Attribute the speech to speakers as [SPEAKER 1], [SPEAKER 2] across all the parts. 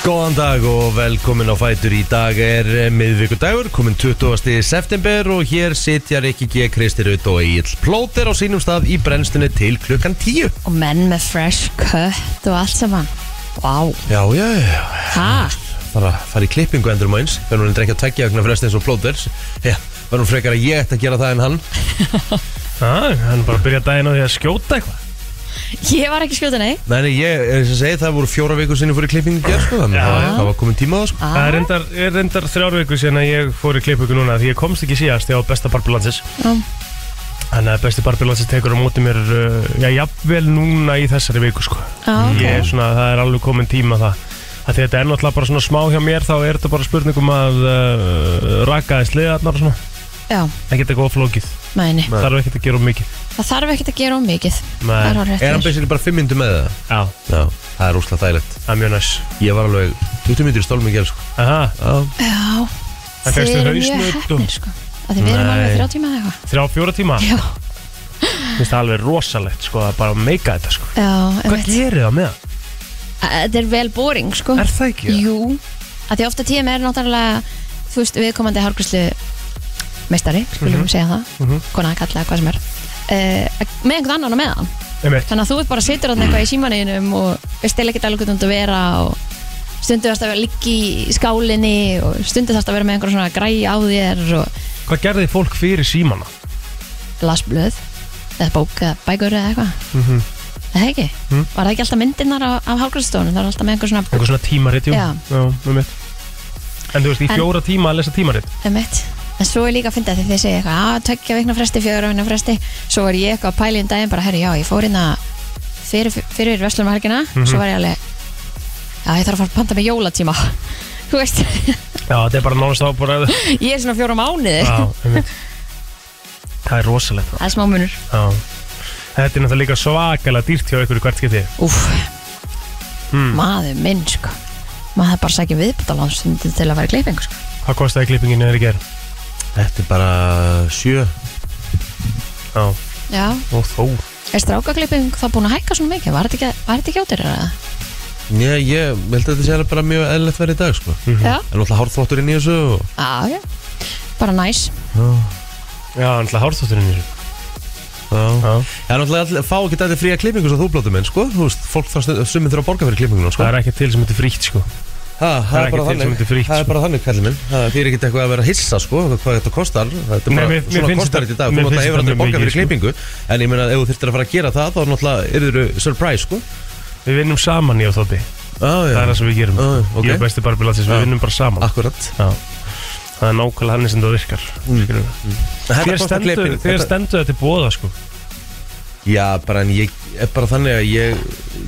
[SPEAKER 1] Góðan dag og velkomin á Fætur í dag er eh, miðvikudagur, komin 20. september og hér sitja Rikki G. Kristirut og Egil Plóter á sínum stað í brennstunni til klukkan 10
[SPEAKER 2] Og menn með fresh cut og allt saman Vá,
[SPEAKER 1] Já, já, já,
[SPEAKER 2] hæ?
[SPEAKER 1] bara fara í klippingu endur um eins, verður hún reyndar ekki að tveggja vegna frest eins og Plóter Já, verður hún frekar að ég ætti að gera það en hann
[SPEAKER 3] Já, hann bara byrja daginn á því að skjóta eitthvað
[SPEAKER 2] Ég var ekki skjóta, nei
[SPEAKER 1] Nei, nei, ég, eh, eins og segi, það voru fjóra vikur sinni fyrir klippingu gerð, sko, þannig
[SPEAKER 3] Já.
[SPEAKER 1] að það var komin tíma á það, sko
[SPEAKER 2] Ah.
[SPEAKER 3] Það er reyndar, er reyndar þrjár viku síðan að ég fór í klippöku núna Því ég komst ekki síðast, ég á besta barbilansis
[SPEAKER 2] Já.
[SPEAKER 3] Þannig að besti barbilansis tekur á móti mér uh, Já, jafnvel núna í þessari viku sko
[SPEAKER 2] Já, ah, ok
[SPEAKER 3] Ég er svona, það er alveg komin tíma það að Þetta er náttúrulega bara svona smá hjá mér Þá er þetta bara spurningum að uh, raka í sliðarnar og svona
[SPEAKER 2] Já,
[SPEAKER 3] Ekki þetta góð flókið
[SPEAKER 2] mæni
[SPEAKER 1] Nei.
[SPEAKER 3] Það er ekki að gera um mikið
[SPEAKER 2] Það þarf ekkert að gera um mikið Það er
[SPEAKER 3] Men,
[SPEAKER 2] hálf
[SPEAKER 1] Er hann
[SPEAKER 2] réttir
[SPEAKER 1] basically bara 5 myndu með það?
[SPEAKER 3] Já,
[SPEAKER 1] Já, það er úslega þægilegt
[SPEAKER 3] það er mjög næs
[SPEAKER 1] Ég var alveg 20 myndir í stólum í gerð, sko
[SPEAKER 3] Aha,
[SPEAKER 1] Já,
[SPEAKER 2] Já,
[SPEAKER 3] Það
[SPEAKER 2] þið
[SPEAKER 3] fékkstu
[SPEAKER 2] eru
[SPEAKER 3] hausnöt
[SPEAKER 2] mjög
[SPEAKER 3] og-
[SPEAKER 2] hefnir, sko Af Því við erum
[SPEAKER 1] Nei.
[SPEAKER 2] alveg þrjá tíma eða eitthvað
[SPEAKER 3] þrjá fjóra tíma
[SPEAKER 2] Já,
[SPEAKER 3] Finnst það alveg rosalegt sko að bara meika þetta sko
[SPEAKER 2] já,
[SPEAKER 3] Hvað
[SPEAKER 2] einmitt
[SPEAKER 3] gerir það með það?
[SPEAKER 2] Þetta er vel boring, sko
[SPEAKER 3] Er það ekki?
[SPEAKER 2] Jú, að því ofta tíum er náttúrulega Þú veist, viðkomandi hárgrislu meistari, skulum
[SPEAKER 3] Mhm.
[SPEAKER 2] segja það Kona, kalla, hvað sem er uh, Með einhvern annan á meðan
[SPEAKER 3] Einmitt.
[SPEAKER 2] Þannig að þú ert bara situr þarna eitthvað í símaneginum og veist eða ekkert alveg hvernig þú ert að vera og stundu þarfst að vera liggi í skálinni og stundu þarfst að vera með einhver svona græ á þér og
[SPEAKER 3] Hvað gerði fólk fyrir símana?
[SPEAKER 2] lasblöð eða bók eða bækur eða eitthvað mm -hmm. Það ekki? Var það ekki alltaf myndirnar af, af hálfgræðstofunum? Það var alltaf með einhver svona
[SPEAKER 3] Einhver svona tímarit, jú?
[SPEAKER 2] Já.
[SPEAKER 3] Já, með mitt En þú veist, í
[SPEAKER 2] En-
[SPEAKER 3] fjóra tíma að lesa tímarit
[SPEAKER 2] Emmett. En svo er líka að finna því þið segja eitthvað að tökja vikna fresti, fjögur vikna fresti svo var ég eitthvað að pæla í um daginn bara, herri, já, ég fór inn að fyrir, fyrir veslumhelgina mm svo var ég alveg já, ég þarf að fara að panta með jólatíma þú veist,
[SPEAKER 3] Já, þetta er bara nánast ábúræðu Já,
[SPEAKER 2] ég er svona fjóra mánuði
[SPEAKER 3] með mitt Það er rosalegt
[SPEAKER 2] það er smá munur
[SPEAKER 3] Já Þetta er náttúrulega líka svakalega dýrt hjá ykkur í hvert skipti Hmm.
[SPEAKER 2] Úf, maður minn sko. maður þarf bara að sækja viðbúttalánsstundi til að vera í klippingu sko.
[SPEAKER 3] Hvað kostiði klippingin eða í ger?
[SPEAKER 1] Þetta er bara sjö
[SPEAKER 3] Já,
[SPEAKER 2] já,
[SPEAKER 3] og þó
[SPEAKER 2] er strákaklipping þá búin að hækka svona mikið, var þetta ekki, var þetta ekki átir eða?
[SPEAKER 1] Ég, ég held að þetta sé alveg bara mjög eðlilegt verið í dag sko. mm.
[SPEAKER 2] já,
[SPEAKER 1] En náttúrulega hárþvottur inn í þessu og...
[SPEAKER 2] já, já bara næs,
[SPEAKER 3] Já, náttúrulega hárþótturinn
[SPEAKER 1] Já,
[SPEAKER 3] er Já
[SPEAKER 1] Já, náttúrulega all, fá ekki þetta fría klippingu sem þú blóttum en sko. Þú veist, fólk þarf stundum- sumir þurfa að borga fyrir klippinguna sko.
[SPEAKER 3] Það er ekki til sem þetta er frítt, sko
[SPEAKER 1] ha,
[SPEAKER 3] það er ekki
[SPEAKER 1] bara
[SPEAKER 3] til sem
[SPEAKER 1] þannig.
[SPEAKER 3] þetta er frítt,
[SPEAKER 1] Það
[SPEAKER 3] sko.
[SPEAKER 1] er bara þannig, kallið minn Það er fyrir ekkert eitthvað að vera hissa sko, hvað þetta kostar þetta er
[SPEAKER 3] Nei,
[SPEAKER 1] bara,
[SPEAKER 3] mér- mér
[SPEAKER 1] Svona
[SPEAKER 3] finnst
[SPEAKER 1] kostar
[SPEAKER 3] þetta-
[SPEAKER 1] þetta í dag Þú
[SPEAKER 3] mér
[SPEAKER 1] náttúrulega
[SPEAKER 3] finnst
[SPEAKER 1] hefur
[SPEAKER 3] þetta
[SPEAKER 1] aldrei
[SPEAKER 3] mjög
[SPEAKER 1] borga
[SPEAKER 3] mikið,
[SPEAKER 1] fyrir
[SPEAKER 3] sko.
[SPEAKER 1] klippingu En ég meina, ef þú þurftir að fara að gera það þá náttúrulega yrðir surprise sko.
[SPEAKER 3] Við vinnum saman, ég og Þótti
[SPEAKER 1] ah,
[SPEAKER 3] Það er það sem við gerum
[SPEAKER 1] Ah, ok.
[SPEAKER 3] Ég er besti barbilatis,
[SPEAKER 1] Já. Ah.
[SPEAKER 3] við vinnum bara saman
[SPEAKER 1] Akkurat
[SPEAKER 3] Já Það er nákvæmlega hann sem það virkar mm. Þér stendur, þér stendur þetta bóða sko
[SPEAKER 1] Já, bara en ég er bara þannig að ég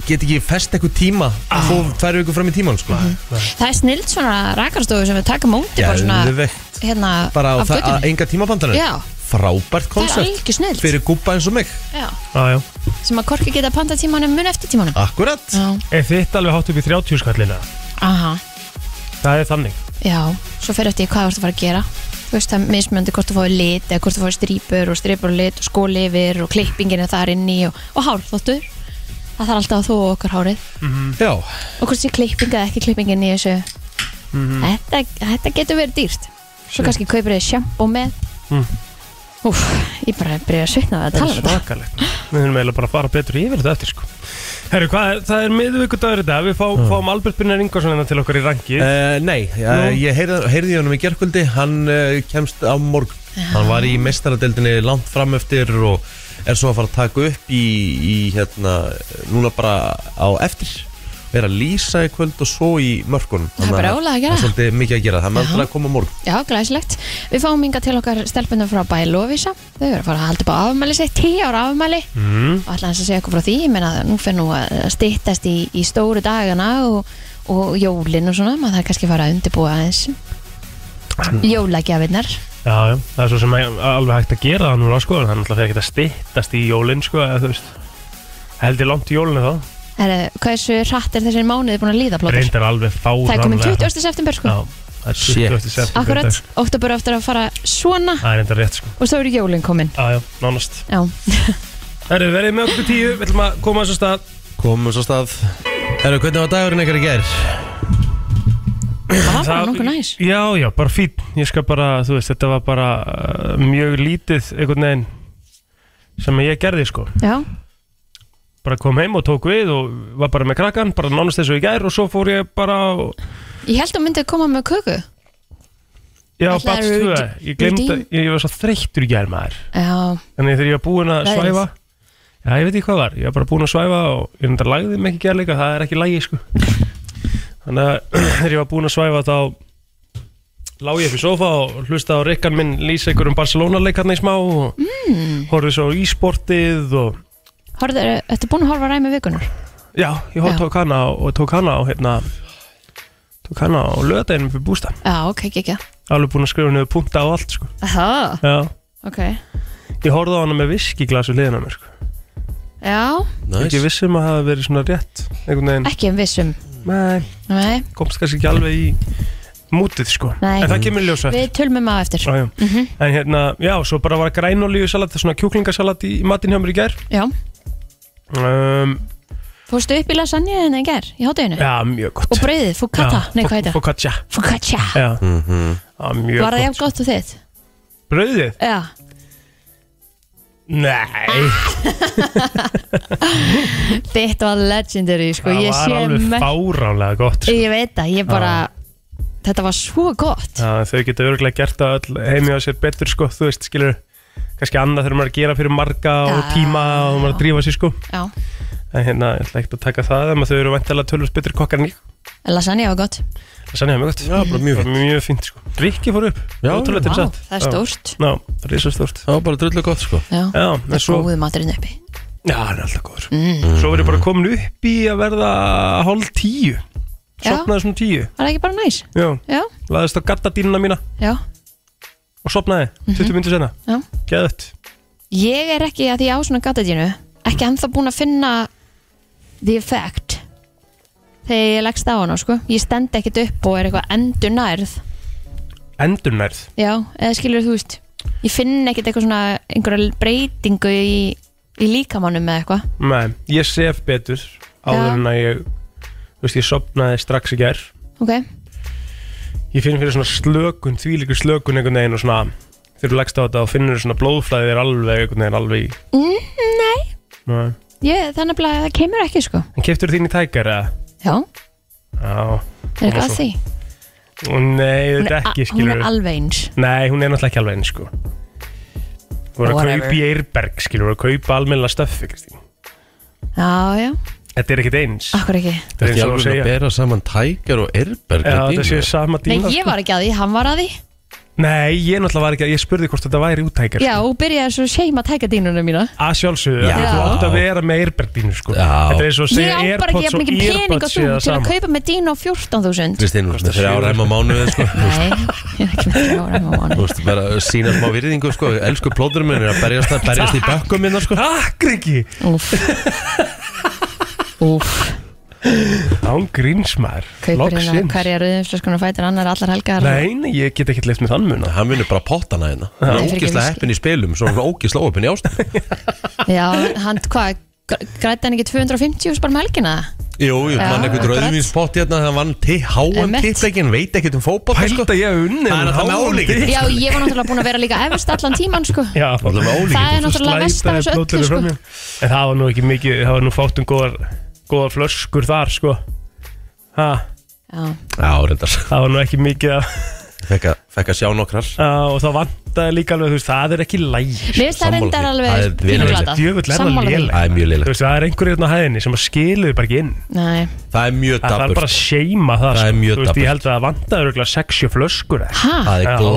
[SPEAKER 1] get ekki fest eitthvað tíma ah. þó tvær vikur fram í tíman sko.
[SPEAKER 2] það er snild svona rakarstofu sem við taka móti Mhm. bara svona
[SPEAKER 1] Geðveikt.
[SPEAKER 2] hérna
[SPEAKER 1] bara á
[SPEAKER 2] af
[SPEAKER 1] það, að
[SPEAKER 2] göttunni
[SPEAKER 1] enga tímabandanum
[SPEAKER 2] Já.
[SPEAKER 1] frábært koncept
[SPEAKER 2] algjör snilld.
[SPEAKER 1] fyrir gúbba eins og mig
[SPEAKER 2] já,
[SPEAKER 3] ah,
[SPEAKER 2] sem að korki geta panta tímanum mun eftir tímanum
[SPEAKER 1] Akkurat
[SPEAKER 2] já,
[SPEAKER 3] Er þitt alveg hátt upp í 30 skallina?
[SPEAKER 2] aha,
[SPEAKER 3] Það er þannig
[SPEAKER 2] já, svo fer eftir því hvað þú ert að fara að gera þú veist það er mismöndi hvort þú fáið lit eða hvort þú fáið strýpur og strýpur og lit og skólifir og klippingin er þar inni og, og hár þóttur það þarf alltaf að þú og okkar hárið
[SPEAKER 1] Já,
[SPEAKER 2] og hvort sé klipping eða ekki klippingin í þessu þetta, þetta getur verið dýrt svo kannski kaupir þið sjampo með
[SPEAKER 3] Mm.
[SPEAKER 2] Úf, ég bara byrja að svitna við að
[SPEAKER 3] Það
[SPEAKER 2] tala
[SPEAKER 3] er
[SPEAKER 2] um þetta
[SPEAKER 3] svakalegt Við höfum eiginlega bara að fara betur yfir þetta eftir sko Herru, hvað er, það er miðvikudagur í dag Við fá, fáum Albert Brynjar Ingvarsson hérna til okkar í rangi
[SPEAKER 1] uh, nei, uh, ég heyrði, heyrði í honum í gerkvöldi hann uh, kemst á morgun hann var í mestaradeldinni langt fram eftir og er svo að fara að taka upp í, í hérna, núna bara á eftir vera að lýsa í kvöld og svo í mörkunum
[SPEAKER 2] Það er
[SPEAKER 1] Þannig
[SPEAKER 2] bara ólega að gera.
[SPEAKER 1] Það er svolítið mikið að gera, það er með aldrei að koma á morgun
[SPEAKER 2] Já, glæsilegt. Við fáum inga til okkar stelpunum frá Bæ Lovisa. Þau eru að fara að halda upp á afmæli sitt, 10 ára afmæli. Mm.
[SPEAKER 3] Mhm.
[SPEAKER 2] Og ætla hans að segja eitthvað frá því. Ég meina, nú fyrir nú að stýttast í, í stóru dagana og, og jólin og svona. Maður þarf kannski að fara að undirbúa aðeins
[SPEAKER 3] Mm.
[SPEAKER 2] jólagjafinnar.
[SPEAKER 3] Já, já, það er svo sem er alveg hægt að gera það núna sko en Það er náttúrulega fyrir ekki að styttast í jólin sko eða, þú veist Heldur langt í jólinu þá
[SPEAKER 2] Herra, Hversu hratt er þessi mánuði búin að líða plóður?
[SPEAKER 3] Reyndar alveg fár
[SPEAKER 2] Það er komin 20. september sko.
[SPEAKER 3] Já, það er 20. september í
[SPEAKER 2] Akkurat,
[SPEAKER 3] dag.
[SPEAKER 2] óttabur aftur að fara svona
[SPEAKER 3] Það er reyndar rétt sko
[SPEAKER 2] og svo eru jólin komin.
[SPEAKER 3] Já, já, nánast
[SPEAKER 2] Já,
[SPEAKER 3] Herru, verið með okkur til tíu, við ætlum að koma að þessu stað
[SPEAKER 1] Komum svo stað Herru, hvernig var dagurinn ekkert í gerð?
[SPEAKER 2] Það var bara nokkuð næs
[SPEAKER 3] Já, já, bara fín Ég skal bara, þú veist, þetta var bara uh, mjög lítið einhvern veginn sem ég gerði sko
[SPEAKER 2] Já,
[SPEAKER 3] bara kom heim og tók við og var bara með krakkan bara nánast þessu í gær og svo fór ég bara á-
[SPEAKER 2] ég held að myndið koma með köku
[SPEAKER 3] já,
[SPEAKER 2] Ætlaðir
[SPEAKER 3] bats
[SPEAKER 2] að
[SPEAKER 3] tvö
[SPEAKER 2] rúti-
[SPEAKER 3] ég glemt að
[SPEAKER 2] rútín?
[SPEAKER 3] ég var svo þreyttur í gær maður
[SPEAKER 2] Já,
[SPEAKER 3] þannig þegar ég var búinn að
[SPEAKER 2] Veðrið.
[SPEAKER 3] svæfa já, ég veit ekki hvað var, ég var bara búinn að svæfa og ég enda lagði mig ekki gær líka, það er ekki lagi sko þannig að þegar ég var búinn að svæfa þá lág ég upp í sofa og hlusta á rikkan minn lýsa ykkur um Barcelona leikarni í smá og mm. horfði svo á ísportið og
[SPEAKER 2] horfðu, ertu búin að horfa á ræmi vikunar?
[SPEAKER 3] Já, ég hótt
[SPEAKER 2] Já.
[SPEAKER 3] tók hana á- og tók hana á hérna tók hana á löðadeginum fyrir bústa
[SPEAKER 2] Já, ok, ekki ekki
[SPEAKER 3] alveg búin að skrifa niður punkta á allt sko.
[SPEAKER 2] Það,
[SPEAKER 3] Já,
[SPEAKER 2] ok
[SPEAKER 3] ég horfði á hana með viskiglasu hliðina á mér sko.
[SPEAKER 2] Já,
[SPEAKER 1] Nice.
[SPEAKER 3] ekki vissum að það hafi verið svona rétt einhvern veginn,
[SPEAKER 2] ekki um vissum
[SPEAKER 3] nei,
[SPEAKER 2] Nei,
[SPEAKER 3] komst kannski ekki alveg í mútið sko,
[SPEAKER 2] Nei.
[SPEAKER 3] en það kemur ljósa
[SPEAKER 2] við Mhm. tölmum á eftir
[SPEAKER 3] ah, mm en hérna, já, svo bara var grænolíu salat, svona kjúklingasalat í matinn hjá mér í gær
[SPEAKER 2] Já,
[SPEAKER 3] um,
[SPEAKER 2] fórstu upp í lasagna en það ger í hátæðinu
[SPEAKER 3] já, mjög gott
[SPEAKER 2] Og brauðið, focata, nei hvað heitir það?
[SPEAKER 3] focaccia,
[SPEAKER 2] Focaccia
[SPEAKER 3] já,
[SPEAKER 1] Mhm.
[SPEAKER 3] já, mjög
[SPEAKER 2] Var það
[SPEAKER 3] gott
[SPEAKER 2] jafn gott og þitt?
[SPEAKER 3] brauðið,
[SPEAKER 2] Já, Ah,
[SPEAKER 3] nei
[SPEAKER 2] þitt var legendary sko,
[SPEAKER 3] Það
[SPEAKER 2] ég
[SPEAKER 3] var
[SPEAKER 2] sé
[SPEAKER 3] alveg
[SPEAKER 2] me-
[SPEAKER 3] fáránlega gott sko.
[SPEAKER 2] Ég veit það, ég bara Þetta var svo gott
[SPEAKER 3] Já, Þau geta örgulega gert það öll heimi á sér betur sko, þú veist, skilur kannski annað þurfum maður að gera fyrir marga og
[SPEAKER 2] Já.
[SPEAKER 3] tíma og maður að drífa sér sko
[SPEAKER 2] Já,
[SPEAKER 3] en hérna, ég ætla ekkert að taka það en þau eru vantilega tölvist betur kokkar en ég
[SPEAKER 2] lasagna var gott
[SPEAKER 3] það sann ég að mjög gott,
[SPEAKER 1] Já, bara mjög
[SPEAKER 3] það
[SPEAKER 1] fint
[SPEAKER 3] var mjög fínt sko Rikki fór upp,
[SPEAKER 1] Já,
[SPEAKER 3] ótrúlega til
[SPEAKER 2] Vá,
[SPEAKER 3] satt
[SPEAKER 2] það er stórt
[SPEAKER 3] Já, það er risa stórt
[SPEAKER 1] Það var bara drullu gott sko
[SPEAKER 2] Já,
[SPEAKER 3] Já, en
[SPEAKER 2] svo...
[SPEAKER 3] svo,
[SPEAKER 2] góðu maturinn uppi
[SPEAKER 3] já, hann er alltaf góður
[SPEAKER 2] Mm.
[SPEAKER 3] Svo verður bara komin upp í að verða hálf tíu,
[SPEAKER 2] Já.
[SPEAKER 3] sopnaði svona tíu
[SPEAKER 2] Var það ekki bara næs?
[SPEAKER 3] Já,
[SPEAKER 2] Já,
[SPEAKER 3] laðist á gattadínuna mína
[SPEAKER 2] já,
[SPEAKER 3] og sopnaði
[SPEAKER 2] Mhm.
[SPEAKER 3] 20 myndir senna,
[SPEAKER 2] já
[SPEAKER 3] geðött
[SPEAKER 2] Ég er ekki að því á svona gatadínu ekki ennþá búin að finna the effect þegar ég leggst á hana, sko Ég stend ekkit upp og er eitthvað endur nærð
[SPEAKER 3] Endurnærð
[SPEAKER 2] Já, eða skilur þú veist Ég finn ekkit eitthvað svona einhverja breytingu í, í líkamannum eða eitthvað
[SPEAKER 3] Nei, ég sef betur áður
[SPEAKER 2] Já.
[SPEAKER 3] en að ég þú veist, ég sopnaði strax í gær
[SPEAKER 2] Ok,
[SPEAKER 3] ég finn fyrir svona slökun, þvílíku slökun einhvern veginn og svona þegar þú leggst á þetta og finnur svona blóðflæðið er alveg einhvern veginn alveg í
[SPEAKER 2] mm, nei
[SPEAKER 3] Nei.
[SPEAKER 2] ég, Það er nefnilega, það kemur ekki, sko
[SPEAKER 3] En keftur þín í tækar eða?
[SPEAKER 2] Já,
[SPEAKER 3] Já,
[SPEAKER 2] er eitthvað að því
[SPEAKER 3] nei,
[SPEAKER 2] Hún
[SPEAKER 3] þetta
[SPEAKER 2] er,
[SPEAKER 3] ekki
[SPEAKER 2] a- hún er
[SPEAKER 3] skilur
[SPEAKER 2] alveg eins
[SPEAKER 3] Nei, hún er náttúrulega ekki alveg eins sko Þú voru að
[SPEAKER 2] Whatever.
[SPEAKER 3] kaupa í Eirberg skilur, þú voru að kaupa almennilega stöffi Kristín
[SPEAKER 2] Já, já,
[SPEAKER 3] Þetta er ekkert eins
[SPEAKER 2] akkur ekki
[SPEAKER 3] Þetta er
[SPEAKER 1] Þetta er
[SPEAKER 3] eins og að
[SPEAKER 1] alveg að
[SPEAKER 3] segja
[SPEAKER 1] bera saman tækjar og erberg
[SPEAKER 3] Já, þetta séu sama
[SPEAKER 2] Nei,
[SPEAKER 3] díla
[SPEAKER 2] ég
[SPEAKER 3] sko.
[SPEAKER 2] var ekki að því, hann var að því
[SPEAKER 3] Nei, ég náttúrulega var ekki að, ég spurði hvort þetta væri útækjar
[SPEAKER 2] Já, og byrjaði svo að seima tækadínuna mína
[SPEAKER 3] að sjálfsögðu,
[SPEAKER 1] Já.
[SPEAKER 3] af því þú átt að vera með erberdínu sko.
[SPEAKER 1] Já.
[SPEAKER 3] þetta er svo að
[SPEAKER 2] Ég á
[SPEAKER 3] segja
[SPEAKER 2] bara ekki
[SPEAKER 3] airpods
[SPEAKER 2] jafn
[SPEAKER 3] og
[SPEAKER 2] mikið pening og þú
[SPEAKER 3] earbuds séu það
[SPEAKER 2] til að
[SPEAKER 3] sama
[SPEAKER 2] kaupa með dínu á 14.000
[SPEAKER 1] Kristín, þú veist,
[SPEAKER 3] Kostar
[SPEAKER 1] það er á
[SPEAKER 3] sjö.
[SPEAKER 1] ræma mánuðið sko
[SPEAKER 2] Nei, ég er ekki með því ára með
[SPEAKER 1] Þú
[SPEAKER 2] mánu
[SPEAKER 1] veist, bara að sína smá virðingu sko Elsku plóðurum minn er að berjast, að berjast í bökkum minna sko
[SPEAKER 3] Takk Riki,
[SPEAKER 2] Úf Úf,
[SPEAKER 3] án grínsmar
[SPEAKER 2] kaupir hérna hverja rauðumslöskuna fætir annar allar helgar
[SPEAKER 3] Nei, nei, ég get ekki leift með þann mun
[SPEAKER 1] Hann munir bara pottana hérna Hann
[SPEAKER 2] Nei,
[SPEAKER 1] er
[SPEAKER 2] fyrir ekki
[SPEAKER 1] ógislega
[SPEAKER 2] viski.
[SPEAKER 1] heppin í spilum Svo hann er ógislega óheppin í ástæð
[SPEAKER 2] Já, hann, hvað, gr- græddi hann ekki 250 spara með um helgina?
[SPEAKER 1] Jú, jú,
[SPEAKER 2] Já,
[SPEAKER 1] mann eitthvað
[SPEAKER 2] akkurat.
[SPEAKER 1] rauðvinspott hérna Hann vann HM
[SPEAKER 2] Emmett.
[SPEAKER 1] tippleikin Veit ekkert um fótbolta sko
[SPEAKER 3] Pælda ég unni
[SPEAKER 1] Það er náttúrulega ólíkindum.
[SPEAKER 2] Já, ég var náttúrulega búin að vera líka efst allan tíman, sko
[SPEAKER 3] Já,
[SPEAKER 1] Það er ólíkindum.
[SPEAKER 2] Það er náttúrulega vest af
[SPEAKER 3] slætaði
[SPEAKER 2] þessu öllu,
[SPEAKER 3] blótinu
[SPEAKER 2] sko
[SPEAKER 3] fram hjá. En það var nú ekki mikið, það var nú fátum góðar góðar flöskur þar sko ha,
[SPEAKER 2] Já,
[SPEAKER 1] Já, reyndar
[SPEAKER 3] Það var nú ekki mikið að,
[SPEAKER 1] Fekk að- Fekk að sjá nokkrar
[SPEAKER 3] að, og það vantaði líka alveg, þú veist, það er ekki læg
[SPEAKER 2] mér finnst það
[SPEAKER 1] Sammála því. Það
[SPEAKER 2] reyndar
[SPEAKER 1] er
[SPEAKER 2] alveg
[SPEAKER 1] vel
[SPEAKER 2] pínu
[SPEAKER 1] lélegt.
[SPEAKER 2] glatað.
[SPEAKER 3] Djöfull er það
[SPEAKER 2] Sammála því.
[SPEAKER 3] lélegt.
[SPEAKER 1] Það er mjög
[SPEAKER 3] Þú
[SPEAKER 1] leilegt
[SPEAKER 3] veist, það er einhverjir hérna á hæðinni sem að skiluðu bara ekki inn
[SPEAKER 2] Nei,
[SPEAKER 1] Það er mjög
[SPEAKER 3] Það er bara
[SPEAKER 1] dabur
[SPEAKER 3] að seima það,
[SPEAKER 1] Það er
[SPEAKER 3] sko.
[SPEAKER 1] mjög
[SPEAKER 3] Þú veist,
[SPEAKER 1] dapurt.
[SPEAKER 3] ég held að það vandaður örugglega 60 flöskur eða
[SPEAKER 2] hæ?
[SPEAKER 1] Það
[SPEAKER 3] Já,
[SPEAKER 1] er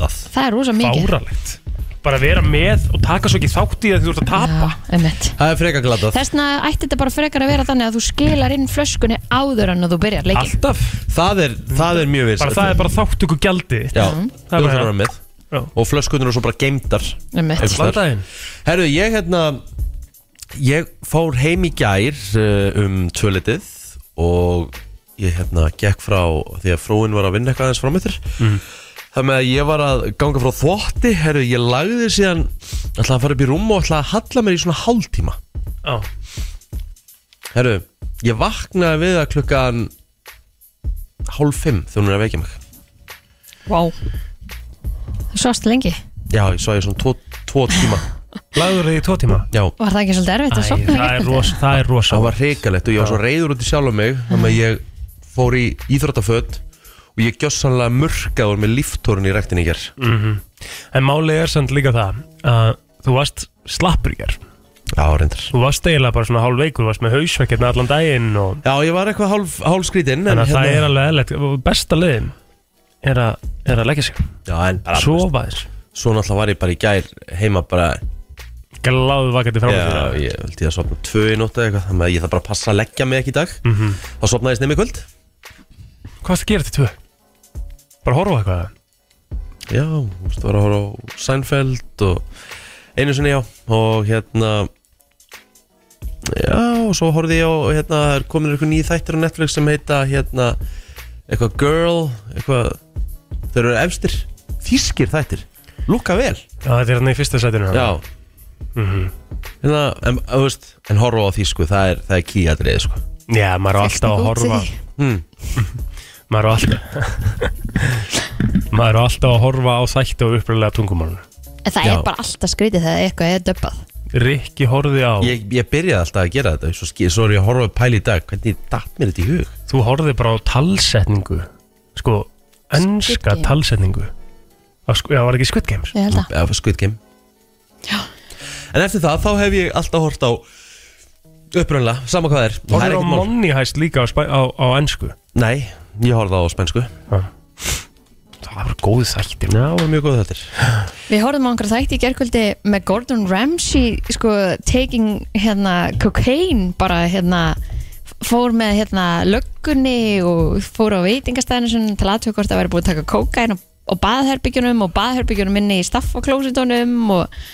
[SPEAKER 1] glatað
[SPEAKER 2] Það er rosa mikið
[SPEAKER 3] Fáralegt Bara að vera með og taka svo ekki þátt í það því þú ert að tapa
[SPEAKER 2] Já, einmitt.
[SPEAKER 1] Það er freka glatað
[SPEAKER 2] Þess vegna ætti þetta bara frekar að vera þannig að þú skilar inn flöskunni áður en að þú byrjar leikin
[SPEAKER 3] Alltaf
[SPEAKER 1] Það er, það er mjög
[SPEAKER 3] Bara
[SPEAKER 1] vinsælt
[SPEAKER 3] það er bara þátt ykkur gjaldi
[SPEAKER 1] Já,
[SPEAKER 3] Það er
[SPEAKER 1] þú
[SPEAKER 3] bara-
[SPEAKER 1] þarf að vera með
[SPEAKER 3] Já.
[SPEAKER 1] Og flöskunir og svo bara geimdar
[SPEAKER 2] Einmitt.
[SPEAKER 3] Landaðinn
[SPEAKER 1] Herru, ég hérna Ég fór heim í gær uh, um tvölitið Og ég hérna gekk frá Því að frúin var að vinna eitthvað aðeins frá mér mm. Það með að ég var að ganga frá þvotti Herru, ég lagði síðan Ætlaði að fara upp í rúm og ætlaði að halla mér í svona hálftíma
[SPEAKER 3] Já
[SPEAKER 1] Herru, ég vaknaði við að klukkan hálf fimm þegar hún er að vekja mig
[SPEAKER 2] Vá Þú svost lengi
[SPEAKER 1] Já, ég svo ég svona tvo, tvo tíma
[SPEAKER 3] Lagður þið í tvo tíma?
[SPEAKER 1] Já,
[SPEAKER 2] Var það ekki svolítið erfitt að hérna? sopna
[SPEAKER 3] Æ,
[SPEAKER 2] í
[SPEAKER 3] það er
[SPEAKER 2] gærkvöldi?
[SPEAKER 3] rosa, það er rosa.
[SPEAKER 1] það var hrikalegt og ég var svo reyður út í sjálf mig þannig að ég fór í íþróttaföt og ég gjössanlega murkaður með líftórun í rektin í ger
[SPEAKER 3] En málið er samt líka það að þú varst slappur í gerð.
[SPEAKER 1] Já, reyndar
[SPEAKER 3] Þú varst eiginlega bara svona hálf veikur, þú varst með hausverkefni allan daginn og
[SPEAKER 1] Já, ég var eitthvað hálf, hálf hérna- skrítinn
[SPEAKER 3] þannig að það er alveg eðlert. Besta leiðin er að, er að leggja sig,
[SPEAKER 1] Já, en bara,
[SPEAKER 3] sofa þess,
[SPEAKER 1] Svo náttúrulega var ég bara í gær heima bara
[SPEAKER 3] gláðu vakandi fram að
[SPEAKER 1] Já,
[SPEAKER 3] fyrir.
[SPEAKER 1] ég vildi að sopna tvö í nótt eða eitthvað Þannig að ég þarf bara að passa að leggja mig ekki í dag
[SPEAKER 3] Mhm.
[SPEAKER 1] Þá sopnaði ég snemmi í kvöld
[SPEAKER 3] Hvað varst að gera til tvö? Bara horfa á eitthvað?
[SPEAKER 1] Já, þú veist, var að horfa á Seinfeld og einu sinni já og hérna já, og svo horfði ég á hérna, það er komin eitthvað nýð þættir á Netflix sem heita hérna, eitthvað Girl eitthvað, þeir eru efstir þýskir þættir, lúka vel
[SPEAKER 3] Já, þetta er hann í fyrsta sætinu.
[SPEAKER 1] já hérna, en, þú veist, en horfa á þýsku það er, það er kýjadrið, sko
[SPEAKER 3] Já, maður er alltaf að
[SPEAKER 2] Út í
[SPEAKER 3] horfa,
[SPEAKER 2] því.
[SPEAKER 1] hmm.
[SPEAKER 3] maður er alltaf, maður er alltaf að horfa á þætti og uppröðlega tungumálunum.
[SPEAKER 2] En það
[SPEAKER 1] Já.
[SPEAKER 2] er bara alltaf skrítið þegar eitthvað er döbbað
[SPEAKER 3] Rikki horfið á,
[SPEAKER 1] ég, ég byrjaði alltaf að gera þetta svo, ski- svo er ég að horfa að pæla í dag, hvernig datt mér þetta í hug
[SPEAKER 3] þú horfið bara á talsetningu, sko, önska
[SPEAKER 2] Game.
[SPEAKER 3] talsetningu. Á sk- Já, var ekki Squid Games?
[SPEAKER 2] Ég held að
[SPEAKER 1] eða Squid Game En eftir það, þá hef ég alltaf hort á upprunlega, sama hvað það er Það er
[SPEAKER 3] Horfir á
[SPEAKER 1] ekkert mál.
[SPEAKER 3] Money Heist líka á, spæ- á, á ennsku
[SPEAKER 1] Nei, ég horfði á spænsku
[SPEAKER 3] Það var góð þættir
[SPEAKER 1] Já, og mjög góð þetta
[SPEAKER 2] Við horfum á einhverja þætti í gerkvöldi með Gordon Ramsay sko taking hérna cocaine bara hérna fór með hérna löggunni og fór á veitingastæðinu sinni til aðtöku hvort að væri búið að taka kókain og, og baðherbyggjunum og baðherbyggjunum inni í staff og klósitónum og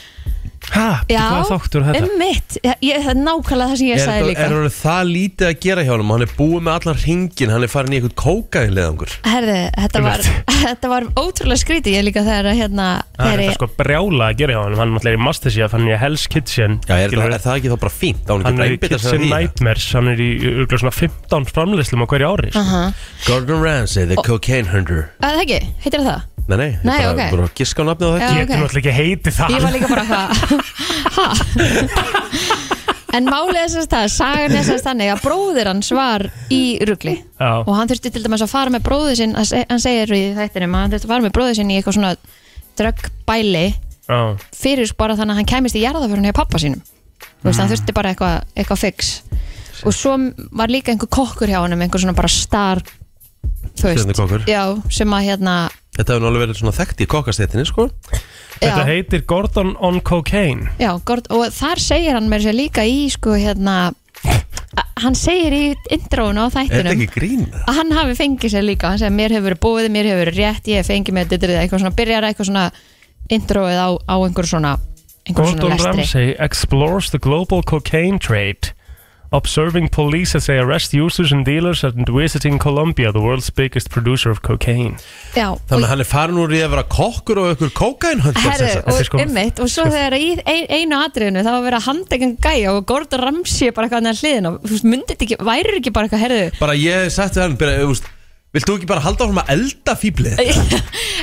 [SPEAKER 3] Hæ, hvað þáttur er þetta?
[SPEAKER 2] emmitt, ég, ég- það er nákvæmlega það sem ég
[SPEAKER 1] Er
[SPEAKER 2] sagði líka
[SPEAKER 1] það er orðið það lítið að gera hjá honum Hann er búið með allan ringin, hann er farin í eitthvað kókainleðangur
[SPEAKER 2] Herði, þetta var, þetta var ótrúlega skrítið ég líka þegar að, hérna
[SPEAKER 3] Það
[SPEAKER 2] þegar
[SPEAKER 3] er þetta
[SPEAKER 2] ég,
[SPEAKER 3] sko brjála að gera hjá hann Hann náttúrulega er í Masterchef, hann er í Hell's Kitchen
[SPEAKER 1] Já, er, það,
[SPEAKER 3] skilurðu.
[SPEAKER 1] er það ekki þá bara fínt? Á hann ekki
[SPEAKER 3] Hann
[SPEAKER 1] bara
[SPEAKER 3] er í
[SPEAKER 1] einbytta sér
[SPEAKER 3] Kitchen
[SPEAKER 1] að því
[SPEAKER 3] Nightmares Hann er í örgulega svona 15 framleyslum á hverju ári sko.
[SPEAKER 2] aha,
[SPEAKER 1] Gordon Ramsay, the cocaine hunter
[SPEAKER 2] að það ekki, heitir það það?
[SPEAKER 1] Nei, nei, ég
[SPEAKER 2] Nei,
[SPEAKER 1] bara,
[SPEAKER 2] ok.
[SPEAKER 1] bara að giska á nafnið á þetta
[SPEAKER 2] Já,
[SPEAKER 3] Getur
[SPEAKER 2] ok.
[SPEAKER 3] náttúrulega ekki heiti það
[SPEAKER 2] Ég var líka bara hvað Hæ? En málið er sérst það, sagan er sérst þannig að bróðir hans var í rugli
[SPEAKER 3] Já.
[SPEAKER 2] og hann þurfti til dæmis að fara með bróðir sinn að se- hann segir í þættinum að hann þurfti að fara með bróðir sinn í eitthvað svona dröggbæli
[SPEAKER 3] Já,
[SPEAKER 2] fyrir sko bara þannig að hann kæmist í jarðaförun hjá pappa sínum Þú veist, hann þurfti bara eitthvað eitthvað fix og svo var líka einhver kokkur hjá honum einhver svona bara star þú
[SPEAKER 1] Stjörnukokkur.
[SPEAKER 2] já, sem að hérna
[SPEAKER 1] Þetta hefur nú alveg verið svona þekkt í kokkastéttinni, sko
[SPEAKER 3] Þetta
[SPEAKER 2] já.
[SPEAKER 3] heitir Gordon on Cocaine
[SPEAKER 2] Já, gort, og þar segir hann mér sér líka í sko hérna a- hann segir í intrónu á
[SPEAKER 1] Er þetta
[SPEAKER 2] þættinum
[SPEAKER 1] ekki grín?
[SPEAKER 2] að hann hafi fengið sér líka, hann segir mér hefur verið búið, mér hefur verið rétt, ég hef fengið mér dittrið eitthvað svona, byrjar eitthvað svona intróið á, á einhver svona einhver svona
[SPEAKER 3] Gordon
[SPEAKER 2] lestri
[SPEAKER 3] Ramsay explores the global cocaine trade, observing police as they arrest users and dealers and visiting Colombia, the world's biggest producer of cocaine.
[SPEAKER 2] Já,
[SPEAKER 1] Þannig
[SPEAKER 2] og,
[SPEAKER 1] að hann er farin úr í að vera kokkur og ykkur kókainhundur
[SPEAKER 2] herri,
[SPEAKER 1] sem sagt.
[SPEAKER 3] Þetta er
[SPEAKER 2] og
[SPEAKER 3] sko-
[SPEAKER 2] ummitt og svo þegar í ein, einu atriðinu þá var verið að handekja gæja og Gordon Ramsay er bara eitthvað neðan hliðin og þú veist, myndið ekki, værir ekki bara eitthvað, herðu
[SPEAKER 1] bara ég sett við hann bara, úst, vilt þú ekki bara halda áfram að elda fýblið
[SPEAKER 2] Ef,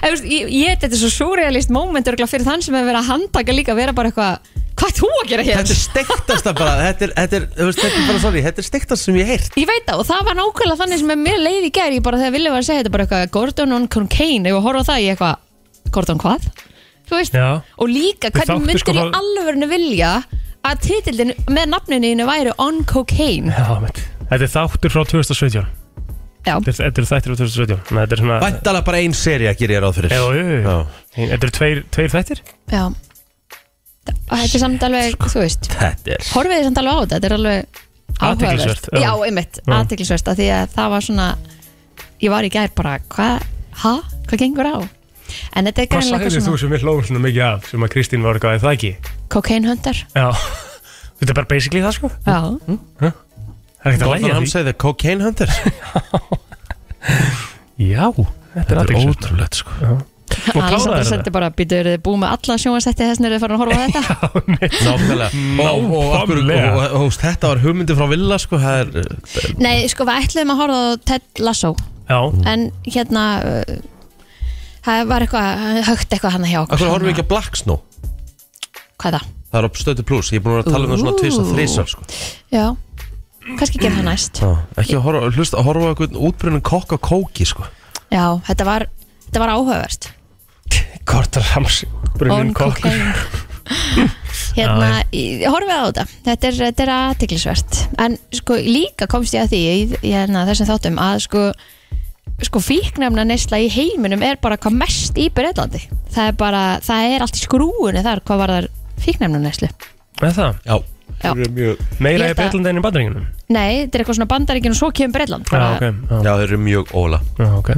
[SPEAKER 2] veist, ég, ég, þetta er svo surrealist moment örgulega fyrir þann sem hefur verið að handtaka líka að vera bara eitthvað, hvað ert þú að gera hér?
[SPEAKER 1] þetta er stektasta bara þetta er, þetta er, þú veist, þetta er bara sorry, þetta er stektasta sem ég heirt
[SPEAKER 2] Ég veit það og það var nákvæmlega þannig sem er mér leið í gær ég bara þegar Vili var að segja þetta bara eitthvað Gordon on cocaine, ef að horfa á það ég eitthvað Gordon hvað? Þú veist,
[SPEAKER 3] Já.
[SPEAKER 2] og líka
[SPEAKER 3] Við þáttu
[SPEAKER 2] hvernig myndir
[SPEAKER 3] sko
[SPEAKER 2] sko, í
[SPEAKER 3] það-
[SPEAKER 2] alvörinu vilja að titildin með nafninu væri on cocaine
[SPEAKER 3] Já, mitt. Þetta er þáttur frá 2017.
[SPEAKER 2] Já,
[SPEAKER 3] Þetta er- þetta eru þættir frá 2017. Þannig að Þetta er svona...
[SPEAKER 1] væntalega bara ein seri að gera ég ráð fyrir
[SPEAKER 3] Já, jú, jú, jú.
[SPEAKER 1] Já.
[SPEAKER 3] Þetta eru tveir, tveir þættir?
[SPEAKER 2] já Og Þetta er samt
[SPEAKER 3] Sko-
[SPEAKER 2] alveg, þú veist
[SPEAKER 1] þetta er
[SPEAKER 2] horfið þið samt alveg á þetta, þetta er alveg áhugavert.
[SPEAKER 3] Athyglisvert, já.
[SPEAKER 2] Já, einmitt,
[SPEAKER 3] Já.
[SPEAKER 2] aðtiklisvert af því að það var svona ég var í gær bara, hvað, hæ, hvað gengur á? En þetta er
[SPEAKER 3] Hvað
[SPEAKER 2] greinlega
[SPEAKER 3] sagðið þú
[SPEAKER 2] svona
[SPEAKER 3] sem við hlóðum svona mikið af sem að Kristín var eitthvað, er það ekki?
[SPEAKER 2] cocaine hunter,
[SPEAKER 3] Já. Þetta er bara basically það, sko.
[SPEAKER 2] já,
[SPEAKER 1] Mm,
[SPEAKER 3] Það er ekkert að
[SPEAKER 1] Gordon
[SPEAKER 3] lægja því.
[SPEAKER 1] Ramsay the cocaine hunter
[SPEAKER 3] Já, þetta er
[SPEAKER 1] þetta er
[SPEAKER 3] aðeins.
[SPEAKER 1] ótrúlegt sko
[SPEAKER 3] Og kláraði
[SPEAKER 2] Alessandra
[SPEAKER 3] þetta.
[SPEAKER 2] sendi bara, býtu, eru þið búið með alla sjónvarsætti þess að þið farin að horfa á þetta?
[SPEAKER 1] nákvæmlega Mm, og, og, og, og,
[SPEAKER 3] Nákvæmlega.
[SPEAKER 1] og, og, og þetta var hugmyndi frá Villa sko það er,
[SPEAKER 2] Nei, sko, við ætluðum að horfa á Ted Lasso
[SPEAKER 3] Já,
[SPEAKER 2] en hérna uh, það var eitthvað högt eitthvað hann hjá okkur
[SPEAKER 1] Akkur horfum við ekki að Black Snow
[SPEAKER 2] hvað er það?
[SPEAKER 1] Það er á stötu pluss, ég er búin að vera að tala um það svona
[SPEAKER 2] Ú.
[SPEAKER 1] tvis og þrísar sko.
[SPEAKER 2] Já, kannski gera það næst
[SPEAKER 1] Já, Ekki að horfa, hlusta, að horfa á einhvern útbrunnin kokk á kóki sko.
[SPEAKER 2] Já, þetta var, þetta var áhugavert
[SPEAKER 3] Kortar Rams Brunnin
[SPEAKER 2] On
[SPEAKER 3] kokkur
[SPEAKER 2] cocaine Hérna, í- horfið á þetta Þetta er, þetta er aðtiklisvert En sko líka komst ég að því í, í hérna, þessum þáttum að sko sko fíknefna nesla í heiminum er bara hvað mest í Breitlandi það er bara, það er allt í skrúinu þar hvað var þar fíknefna neslu
[SPEAKER 3] Er það?
[SPEAKER 1] Já,
[SPEAKER 2] Já.
[SPEAKER 1] Þeir eru mjög,
[SPEAKER 3] Meira
[SPEAKER 2] Ég
[SPEAKER 3] í
[SPEAKER 2] held að-
[SPEAKER 3] Breitlandi enn í Bandaríkinum
[SPEAKER 2] Nei, þetta er eitthvað svona bandaríkinn og svo kemur Breitland
[SPEAKER 3] Já,
[SPEAKER 2] bara,
[SPEAKER 3] ok
[SPEAKER 1] já, þeir eru mjög óla
[SPEAKER 3] Já, ok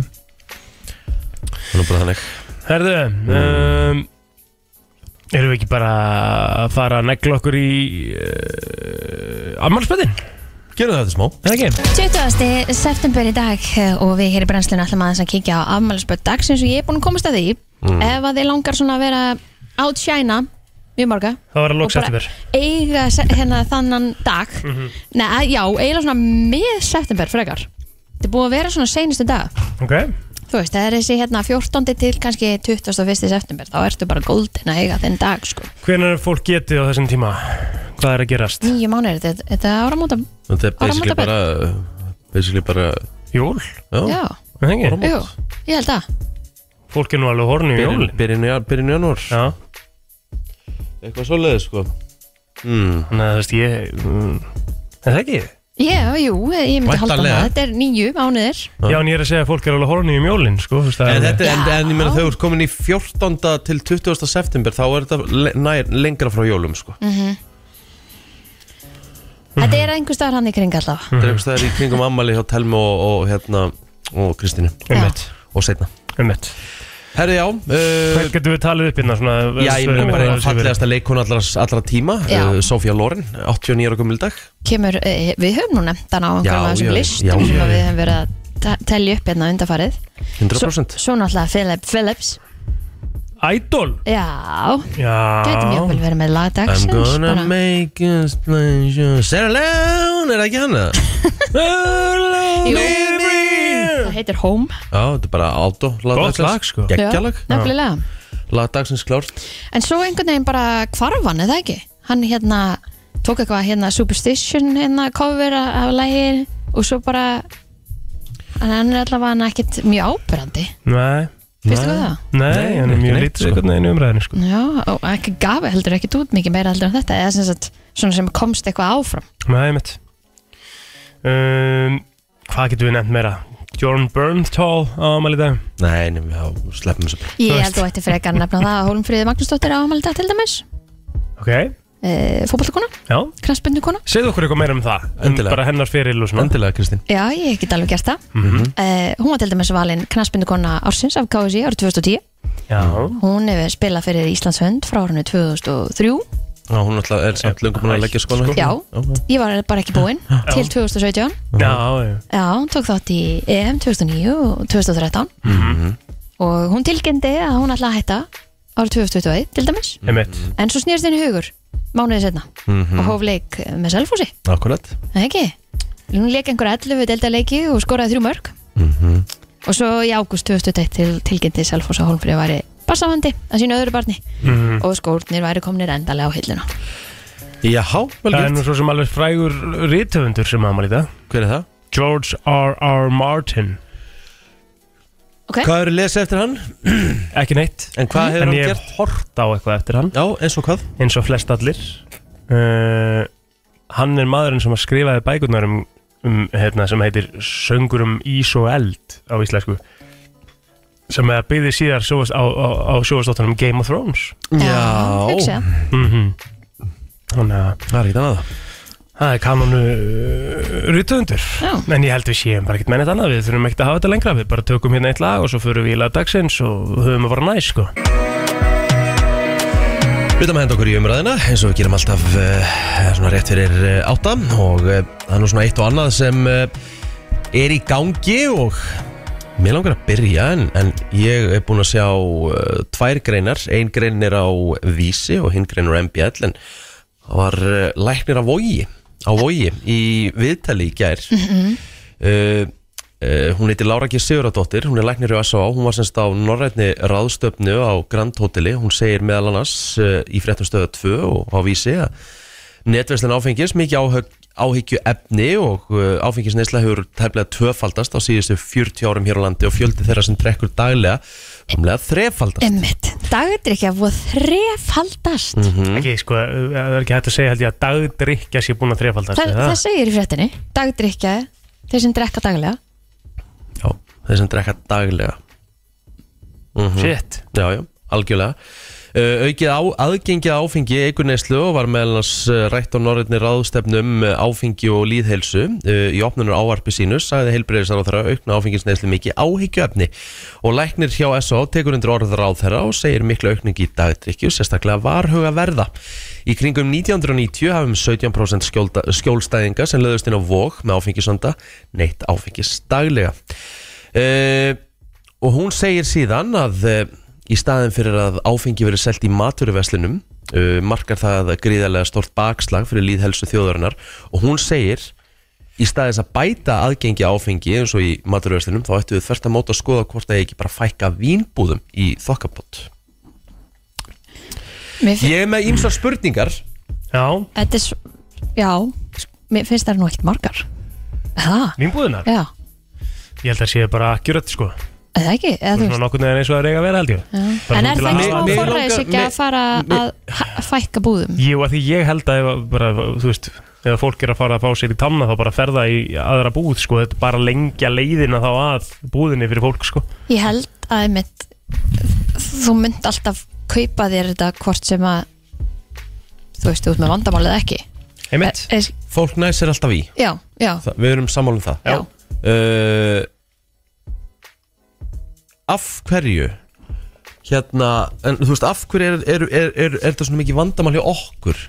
[SPEAKER 1] Þannig bara þannig
[SPEAKER 3] Herðu um, Erum við ekki bara að fara að negla okkur í uh, Ammalspöðin?
[SPEAKER 1] Gerum það þetta smá
[SPEAKER 3] Eða ekki?
[SPEAKER 2] 20. september í dag eh, og við hér í brennslinu ætlum aðeins að kíkja á afmælisbörn dagsins og ég er búin að komast að því ef að þið langar svona að vera outshina mjög marga
[SPEAKER 3] Það var að
[SPEAKER 2] og
[SPEAKER 3] loks
[SPEAKER 2] bara
[SPEAKER 3] eftir
[SPEAKER 2] eiga se- hérna, þannan dag mm já, eiginlega svona með september frekar þetta er búið að vera svona seinustu dag
[SPEAKER 3] Ok
[SPEAKER 2] þú veist, það er þessi hérna 14. til kannski 21. september þá ertu bara golden að eiga þenn dag sko.
[SPEAKER 3] Hvenær er fólk getið á þessum tíma? Hvað er að gerast?
[SPEAKER 2] nýju mánuðir, þetta, þetta er áramóta
[SPEAKER 1] Þetta er basically
[SPEAKER 2] Áramótabörn.
[SPEAKER 1] bara Basically bara
[SPEAKER 3] Jól?
[SPEAKER 1] Já,
[SPEAKER 2] já,
[SPEAKER 3] Eða ekki?
[SPEAKER 2] jú, ég held að
[SPEAKER 3] Fólk er nú alveg hornu í
[SPEAKER 1] byrjun-
[SPEAKER 3] jólin
[SPEAKER 1] byrjun jan- byrjun janúar
[SPEAKER 3] Já
[SPEAKER 1] Eitthvað svoleiðis sko mm.
[SPEAKER 3] Þannig að þú veist ég mm, Er það ekki?
[SPEAKER 2] Já, jú, ég myndi halda
[SPEAKER 1] Væntanlega.
[SPEAKER 2] það, þetta er nýju mánuðir
[SPEAKER 1] Já.
[SPEAKER 3] Já, en ég er að segja að fólk er alveg hornu í jólin sko, þú veist, það
[SPEAKER 1] En,
[SPEAKER 3] er-
[SPEAKER 1] þetta, en,
[SPEAKER 2] Já.
[SPEAKER 1] en ég meina þau eru komin í 14. til 20. september þá er þetta le- nær, lengra frá jólum sko.
[SPEAKER 2] Mhm. Þetta er einhver staðar hann í kring allavega
[SPEAKER 1] Þetta er eitthvað stæðar í kringum ammali hjá Telmi og, og, hérna, og Kristínu
[SPEAKER 3] Einmitt,
[SPEAKER 1] og setna
[SPEAKER 3] einmitt
[SPEAKER 1] Herri já, uh,
[SPEAKER 3] Hvað getum við talið upp hérna svona
[SPEAKER 1] já ég meina bara
[SPEAKER 3] Hvað er
[SPEAKER 1] fallegasta leikon allra, allra tíma
[SPEAKER 2] Já.
[SPEAKER 1] uh, Sofía Loren, 89 ára gömul í dag
[SPEAKER 2] Kemur, eh, við höfum nú nefnt hann á
[SPEAKER 1] Já,
[SPEAKER 2] einhverjum af
[SPEAKER 1] já,
[SPEAKER 2] þessum
[SPEAKER 1] já,
[SPEAKER 2] listum sem
[SPEAKER 1] já,
[SPEAKER 2] að við
[SPEAKER 1] já.
[SPEAKER 2] höfum verið að ta- telja upp hérna undarfarið
[SPEAKER 1] 100%
[SPEAKER 2] Svo náttúrulega Philip Phillips
[SPEAKER 3] Idol
[SPEAKER 2] Já,
[SPEAKER 3] Já
[SPEAKER 2] gæti mjög vel verið með
[SPEAKER 1] I'm
[SPEAKER 2] lagdagsins
[SPEAKER 1] gonna
[SPEAKER 2] bara.
[SPEAKER 1] make a splash Sarah Lone, er það ekki hana?
[SPEAKER 2] Jú. Það heitir Home
[SPEAKER 1] Já, þetta er bara átó
[SPEAKER 3] Gott lag, sko.
[SPEAKER 1] Gekkjalag
[SPEAKER 2] Já, Nefnilega
[SPEAKER 1] Lagdagsins klárt
[SPEAKER 2] En svo einhvern veginn bara hvarf hann, eða ekki? Hann hérna tók eitthvað hérna Superstition hérna cover af lægin og svo bara en hann er allavega ekkert mjög ábyrrandi
[SPEAKER 3] Nei,
[SPEAKER 2] Fyrstu
[SPEAKER 1] Nei.
[SPEAKER 2] hvað það?
[SPEAKER 3] nei, hann er
[SPEAKER 1] ekki
[SPEAKER 3] mjög
[SPEAKER 1] neitt,
[SPEAKER 3] lítið
[SPEAKER 1] sko.
[SPEAKER 3] einhvern veginn í umræðinu sko
[SPEAKER 2] Já, og ekki gafi heldur ekki út mikið meira heldur en þetta eða sem sagt svona sem komst eitthvað áfram
[SPEAKER 3] Nei, einmitt um, Hvað getum við nefnt meira? Jorn Bernthal á ámæli í dag
[SPEAKER 1] Nei, nefnum við sleppum þessu bara.
[SPEAKER 2] Ég
[SPEAKER 3] Þú
[SPEAKER 2] held þú ætti frekar að nefna það að Hólmfríði Magnúsdóttir á ámaldag til dæmis
[SPEAKER 3] Ok,
[SPEAKER 2] e, fótballkona,
[SPEAKER 3] já
[SPEAKER 2] knastbundukona
[SPEAKER 3] Segðu okkur eitthvað meira um það um
[SPEAKER 1] Endilega.
[SPEAKER 3] Bara hennar fyrir og svona
[SPEAKER 1] Endilega, Kristín
[SPEAKER 2] Já, ég hef ekki alveg gert það
[SPEAKER 3] mm
[SPEAKER 2] e, Hún var til dæmis valin knastbundukona ársins af KSI árið 2010
[SPEAKER 3] Já,
[SPEAKER 2] Hún hefur spilað fyrir Íslands hönd frá árinu 2003
[SPEAKER 1] Já, hún alltaf er samt löngu búin að leggja skona
[SPEAKER 2] Já, ég var bara ekki búinn til 2017
[SPEAKER 3] já, já
[SPEAKER 2] Já, hún tók þátt í EM 2009 og 2013
[SPEAKER 1] Mhm,
[SPEAKER 2] og hún tilkynnti að hún ætla að hætta árið 2021 til dæmis
[SPEAKER 3] Einmitt
[SPEAKER 2] en svo snýrst henni hugur mánuðið setna
[SPEAKER 1] mhm.
[SPEAKER 2] og hóf leik með selfósi,
[SPEAKER 1] Akkurat
[SPEAKER 2] ekki? Hún leik einhverja 11 delta leiki og skoraði þrjú mörg
[SPEAKER 1] Mhm.
[SPEAKER 2] og svo í ágúst 2021 til, tilkynnti selfósi að Holmfríði væri bassafandi að sínu öðru barni
[SPEAKER 3] Mhm.
[SPEAKER 2] og skórnir væri komnir endalega á hilluna
[SPEAKER 1] Jáhá, vel
[SPEAKER 3] Það er
[SPEAKER 1] gert
[SPEAKER 3] nú svo sem alveg frægur rithöfundur sem á ámæli í dag
[SPEAKER 1] Hver er það?
[SPEAKER 3] George R. R. Martin
[SPEAKER 2] Ok,
[SPEAKER 1] Hvað eru lesið eftir hann?
[SPEAKER 3] Ekki neitt
[SPEAKER 1] En hvað hefur
[SPEAKER 3] En
[SPEAKER 1] hann
[SPEAKER 3] ég
[SPEAKER 1] gert?
[SPEAKER 3] hef hort á eitthvað eftir hann
[SPEAKER 1] Já, eins og hvað?
[SPEAKER 3] eins og flest allir uh, Hann er maðurinn sem að skrifaði bækurnar um, um hérna, sem heitir Söngur um ís og eld á íslensku sem að byggði síðar sjóast, á, á, á sjóastáttunum Game of Thrones
[SPEAKER 2] hugsa það.
[SPEAKER 3] mm Þannig að
[SPEAKER 1] Það er ekki annað
[SPEAKER 3] það er kanonu uh, rýtöfundur
[SPEAKER 2] Já.
[SPEAKER 3] en ég held við séum bara ekkert með neitt annað við þurfum ekkert að hafa þetta lengra við bara tökum hérna eitt lag og svo förum við í lag dagsins og höfum að vara næs sko
[SPEAKER 1] Við erum að henda okkur í umræðina eins og við gerum alltaf uh, svona rétt fyrir uh, átta og uh, það er nú svona eitt og annað sem uh, er í gangi og mér langar að byrja en, en ég er búin að sjá uh, tvær greinar, ein grein er á Vísi og hinn grein er á MBL en það var uh, læknir á Vogi á Vogi í viðtali í gær mm -hmm. Uh, hún heiti Lára G. Siguradóttir, hún er læknir í S.A. Hún var semst á norrætni ráðstöfnu á Grand Hotelli. Hún segir meðal annars uh, í fréttum stöðu 2 og á vísi að netverslun áfengis mikið áhug, áhyggju efni og uh, áfengisneisla hefur tæmlega tvöfaldast á síðustu 40 árum hér á landi og fjöldi þeirra sem drekkur daglega umlega þrefaldast.
[SPEAKER 2] Emmitt, dagdrykja voru þrefaldast
[SPEAKER 3] Ekki, sko, það er ekki hægt að segja held ég að dagdrykja sé búin að þrefaldast
[SPEAKER 2] það,
[SPEAKER 3] eða?
[SPEAKER 2] það segir í fréttinni Dagdrykja, þeir sem drekka daglega
[SPEAKER 1] Já, þeir sem drekka daglega.
[SPEAKER 3] Shit
[SPEAKER 1] Já, já, algjörlega uh, Aukið á, aðgengið að áfengi eikuneyslu og var meðlans uh, rætt á norðinni ráðstefnum uh, áfengi og líðheilsu uh, í opnunur ávarpi sínu sagði heilbreyðisar á þeirra aukna áfengisneyslu mikið áhyggjöfni og læknir hjá S.O. tekur undir orð ráð þeirra og segir miklu aukningi í dagdrykju sérstaklega varhuga verða Í kringum 1990 hafum 17% um skjólda, skjólstæðinga sem löðust inn á vók með áfengisanda neitt áfengis daglega uh, og hún segir síðan að eh, í staðin fyrir að áfengi verið selt í maturveslunum uh, markar það gríðarlega stort bakslag fyrir líðhelsu þjóðarinnar og hún segir í staðis að bæta aðgengi að áfengi eins og í maturveslunum þá ættu við þvert að móta að skoða hvort það eigi bara að fækka vínbúðum í þokkabót
[SPEAKER 2] Mér finn,
[SPEAKER 1] Ég er með ýmsar spurningar
[SPEAKER 3] Já,
[SPEAKER 2] þetta er svo, já Mér finnst það nú ekkert margar Það,
[SPEAKER 3] vínbúðunar
[SPEAKER 2] já,
[SPEAKER 3] Ég held að sé bara akkurat sko
[SPEAKER 2] er það ekki eða, þú
[SPEAKER 3] Svona
[SPEAKER 2] veist,
[SPEAKER 3] nokkur neðan eins og það er eiga að vera held ég
[SPEAKER 2] já.
[SPEAKER 3] Bara
[SPEAKER 2] En er
[SPEAKER 3] til
[SPEAKER 2] það ekki
[SPEAKER 3] að
[SPEAKER 1] hafa- Mig-
[SPEAKER 2] smá
[SPEAKER 1] mig
[SPEAKER 2] forræðis
[SPEAKER 1] langar-
[SPEAKER 2] ekki að
[SPEAKER 1] mig-
[SPEAKER 2] fara að ha- fækka búðum
[SPEAKER 3] Jú, að því ég held að ef, bara, þú veist Ef fólk er að fara að fá sér í tanna þá bara ferða í aðra búð sko Þetta er bara að lengja leiðina þá að búðinni fyrir fólk sko
[SPEAKER 2] Ég held að einmitt, þú mynd alltaf kaupa þér þetta hvort sem að þú veist, þú ert með vandamál eða ekki
[SPEAKER 3] Einmitt
[SPEAKER 2] E- e-
[SPEAKER 1] Fólk næsir alltaf í
[SPEAKER 2] Já, já,
[SPEAKER 1] Þa, Við erum sammálum það
[SPEAKER 2] já
[SPEAKER 1] uh, af hverju hérna, en þú veist af hverju er, er, er, er, er þetta svona mikið vandamál hjá okkur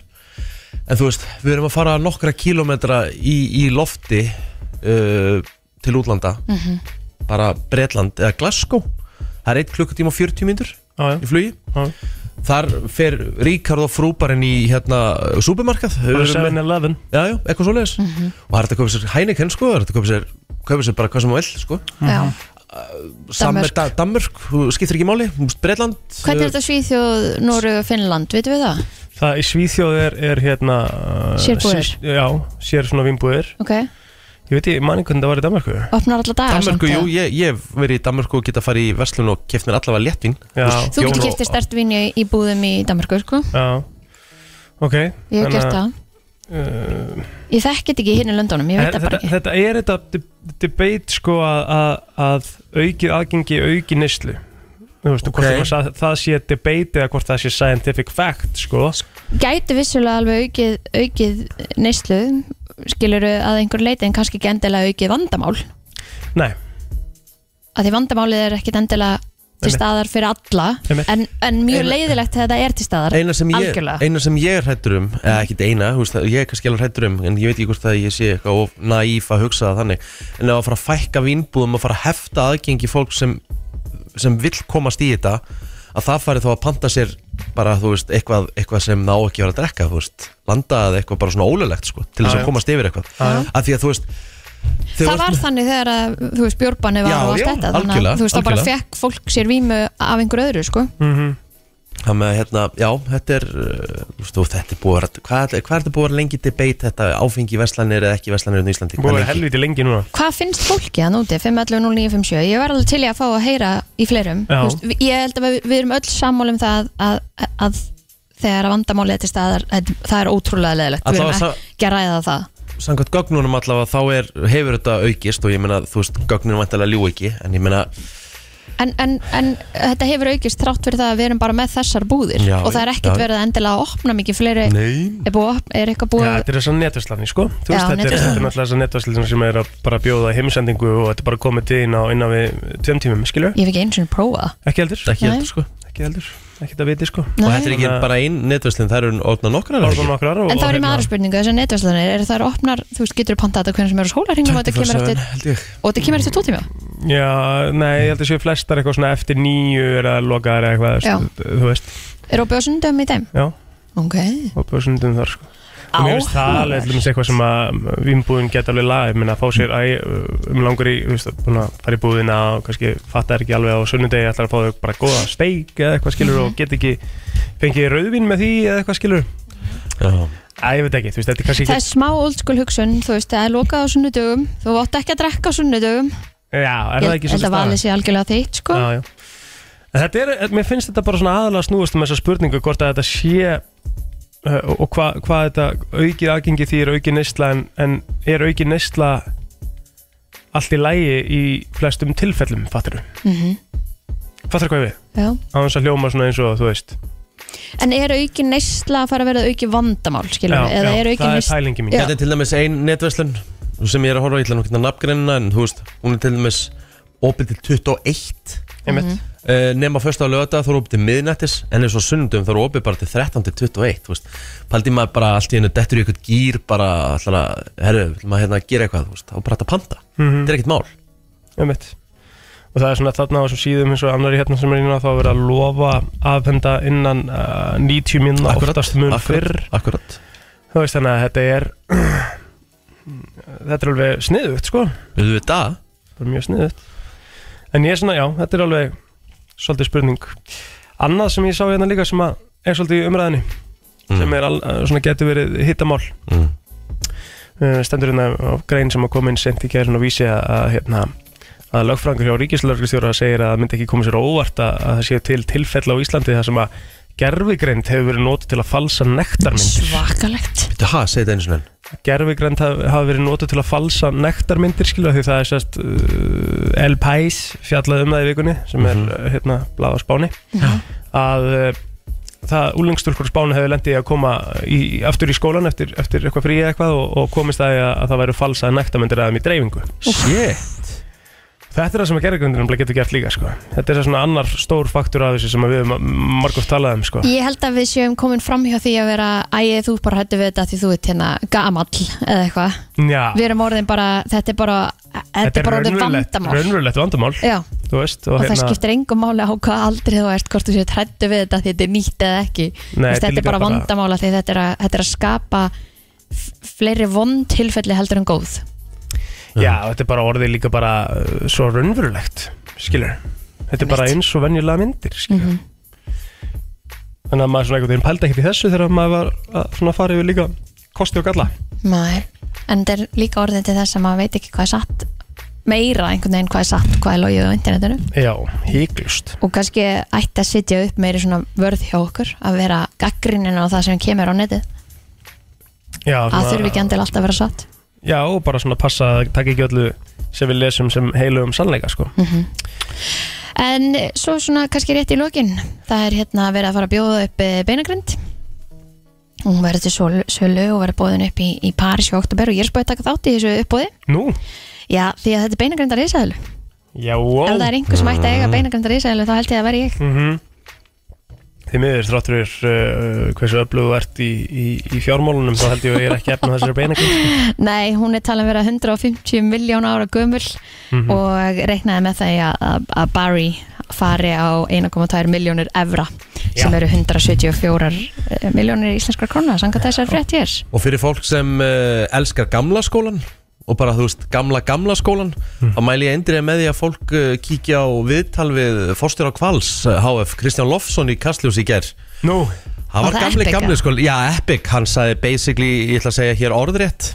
[SPEAKER 1] en þú veist, við erum að fara nokkra kílómetra í, í lofti uh, til útlanda bara Bretland eða Glasgow það er 1 klukkutíma og 40 mínútur
[SPEAKER 3] Já,
[SPEAKER 1] í
[SPEAKER 3] já,
[SPEAKER 1] flugi
[SPEAKER 3] já
[SPEAKER 1] þar fer Ríkard og frúbarinn í hérna, supermarkað
[SPEAKER 3] Bara hérna.
[SPEAKER 1] Við erum með-
[SPEAKER 3] 7-Eleven
[SPEAKER 1] Já, já, eitthvað svoleiðis
[SPEAKER 2] Mhm.
[SPEAKER 1] Og það er hægt að kaupa sér Heineken sko Það er hægt að kaupa sér, kaupa sér bara hvað sem þú vill sko
[SPEAKER 3] Mhm.
[SPEAKER 2] Já.
[SPEAKER 1] Samme
[SPEAKER 2] Danmörk.
[SPEAKER 1] da, Danmörk, þú skiptir ekki máli þú veist, Bretland eh,
[SPEAKER 2] Hvernig er þetta Svíþjóð, Nóru og Finnland, vitum við það?
[SPEAKER 3] Það í Svíþjóð er, er hérna uh,
[SPEAKER 2] Sérbúðir.
[SPEAKER 3] sér- Já, sér svona vinnbúðir
[SPEAKER 2] Ok,
[SPEAKER 3] Ég veit ég, manni hvernig það var í Danmarku
[SPEAKER 2] opnar alla daga
[SPEAKER 1] Danmörku,
[SPEAKER 2] Ah, samt,
[SPEAKER 1] jú,
[SPEAKER 2] eða?
[SPEAKER 1] ég, ég hef verið í Danmörku og geta farið í verslun og keft mér allavega léttvín
[SPEAKER 3] Já.
[SPEAKER 1] veist,
[SPEAKER 2] Þú
[SPEAKER 1] bjór
[SPEAKER 2] getur
[SPEAKER 1] og-
[SPEAKER 2] giftið stertvinni í búðum í Danmarku, sko
[SPEAKER 3] Já, ok
[SPEAKER 2] Ég hef
[SPEAKER 3] þannig
[SPEAKER 2] gert
[SPEAKER 3] að-
[SPEAKER 2] það
[SPEAKER 3] Uh,
[SPEAKER 2] Ég þekki þetta ekki hinn í löndunum, ég veit það
[SPEAKER 3] þetta,
[SPEAKER 2] bara ekki
[SPEAKER 3] þetta er þetta de- debate sko að, að, að aukið aðgengi auki neyslu Þú veist,
[SPEAKER 1] Ok.
[SPEAKER 3] okay. hvort það, það sé debate eða hvort það sé scientific fact sko
[SPEAKER 2] Gæti vissulega alveg aukið, aukið neyslu skiluru að einhver leiti en kannski ekki endilega aukið vandamál
[SPEAKER 3] Nei,
[SPEAKER 2] að því vandamálið er ekkit endilega til
[SPEAKER 3] Einmitt.
[SPEAKER 2] staðar fyrir alla
[SPEAKER 3] Einmitt.
[SPEAKER 2] en, en mjög
[SPEAKER 1] Einmitt.
[SPEAKER 2] leiðilegt þegar það er til staðar
[SPEAKER 1] Eina sem ég,
[SPEAKER 2] Algjörlega.
[SPEAKER 1] eina sem ég er hrættur um Eða ekkit eina, þú veist, það- ég er kannski alveg hrættur um En ég veit ekki hvort að ég sé eitthvað of naíf að hugsa það þannig En ef að fara að fækka vínbúðum Að fara að hefta aðgengi fólk sem Sem vill komast í þetta Að það fari þá að panta sér Bara, þú veist, eitthvað, eitthvað sem þá ekki var að drekka Þú veist, landa eða eitthvað bara svona ólulegt sko, Til þess
[SPEAKER 3] Já,
[SPEAKER 1] að
[SPEAKER 3] já.
[SPEAKER 1] komast yfir eitthvað
[SPEAKER 3] Já.
[SPEAKER 1] Af því að þú veist
[SPEAKER 2] það var þannig þegar að, þú veist, Björbanni var
[SPEAKER 1] Já,
[SPEAKER 2] og allt
[SPEAKER 1] já,
[SPEAKER 2] þetta, þannig
[SPEAKER 1] algjörlega,
[SPEAKER 2] að þú veist, þá bara
[SPEAKER 1] algjörlega.
[SPEAKER 2] fekk fólk sér vímu af einhver öðru, sko
[SPEAKER 1] Það með að hérna, já, þetta er, uh, þú veist, þú, þetta er búið að, vera- hvað, hvað er þetta búið að vera lengi debate þetta áfengi verslanir eða ekki verslanir í Íslandi?
[SPEAKER 3] búið að vera
[SPEAKER 1] Hvað lengi?
[SPEAKER 3] helviti lengi núna
[SPEAKER 2] Hvað finnst fólki að núti, 5.11.09.57 Ég var alveg til í að fá að heyra í fleirum
[SPEAKER 3] Já.
[SPEAKER 2] Þú veist, vi- Ég held að við, við erum öll sammálum það að, að, að þegar að vandamálið er til staðar, að, það er ótrúlega leðilegt Við
[SPEAKER 1] Allavega
[SPEAKER 2] erum
[SPEAKER 1] sa-
[SPEAKER 2] ekki að ræða það
[SPEAKER 1] Samkvæmt gögnunum allavega þá er, hefur þetta aukist og ég meina, þú veist, gögnunum vantilega ljú ekki, en ég meina,
[SPEAKER 2] En, en, en þetta hefur aukist þrátt fyrir það að við erum bara með þessar búðir
[SPEAKER 1] Já,
[SPEAKER 2] og það er ekkert
[SPEAKER 1] já.
[SPEAKER 2] verið að endilega að opna mikið fleiri
[SPEAKER 1] Nei.
[SPEAKER 2] er, búið, að opna- er eitthvað
[SPEAKER 3] Já,
[SPEAKER 2] búið að
[SPEAKER 3] þetta er þess að netverslani sko Þú veist,
[SPEAKER 2] Já,
[SPEAKER 3] þetta er þetta er náttúrulega þess að netverslani sem er að bara bjóða heimsendingu og þetta er bara komið til inn á innan við tveim tímum, skilju
[SPEAKER 2] ég hef ekki eins og prófað
[SPEAKER 3] Ekki heldur,
[SPEAKER 1] þetta er ekki
[SPEAKER 2] Nei.
[SPEAKER 1] heldur, sko.
[SPEAKER 3] ekki heldur, ekki þetta viti sko
[SPEAKER 1] Og
[SPEAKER 2] Nei.
[SPEAKER 1] þetta er ekki
[SPEAKER 3] Þannig að-
[SPEAKER 1] bara einn netverslun, það eru orðna nokkrar, er það
[SPEAKER 3] Orðan
[SPEAKER 1] ekki?
[SPEAKER 3] okkar og
[SPEAKER 2] En þá er ég með
[SPEAKER 3] hérna-
[SPEAKER 2] aðra spurningu, þessar netverslanir, er það opnar, þú veist, getur pantað þetta hvernig sem er á skólarhingum og þetta kemur
[SPEAKER 1] 24/7,
[SPEAKER 2] eftir,
[SPEAKER 1] held ég.
[SPEAKER 2] og þetta kemur eftir tvo tíma?
[SPEAKER 3] hérna- Já, nei, ég held að séu flestar eitthvað svona eftir nýju er að loka þær eitthvað,
[SPEAKER 2] Já.
[SPEAKER 3] þú veist,
[SPEAKER 2] Er opið á sundum í þeim?
[SPEAKER 3] já,
[SPEAKER 2] Ok.
[SPEAKER 3] og bjóðsundum þar sko. Mér finnst það alveg til dæmis eitthvað sem að vinnbúðin geta alveg laga, ég meina að fá sér æ, um langur í, þú veist, búin að fara í búðina og kannski fattar ekki alveg á sunnudegi ætlar að fá þau bara góða steik eða eitthvað skilur
[SPEAKER 2] Mhm.
[SPEAKER 3] og get ekki, fengið rauðvín með því eða eitthvað skilur
[SPEAKER 1] Já.
[SPEAKER 3] Æ, ég veit ekki, þú veist, þetta er kannski
[SPEAKER 2] Það er
[SPEAKER 3] ekki
[SPEAKER 2] smá old school hugsun, þú veist, það er lokað á sunnudögum, þú átt ekki að drekka á sunnudögum.
[SPEAKER 3] Já, er það ekki
[SPEAKER 2] Ég held að valið sé algjörlega þitt, sko.
[SPEAKER 3] Já, já. En Þetta er, mér finnst þetta bara svona aðalega snúast um þessa spurningu hvort að þetta sé uh, og hva, hvað þetta aukið aðgengi því er aukið neysla en, en er aukið neysla allt í lægi í flestum tilfellum, fattar þú?
[SPEAKER 2] Mm
[SPEAKER 3] Fattar hvað ég við?
[SPEAKER 2] já.
[SPEAKER 3] Á hans að hljóma svona eins og þú veist
[SPEAKER 2] En er auki neysla að fara að vera auki vandamál, skilur við?
[SPEAKER 3] Já,
[SPEAKER 2] Eða
[SPEAKER 3] já,
[SPEAKER 2] er auki
[SPEAKER 3] það er
[SPEAKER 2] neysla...
[SPEAKER 3] pælingi mín.
[SPEAKER 2] Já.
[SPEAKER 1] Þetta er til dæmis ein netverslun sem ég er að horfa á, ég ætla nú ekki að nafngreinina en þú veist, hún er til dæmis opið til 21
[SPEAKER 3] einmitt
[SPEAKER 2] Mhm.
[SPEAKER 1] uh, nema fyrst á lögða þá er opið til miðnættis en eins og sunnundum þá er opið bara til 13 til 21 þú veist, paldi maður bara allt í hennu dettur í eitthvað gýr bara ætlar að, herru, vill maður hérna að gera eitthvað þú veist, þá er bara þetta panta,
[SPEAKER 3] Mhm.
[SPEAKER 1] þetta er ekkert mál
[SPEAKER 3] Einmitt. Og það er svona þarna á þessum síðum eins og annari hérna sem er inn á þá er verið að lofa afhenda innan uh, 90 minna oftast mun fyrr
[SPEAKER 1] akkurat, akkurat.
[SPEAKER 3] Þú veist þannig að þetta er Þetta er alveg sniðugt sko
[SPEAKER 1] Við við það,
[SPEAKER 3] Bara mjög sniðugt En ég er svona, já, þetta er alveg Svolítið spurning Annað sem ég sá hérna líka sem að er svolítið í umræðinni sem er al, uh, svona getur verið hittamál
[SPEAKER 1] Mm.
[SPEAKER 3] Uh, Stendur hérna á grein sem að koma inn sent í gæðin og vísi að, að hérna að lögfrangur hjá ríkislörglistjóra segir að það myndi ekki koma sér á óvart að, að það séu til tilfell á Íslandi þar sem að gerfigreind hefur verið nót til að falsa nektarmyndir
[SPEAKER 2] Svakalegt.
[SPEAKER 1] Bittu, ha, segi þetta eins og enn
[SPEAKER 3] gerfigrænt hafa verið notuð til að falsa nektarmyndir skilur því það er sérst uh, El Pais fjallað um það í vikunni sem er mm hérna bláð á spáni að uh, það úlengsturkur spáni hefur lendið að koma í, aftur í skólan eftir, eftir eitthvað frí eða eitthvað og, og komist að, að það væru falsað nektarmyndir aðeim í dreifingu
[SPEAKER 1] Shit,
[SPEAKER 3] þetta er það sem að gerfigrændinum getur gert líka sko. þetta er svona annar stór faktur af þessu sem að við margótt talað um sko.
[SPEAKER 2] Ég held að við séum komin fram hjá því að vera ægið þú ert bara hættu við þetta því þú ert hérna gamall eða eitthvað.
[SPEAKER 3] Já,
[SPEAKER 2] Við erum orðin bara, þetta er bara, e- þetta er bara orðin
[SPEAKER 3] raunverulegt-
[SPEAKER 2] vandamál.
[SPEAKER 3] raunverulegt vandamál
[SPEAKER 2] Já,
[SPEAKER 3] þú veist, og, hérna-
[SPEAKER 2] og það skiptir engum máli á hvað aldrei þú ert, hvort þú séu hættu við þetta því þetta er nýtt eða ekki.
[SPEAKER 3] Nei,
[SPEAKER 2] Nei, þetta er
[SPEAKER 3] líka
[SPEAKER 2] bara vandamála því þetta er að, þetta er að skapa f- fleiri vond tilfelli heldur en góð.
[SPEAKER 3] Já, þetta er bara orðið líka bara uh, svo raunverulegt, skilur Þetta er bara eins og venjulega myndir, skilur
[SPEAKER 2] Mhm.
[SPEAKER 3] Þannig að maður svona einhvern veginn pældi ekkert í þessu þegar maður var að svona fara yfir líka kosti og galla
[SPEAKER 2] Nei, en þetta er líka orðin til þess að maður veit ekki hvað er satt meira einhvern veginn hvað er satt, hvað er logið á internetinu
[SPEAKER 3] Já, híklust
[SPEAKER 2] og kannski ætti að sitja upp meiri svona vörð hjá okkur að vera gaggrinnin á það sem kemur á netið
[SPEAKER 3] Já,
[SPEAKER 2] að þurfi ekki endil alltaf að vera satt
[SPEAKER 3] Já, og bara svona passa að taka ekki öllu sem við lesum sem heilugum sannleika, sko
[SPEAKER 2] Mhm. en svo svona kannski rétt í lokin það er hérna verið að fara að bjóða upp eh, beinagrind hún verður til sölu- sölu og verður bóðin upp í, í París í oktober og ég er spöðið að taka þátt í þessu uppbóði
[SPEAKER 3] Nú,
[SPEAKER 2] já því að þetta er beinagrindar ísæðlu
[SPEAKER 3] já,
[SPEAKER 2] ef það
[SPEAKER 3] wow
[SPEAKER 2] er einhver sem ætti að eiga beinagrindar ísæðlu þá held ég að vera ég
[SPEAKER 3] mm Því miður, þráttur er uh, hversu öflug þú ert í, í, í fjármálunum þá held ég að ég er ekki efna þessari beinakinn
[SPEAKER 2] Nei, hún er talað um vera 150 miljón ára gömul og reiknaði með það að- að- að Barry fari á 1,2 miljónir evra sem
[SPEAKER 3] Já.
[SPEAKER 2] eru 174 miljónir íslenskar krónar, sanga þessar frétt hér
[SPEAKER 1] Og fyrir fólk sem uh, elskar gamla skólan og bara þú veist gamla gamla skólan
[SPEAKER 3] Mm.
[SPEAKER 1] þá mæli ég endrið með því að fólk uh, kíkja á viðtal við forstjóra Kvals uh, HF Kristján Lofsson í Kastljós í ger
[SPEAKER 3] Nú,
[SPEAKER 1] Það
[SPEAKER 2] Var
[SPEAKER 1] var
[SPEAKER 2] það
[SPEAKER 1] gamli
[SPEAKER 2] Epic,
[SPEAKER 1] gamli
[SPEAKER 2] eða?
[SPEAKER 1] skóli Já, Epic, hann sagði basically, ég ætla að segja hér orðrétt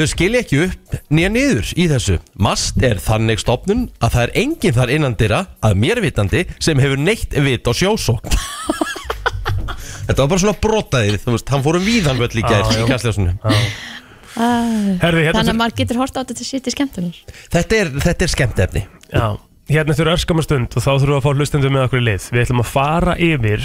[SPEAKER 1] Þau skilja ekki upp nýja niður í þessu MAST er þannig stopnun að það er enginn þar innandira að mér vitandi sem hefur neitt vit á sjósókn Þetta var bara svona brotaðið, þú veist, hann fór um víðan völl í gær
[SPEAKER 3] Já, já.
[SPEAKER 1] í Kastljósunum
[SPEAKER 3] herði, hérna
[SPEAKER 2] Þannig að maður getur hort á þetta sitt í skemmtunar
[SPEAKER 1] Þetta er, þetta er skemmt efni
[SPEAKER 3] Já, hérna þurfa örskamma stund og þá þurfum við að fá hlustendum með okkur í lið Við ætlum að fara yfir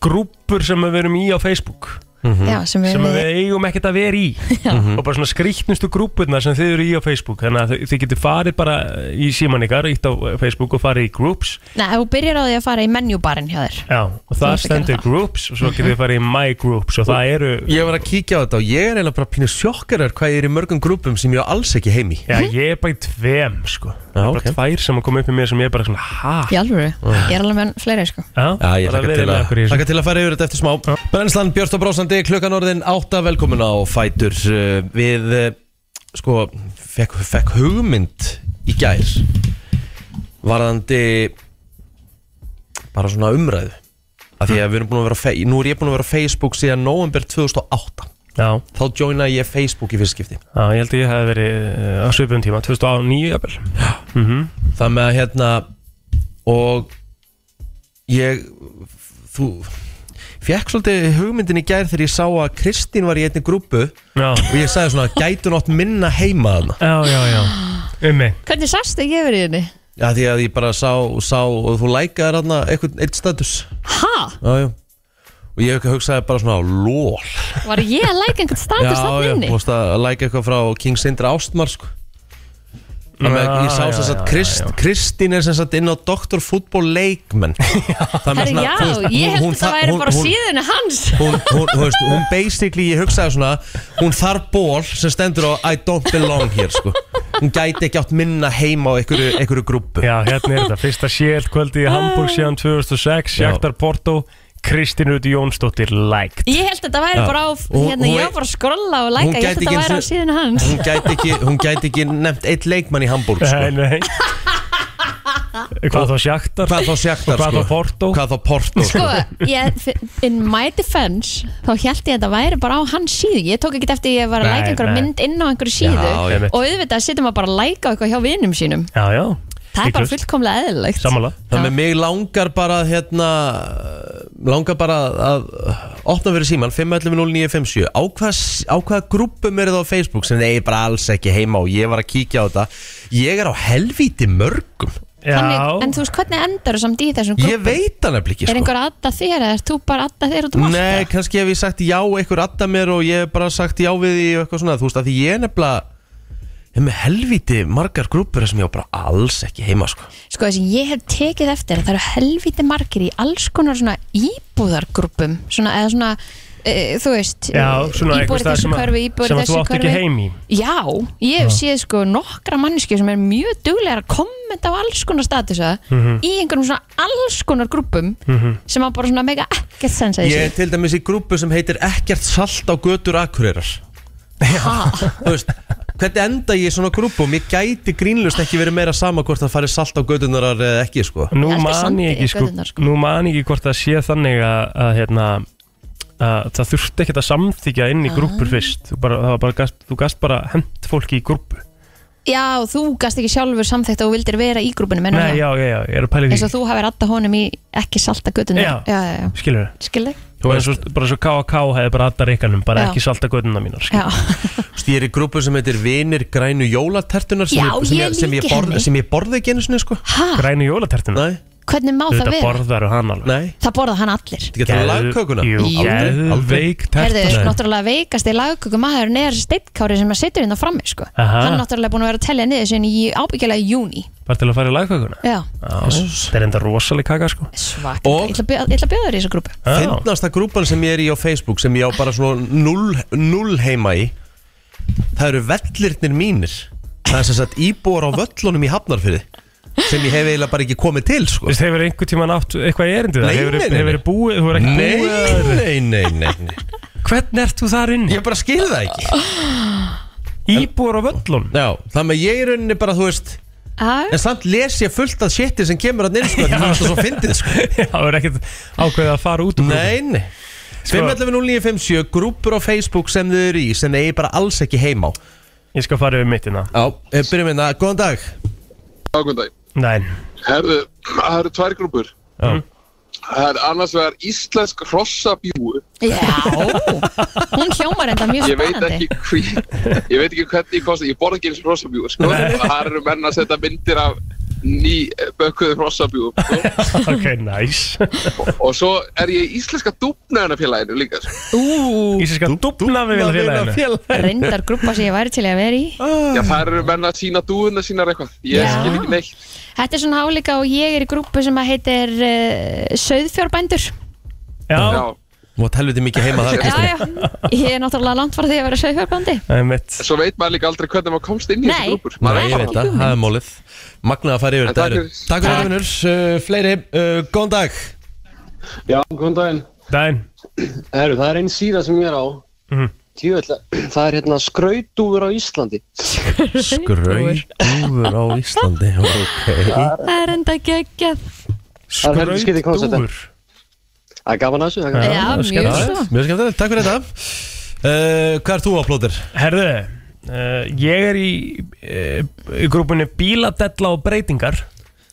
[SPEAKER 3] grúpur sem við erum í á Facebook
[SPEAKER 1] Mhm.
[SPEAKER 2] Já, sem við,
[SPEAKER 3] sem við eigum ekkert að vera í og bara svona skrýtnustu grúpurnar sem þið eru í á Facebook þannig að þið- þið getur farið bara í síman ykkar, ítt á Facebook og farið í groups
[SPEAKER 2] Nei, ef þú byrjar á því að fara í menjúbarinn hjá þér
[SPEAKER 3] Já,
[SPEAKER 2] Þú
[SPEAKER 3] og það
[SPEAKER 2] ert að gera
[SPEAKER 3] stendur
[SPEAKER 2] það.
[SPEAKER 3] groups og svo getur þið farið í my groups og það eru
[SPEAKER 1] Ég var að kíkja á þetta og ég er eiginlega bara pínu sjokkarar hvað ég er í mörgum grúpum sem ég á alls ekki heimi
[SPEAKER 3] Já, ég er bara í tveim, sko Það er bara
[SPEAKER 1] ok.
[SPEAKER 3] tvær sem að koma upp í mér sem ég er bara svona, ha?
[SPEAKER 2] Í alvöru,
[SPEAKER 1] Ah.
[SPEAKER 2] ég er alveg með fleiri sko
[SPEAKER 3] Já,
[SPEAKER 1] Já, ég
[SPEAKER 3] bara
[SPEAKER 1] hlakka
[SPEAKER 3] verið
[SPEAKER 1] til,
[SPEAKER 3] með
[SPEAKER 1] að-
[SPEAKER 3] okkur í þessu.
[SPEAKER 1] hlakka til að fara yfir þetta eftir smá Brennslan, Björst og Brósandi Íslandi, klukkan orðin átta velkomin á Fætur Eh, Við, eh, sko, fekk, fekk hugmynd í gær Varðandi bara svona umræðu Af því að við erum búin að vera, á fe- nú er ég búin að vera á Facebook síðan november 2008
[SPEAKER 3] Já,
[SPEAKER 1] Þá joinaði ég Facebook í fyrst skipti
[SPEAKER 3] já, ég held að ég hef verið eh, á svipum tíma, 2009 jafnvel
[SPEAKER 1] Það með að hérna og ég þú fekk svolítið hugmyndin í gær þegar ég sá að Kristín var í einni grúpu
[SPEAKER 3] Já,
[SPEAKER 1] og ég sagði svona, gætu nátt minna heima þarna
[SPEAKER 3] já, já, já, um mig
[SPEAKER 2] Hvernig sast ekki yfir í henni?
[SPEAKER 1] Já, því að ég bara sá, sá og þú lækaði þarna einhvern eitt status
[SPEAKER 2] Ha?
[SPEAKER 1] Já, já Og ég hugsaði bara svona, lól
[SPEAKER 2] Var ég að læka einhvern
[SPEAKER 1] Já,
[SPEAKER 2] status þarna
[SPEAKER 1] já,
[SPEAKER 2] inni?
[SPEAKER 1] búst að læka eitthvað frá King Sindra Ástmar, sko Þannig að
[SPEAKER 3] Já,
[SPEAKER 1] ég sá
[SPEAKER 3] já,
[SPEAKER 1] sem sagt,
[SPEAKER 3] já,
[SPEAKER 1] Krist,
[SPEAKER 3] já, já.
[SPEAKER 1] Kristín er sem sagt inn á Dr. Fútból leikmenn Það
[SPEAKER 2] Herri, já, ég held að það væri bara á síðunni hans
[SPEAKER 1] hún, hún, hún, veist, hún basically, ég hugsaði svona hún þarf ból sem stendur á I don't belong here sko. hún gæti ekki átt minna heima á einhverju, einhverju grúpu
[SPEAKER 3] Já, hérna er þetta, fyrsta séld kvöldi í Hamburg síðan 2006,
[SPEAKER 1] Já.
[SPEAKER 3] Sjæktar Porto Kristín Ruti Jónsdóttir liked
[SPEAKER 2] Ég held að það væri
[SPEAKER 1] Já.
[SPEAKER 2] bara á,
[SPEAKER 1] Hún-
[SPEAKER 2] hérna,
[SPEAKER 1] hún-
[SPEAKER 2] ég var bara að skrolla og læka
[SPEAKER 1] hún
[SPEAKER 2] Ég held
[SPEAKER 1] gæti
[SPEAKER 2] að
[SPEAKER 1] ekki
[SPEAKER 2] það væri
[SPEAKER 1] eins
[SPEAKER 2] á
[SPEAKER 1] og-
[SPEAKER 2] síðunni hans
[SPEAKER 1] hún gæti ekki, hún gæti ekki nefnt eitt leikmann í Hamburg
[SPEAKER 3] Nei,
[SPEAKER 1] sko.
[SPEAKER 3] nei Hvað þá Sjæktar?
[SPEAKER 1] hvað þá sjaktar
[SPEAKER 3] Og
[SPEAKER 1] sko?
[SPEAKER 3] hvað þá Porto?
[SPEAKER 1] hvað þá Porto
[SPEAKER 2] Sko,
[SPEAKER 1] sko?
[SPEAKER 2] ég, in my defense þá held ég að það væri bara á hans síðu ég tók ekkert eftir ég var að
[SPEAKER 3] Nei,
[SPEAKER 2] læka einhverja
[SPEAKER 3] nei.
[SPEAKER 2] mynd inn á einhverju síðu
[SPEAKER 1] Já,
[SPEAKER 3] einmitt.
[SPEAKER 2] og auðvitað sittum maður bara að læka á eitthvað hjá vinum sínum
[SPEAKER 3] Já, já
[SPEAKER 2] það er bara
[SPEAKER 3] Líklaust.
[SPEAKER 2] fullkomlega eðlilegt
[SPEAKER 3] Sammála
[SPEAKER 1] það með mig langar bara hérna, langar bara að opna fyrir síman 511-0957 á hvað á hvaða grúpum er það á Facebook sem þið er bara alls ekki heima og ég var að kíkja á þetta ég er á helvíti mörgum
[SPEAKER 2] Þannig, en
[SPEAKER 3] Já,
[SPEAKER 2] þú veist hvernig endar þú samt í þessum grúpum?
[SPEAKER 1] Ég veit það nefnilega
[SPEAKER 2] Er
[SPEAKER 1] ekki sko.
[SPEAKER 2] einhver aðda þér eða er þú bara aðda þér út um allt?
[SPEAKER 1] Nei, kannski hef ég sagt já einhver adda mér og ég hef bara sagt já við því og eitthvað svona, þú veist, að því ég er nefnilega ég er með helviti margar grúpur sem ég á bara alls ekki heima sko.
[SPEAKER 2] Sko þessi, ég hef tekið eftir að það eru helviti margir í alls konar svona íbúðargrúpum svona, eða svona, e, þú veist
[SPEAKER 3] já
[SPEAKER 2] íbúar í
[SPEAKER 3] svona einhver stað
[SPEAKER 2] þessu
[SPEAKER 3] sem, að-
[SPEAKER 2] hverfi, íbúar í
[SPEAKER 3] sem að
[SPEAKER 2] þessu
[SPEAKER 3] þú átt ekki
[SPEAKER 2] hverfi.
[SPEAKER 3] heim í
[SPEAKER 2] Já, ég hef séð sko nokkra manneskju sem er mjög duglegar að kommenta á alls konar statusa
[SPEAKER 3] Mhm.
[SPEAKER 2] í einhverjum svona alls konar grúpum sem að bara svona mega ekkert sensa
[SPEAKER 1] Ég er til
[SPEAKER 2] þessu
[SPEAKER 1] dæmis í grúpu sem heitir ekkert salt á götur akureyrar Þú veist, hvernig enda ég í svona grúpum? Ég gæti grínlust ekki verið meira sama hvort það fari salt á götunar eða ekki sko.
[SPEAKER 3] Nú
[SPEAKER 2] Ég elska
[SPEAKER 3] man
[SPEAKER 2] sandi
[SPEAKER 3] ég ekki
[SPEAKER 2] í
[SPEAKER 3] sko,
[SPEAKER 2] göturnar, sko.
[SPEAKER 3] Nú man ég ekki hvort það sé þannig að, að hérna að það þurfti ekkert að samþykja inn
[SPEAKER 2] Ah.
[SPEAKER 3] í grúpur fyrst þú bara, það var bara, gast, þú gast bara hent fólki í grúpu
[SPEAKER 2] Já, þú gast ekki sjálfur samþekkt og vildir vera í grúpunum en
[SPEAKER 3] Nei, já, já, já, ég er að pæla í
[SPEAKER 2] eins og
[SPEAKER 3] því
[SPEAKER 2] þú hafir adda honum í ekki salta göttunum
[SPEAKER 3] Já.
[SPEAKER 2] já, já, já.
[SPEAKER 3] Skilur það?
[SPEAKER 2] skilði
[SPEAKER 1] Þú
[SPEAKER 3] Og
[SPEAKER 1] veist,
[SPEAKER 3] eins og bara svo K.A.K. hefði bara aðdar ykkanum, bara
[SPEAKER 2] Já.
[SPEAKER 3] ekki salta göduna mínar skilur.
[SPEAKER 2] Já,
[SPEAKER 1] Ég er í grúpu sem heitir Vinir grænu jólatertunar sem,
[SPEAKER 2] Já,
[SPEAKER 1] ég- sem,
[SPEAKER 2] ég
[SPEAKER 1] ég- sem, ég
[SPEAKER 2] líki
[SPEAKER 1] borð-
[SPEAKER 2] henni.
[SPEAKER 1] sem ég borði ekki einu sinni sko.
[SPEAKER 2] hæ,
[SPEAKER 3] Grænu jólatertuna
[SPEAKER 1] Nei,
[SPEAKER 2] hvernig má það
[SPEAKER 3] Þetta
[SPEAKER 2] vera?
[SPEAKER 3] borðar og hann alveg
[SPEAKER 1] nei
[SPEAKER 2] Það borða hann allir
[SPEAKER 1] Þetta getur lagkökuna
[SPEAKER 3] Jú,
[SPEAKER 1] Aldrei, aldrei.
[SPEAKER 3] geðveik
[SPEAKER 2] Herðu,
[SPEAKER 3] tertuna
[SPEAKER 2] náttúrulega veikast í lagkökum maður neðar steitkári sem að situr hérna frammi sko.
[SPEAKER 3] Aha.
[SPEAKER 2] Hann náttúrulega búin að vera að telja niður sinni í ábyggjulega júni
[SPEAKER 3] Bara til að fara í lagkökuna
[SPEAKER 2] Já,
[SPEAKER 3] Það er enda rosaleg kaka sko
[SPEAKER 2] svak
[SPEAKER 1] Og-
[SPEAKER 2] Ég ætla að bjóða- ég ætla að bjóða þér í þessa grúpu
[SPEAKER 3] Já.
[SPEAKER 1] Fyndnasta grúpan sem ég er í á Facebook sem ég á bara svona null, null heima í Það eru vellirnir mínir Það er sem sagt íbúar á völlunum í Hafnarfyrði sem ég hef eiginlega bara ekki komið til sko.
[SPEAKER 3] Þú veist, hefur einhver tíma nátt eitthvað erindi það?
[SPEAKER 1] Nei,
[SPEAKER 3] Hefur
[SPEAKER 1] nei, nei.
[SPEAKER 3] hefur búið, þú er ekki
[SPEAKER 1] Nei,
[SPEAKER 3] búið
[SPEAKER 1] nei, nei, nei, nei
[SPEAKER 3] Hvern ert þú þar inni?
[SPEAKER 1] Ég bara skil það ekki
[SPEAKER 3] Íbúar á völlum
[SPEAKER 1] Já, þannig að ég er unni bara, þú veist
[SPEAKER 2] Já,
[SPEAKER 1] En samt les ég fullt af shiti sem kemur að nýrst sko, Þetta er svo fyndið sko
[SPEAKER 3] Já, það er ekkert ákveðið að fara út úr
[SPEAKER 1] Nei, nei
[SPEAKER 3] Sko-
[SPEAKER 1] 5.11.0957, grúpur á Facebook sem þau eru í sem þau bara alls ekki heima á
[SPEAKER 3] grúpunni. Ég skal fara yfir mittina
[SPEAKER 1] Já, eh, byrjum hérna, góðan dag
[SPEAKER 4] Ákvöndagi.
[SPEAKER 3] Nei,
[SPEAKER 4] Herðu, það eru tvær grúpur.
[SPEAKER 3] Já.
[SPEAKER 2] Mhm.
[SPEAKER 4] Það er annars vegar íslensk hrossabjúu.
[SPEAKER 2] já Hún hljómar enda mjög
[SPEAKER 4] Ég veit
[SPEAKER 2] spennandi
[SPEAKER 4] ekki hví, ég veit ekki hvernig ég kosti, ég borð ekki eins og hrossabjúu, sko. Það eru menn að setja myndir af ný eh, bökkuðu hrossabjúu, sko.
[SPEAKER 3] ok, næs
[SPEAKER 4] Og svo er ég í íslenska dúbnæðanafélaginu líka, sko.
[SPEAKER 2] Ú,
[SPEAKER 3] Íslenska dúbna við vilja félaginu
[SPEAKER 2] reyndar grúpa sem ég væri til í að vera í
[SPEAKER 4] Já, það eru menn að sína dúðuna sínar eitthvað. Ég
[SPEAKER 2] Já.
[SPEAKER 4] skil ekki neitt.
[SPEAKER 2] Þetta er svona álíka og ég er í grúpu sem að heitir uh, Sauðfjárbændur
[SPEAKER 3] Já,
[SPEAKER 4] Já.
[SPEAKER 1] Þú mátt helviti mikið heima þar
[SPEAKER 2] Já, já, ég er náttúrulega langt frá því að vera sauðfjárbændi
[SPEAKER 3] það er mitt
[SPEAKER 4] Svo veit maður líka aldrei hvernig maður komst inn í
[SPEAKER 2] Nei.
[SPEAKER 4] þessu grúpur.
[SPEAKER 1] Nei,
[SPEAKER 4] Maður
[SPEAKER 1] ég
[SPEAKER 4] er
[SPEAKER 1] veit
[SPEAKER 4] bara-
[SPEAKER 1] það, það er mólið Magnað að fara yfir
[SPEAKER 4] En
[SPEAKER 1] þetta
[SPEAKER 4] takk
[SPEAKER 1] eru.
[SPEAKER 4] fyrir.
[SPEAKER 1] Eh, Takk fyrir þetta vinnur, uh, fleiri, uh, góðan dag
[SPEAKER 5] Já, góðan daginn.
[SPEAKER 3] Dæn,
[SPEAKER 5] Heru, það er einn síða sem ég er á
[SPEAKER 3] Mhm.
[SPEAKER 5] Tjöfell, það er hérna skrautúfur á Íslandi
[SPEAKER 1] Skrautúfur á Íslandi Ok
[SPEAKER 2] Það er enda geggjað
[SPEAKER 5] er heldur skrítið koncept, en-
[SPEAKER 3] Skrautdúfur
[SPEAKER 5] Það er gaman að þessu það er gaman.
[SPEAKER 3] Já,
[SPEAKER 2] Já,
[SPEAKER 3] það er
[SPEAKER 2] mjög
[SPEAKER 3] skemmtilegt.
[SPEAKER 2] svo
[SPEAKER 1] Mjög skemmtilegt, takk fyrir þetta uh, Hvað er þú á plótir?
[SPEAKER 3] Herðu, uh, ég er í uh, grúpunni Bíladella og breytingar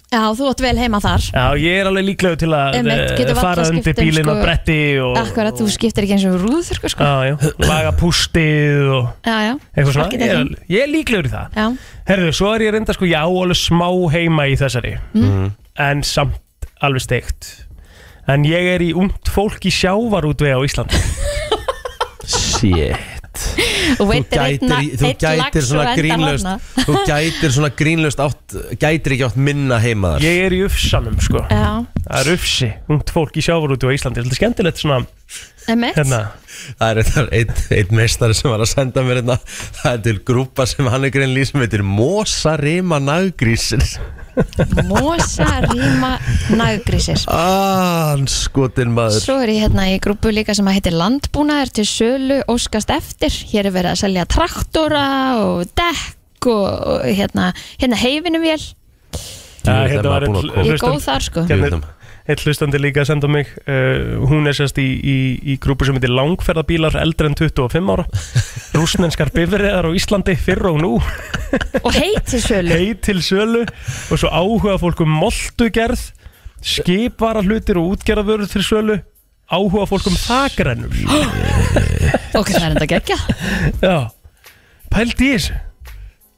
[SPEAKER 2] Já, þú átt vel heima þar
[SPEAKER 3] Já, ég er alveg líklegur til að
[SPEAKER 2] Einmitt,
[SPEAKER 3] eh,
[SPEAKER 2] getur varla
[SPEAKER 3] fara
[SPEAKER 2] skipt
[SPEAKER 3] undir
[SPEAKER 2] um,
[SPEAKER 3] bílinn
[SPEAKER 2] sko,
[SPEAKER 3] að bretti og,
[SPEAKER 2] Akkurat, þú skiptir ekki eins og rúðþurku sko
[SPEAKER 3] Já, já, laga pústið og
[SPEAKER 2] Já, já,
[SPEAKER 3] eitthvað svona
[SPEAKER 2] Arkitektin.
[SPEAKER 3] ég, er- ég er líklegur í það
[SPEAKER 2] já
[SPEAKER 3] Herðu, svo er ég reynda sko, já, alveg smá heima í þessari En samt alveg steikt En ég er í ungt fólk í sjávarútvei á Íslandi
[SPEAKER 1] Shit
[SPEAKER 2] Þú
[SPEAKER 1] Þú gætir, í- þú gætir svona grínlöst Þú gætir svona grínlöst átt, Gætir ekki átt minna heima þar
[SPEAKER 3] Ég er í Ufsanum sko
[SPEAKER 2] Já,
[SPEAKER 3] Það er Ufsi, ungt fólk í sjávarútvei á Íslandi Svolítið skemmtilegt svona
[SPEAKER 2] emitt
[SPEAKER 3] hérna.
[SPEAKER 1] Það er þetta einn ein meistari sem var að senda mér þetta Það er til grúpa sem hann er grein lýs sem heitir Mosarima Naggrísir
[SPEAKER 2] Mosa, ríma, naggrísir
[SPEAKER 1] Anskotin maður
[SPEAKER 2] Svo er ég hérna í grúpu líka sem að heitir Landbúnaður til sölu óskast eftir Hér er verið að selja traktora og dekk og, og hérna, hérna heifinuvél
[SPEAKER 3] Já,
[SPEAKER 1] Jú,
[SPEAKER 3] hérna
[SPEAKER 1] það
[SPEAKER 3] var
[SPEAKER 1] er maður búinn
[SPEAKER 3] einn
[SPEAKER 1] að koma.
[SPEAKER 2] Ég er
[SPEAKER 3] hlustan-
[SPEAKER 2] góð þar sko
[SPEAKER 1] Jú,
[SPEAKER 3] Hérna-
[SPEAKER 1] það-
[SPEAKER 3] einn hlustandi líka að senda á mig uh, Hún er sérst í, í, í grúpu sem heitir Langferðabílar eldri en 25 ára Rúsnenskar bifriðar á Íslandi fyrr og nú
[SPEAKER 2] Og heitir sölu
[SPEAKER 3] heið til sölu og svo áhuga fólk um moltugerð skipvara hlutir og útgerðavörur til sölu áhuga fólk um þakrennur
[SPEAKER 2] Ok, það er enda geggja
[SPEAKER 3] já pælt í þessu,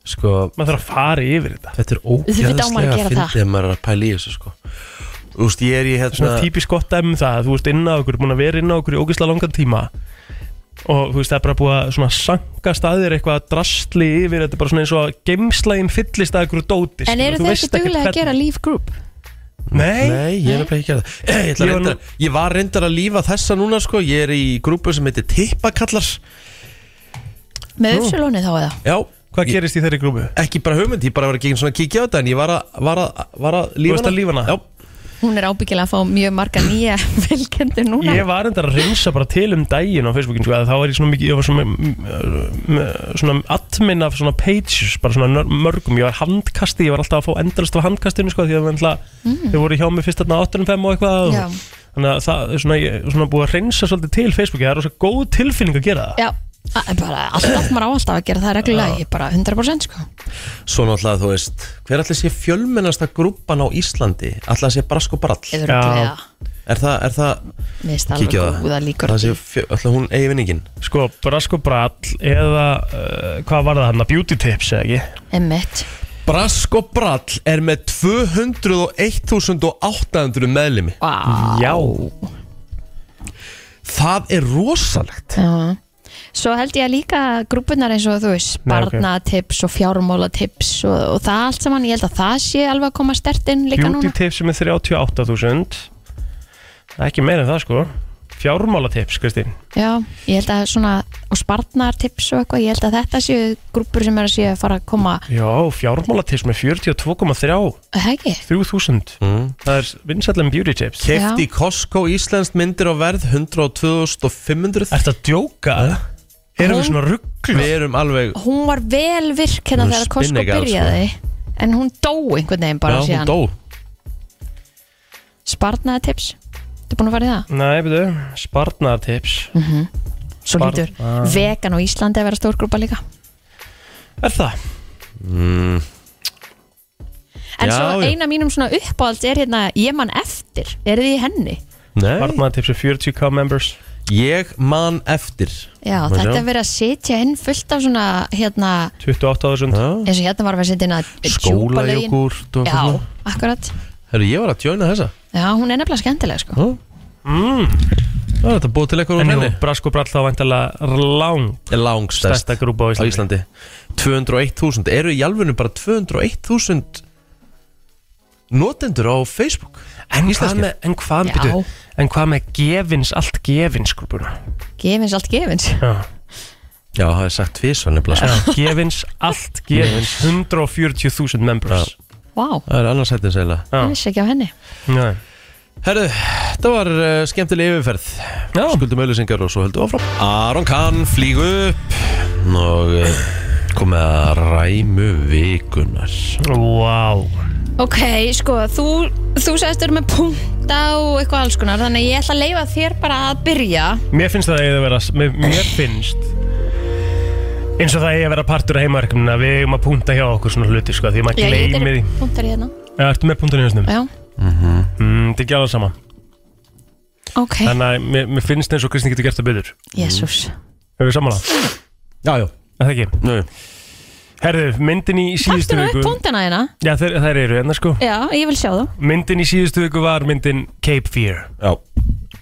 [SPEAKER 1] Sko,
[SPEAKER 3] maður þarf að fara yfir þetta
[SPEAKER 1] þetta er
[SPEAKER 2] Auðvitað á maður að
[SPEAKER 1] ógæðslega
[SPEAKER 2] gera það.
[SPEAKER 1] fyndið ef maður er að pæla í þessu sko Þú veist, ég er í hérna
[SPEAKER 3] svona típisk gott dæmi um það, þú veist inn á okkur búin að vera inn á okkur í ógisla langan tíma og þú veist það er bara búið að svona sanka staðir eitthvað drastli yfir þetta er bara svona eins og geimslægin fyllist að einhverju dóti
[SPEAKER 2] En
[SPEAKER 3] skilur,
[SPEAKER 2] eru
[SPEAKER 3] þú
[SPEAKER 2] þeir ekki
[SPEAKER 3] veist ekkert
[SPEAKER 2] duglega að gera
[SPEAKER 3] hvernig-
[SPEAKER 2] Leaf Group?
[SPEAKER 3] Nei,
[SPEAKER 1] Nei, ég er nefnilega ekki að það ég, ætla
[SPEAKER 3] Ég var
[SPEAKER 1] reyndar, ég var reyndar að lífa þessa núna sko Ég er í grúpu sem heitir Tippakallar
[SPEAKER 2] Með uppsölunni þá eða?
[SPEAKER 1] Já,
[SPEAKER 3] hvað
[SPEAKER 1] ég-
[SPEAKER 3] gerist í þeirri grúpu?
[SPEAKER 1] Ekki bara hugmynd, ég bara var ekki einu svona að kíkja á þetta En ég var að, var að, var að
[SPEAKER 3] Þú
[SPEAKER 1] lífa
[SPEAKER 3] veist að lífa hana?
[SPEAKER 1] Já,
[SPEAKER 2] Hún er ábyggilega að fá mjög marga nýja fylgjendur núna
[SPEAKER 3] Ég var endar að reynsa bara til um daginn á Facebookin sko, að þá var ég svona mikið, ég var svona, mm, mm, svona admin af svona pages, bara svona nör- mörgum, ég var handkasti, ég var alltaf að fá endalist af handkastinu sko, því að alltaf, mm. þau voru hjá mig fyrst þarna 8.5 og eitthvað
[SPEAKER 2] Já.
[SPEAKER 3] og, þannig að það er svona, ég, svona búið að reynsa svolítið til Facebooki, það er rosa góð tilfinning að gera það
[SPEAKER 2] Já, a- bara alltaf maður á alltaf að gera það reglulega Ég bara 100% sko
[SPEAKER 1] svo náttúrulega þú veist Hver ætla sé fjölmennasta grúpan á Íslandi? Ætla sé brask og brall?
[SPEAKER 2] Eður reglulega
[SPEAKER 1] Er það, er það,
[SPEAKER 2] Mér finnst alveg
[SPEAKER 1] kíkja á
[SPEAKER 2] góða líkur á
[SPEAKER 1] Það sé,
[SPEAKER 2] því.
[SPEAKER 1] fjö- ætla hún eigi vinningin
[SPEAKER 3] Sko, Brask og Brall eða, uh, hvað var það hann, Beauty Tips eða ekki?
[SPEAKER 2] Einmitt
[SPEAKER 1] Brask og brall er með 201.800 meðlimi
[SPEAKER 3] Mhm.
[SPEAKER 2] Vá
[SPEAKER 3] Já,
[SPEAKER 1] Það er rosalegt
[SPEAKER 2] Já. Svo held ég að líka grúpunar eins og þú veist
[SPEAKER 3] Nei, ok.
[SPEAKER 2] Barnatips og fjármálatips og, og það allt saman, ég held að það sé alveg að koma stert inn líka
[SPEAKER 3] Beauty
[SPEAKER 2] núna
[SPEAKER 3] Tips sem er 38.000, Það er ekki meira en það sko, fjármála tips, Kristín.
[SPEAKER 2] Já, ég held að svona og sparnartips og eitthvað, ég held að þetta séu grúpur sem er að séu að fara að koma
[SPEAKER 3] Já, fjármálatips með 42,3
[SPEAKER 2] er það ekki?
[SPEAKER 3] 3000 Það er vinsallum beauty tips
[SPEAKER 1] Kefti í Costco Íslands myndir á verð 102.500
[SPEAKER 3] Ertu að djóka? Erum við svona rugglu?
[SPEAKER 1] Við erum alveg
[SPEAKER 2] Hún var vel virk hérna
[SPEAKER 1] Hún
[SPEAKER 2] þegar Costco
[SPEAKER 1] spinnegal, sko.
[SPEAKER 2] byrjaði en hún dó einhvern veginn
[SPEAKER 1] Já,
[SPEAKER 2] bara
[SPEAKER 1] hún
[SPEAKER 2] síðan
[SPEAKER 1] dó
[SPEAKER 2] Sparnartips, þetta er búin að fara í það
[SPEAKER 3] Nei, betur, sparnartips
[SPEAKER 2] Svo
[SPEAKER 3] Sparn-
[SPEAKER 2] lítur
[SPEAKER 1] Ah.
[SPEAKER 2] vegan og Íslandi að vera stórgrúpa líka
[SPEAKER 3] Er það?
[SPEAKER 2] En
[SPEAKER 1] Já, já.
[SPEAKER 2] svo eina mínum svona uppáhalds er hérna ég mann eftir, er þið í henni?
[SPEAKER 1] Nei
[SPEAKER 3] Sparnartips er 40k members
[SPEAKER 1] Ég man eftir
[SPEAKER 2] Já,
[SPEAKER 1] Má
[SPEAKER 2] þetta
[SPEAKER 1] sjá.
[SPEAKER 2] er verið að sitja inn fullt af svona hérna,
[SPEAKER 3] 28.000
[SPEAKER 1] Já.
[SPEAKER 2] eins og hérna var að vera að sitja inn að djúpa lögin.
[SPEAKER 1] Skólajógúrt og
[SPEAKER 2] Já,
[SPEAKER 1] eitthvað svona.
[SPEAKER 2] akkurat
[SPEAKER 1] Herru, ég var að tjóna þessa
[SPEAKER 2] Já, hún er nefnilega skemmtileg sko
[SPEAKER 1] Já. Það er þetta búið til eitthvað úr
[SPEAKER 3] En sko jú,
[SPEAKER 1] henni
[SPEAKER 3] brask og brall þá vantilega lang
[SPEAKER 1] Langstæsta
[SPEAKER 3] Stærsta grúpa á
[SPEAKER 1] á
[SPEAKER 3] Íslandi
[SPEAKER 1] Íslandi 201.000 Eru í alvöru bara 201.000 Notendur á Facebook
[SPEAKER 3] En hvað
[SPEAKER 1] Íslenskir.
[SPEAKER 3] með, en hvað,
[SPEAKER 2] Já.
[SPEAKER 3] byrju, en hvað með gefins, allt gefins sko, grúpuna?
[SPEAKER 2] Gefins allt gefins
[SPEAKER 3] Já,
[SPEAKER 1] Já, það er sagt tvísa nefnilega sko.
[SPEAKER 3] Já, gefins, allt gefins 140.000 members
[SPEAKER 2] Vá,
[SPEAKER 1] Það er annars hættin segla
[SPEAKER 3] Já.
[SPEAKER 2] ég vissi ekki á henni
[SPEAKER 3] Nei.
[SPEAKER 1] Herru, þetta var uh, skemmtileg yfirferð
[SPEAKER 3] Já.
[SPEAKER 1] Skuldum auðlýsingar og svo höldum við áfram Aron Kahn flýg upp og uh, kom með að ræmu vikunar
[SPEAKER 3] Vá
[SPEAKER 2] Ok, sko, þú, þú sagðist eru með punkta og eitthvað alls konar þannig að ég ætla að leifa þér bara að byrja
[SPEAKER 3] Mér finnst það að ég vera mér, mér finnst eins og það eigi að vera partur af heimaverkefninu að við eigum að punta hjá okkur svona hluti sko, því maður
[SPEAKER 2] Já, ég
[SPEAKER 3] gleymir því
[SPEAKER 2] er punktar í hérna
[SPEAKER 3] Já, ertu með punktunni hérna?
[SPEAKER 2] Já,
[SPEAKER 3] Mm, þetta er ekki alveg sama
[SPEAKER 2] ok,
[SPEAKER 3] Þannig að mér, mér finnst eins og Kristín getur gert það betur
[SPEAKER 2] jésús
[SPEAKER 3] Hefur við samanlega?
[SPEAKER 1] Já, já
[SPEAKER 3] Það ekki
[SPEAKER 1] Nö.
[SPEAKER 3] Herðu, myndin í síðustu
[SPEAKER 2] Taktum við upp
[SPEAKER 3] viku
[SPEAKER 2] punktana hérna
[SPEAKER 3] Já, þeir, þeir eru enna sko
[SPEAKER 2] Já, ég vil sjá þá
[SPEAKER 3] Myndin í síðustu viku var myndin Cape Fear
[SPEAKER 1] Já.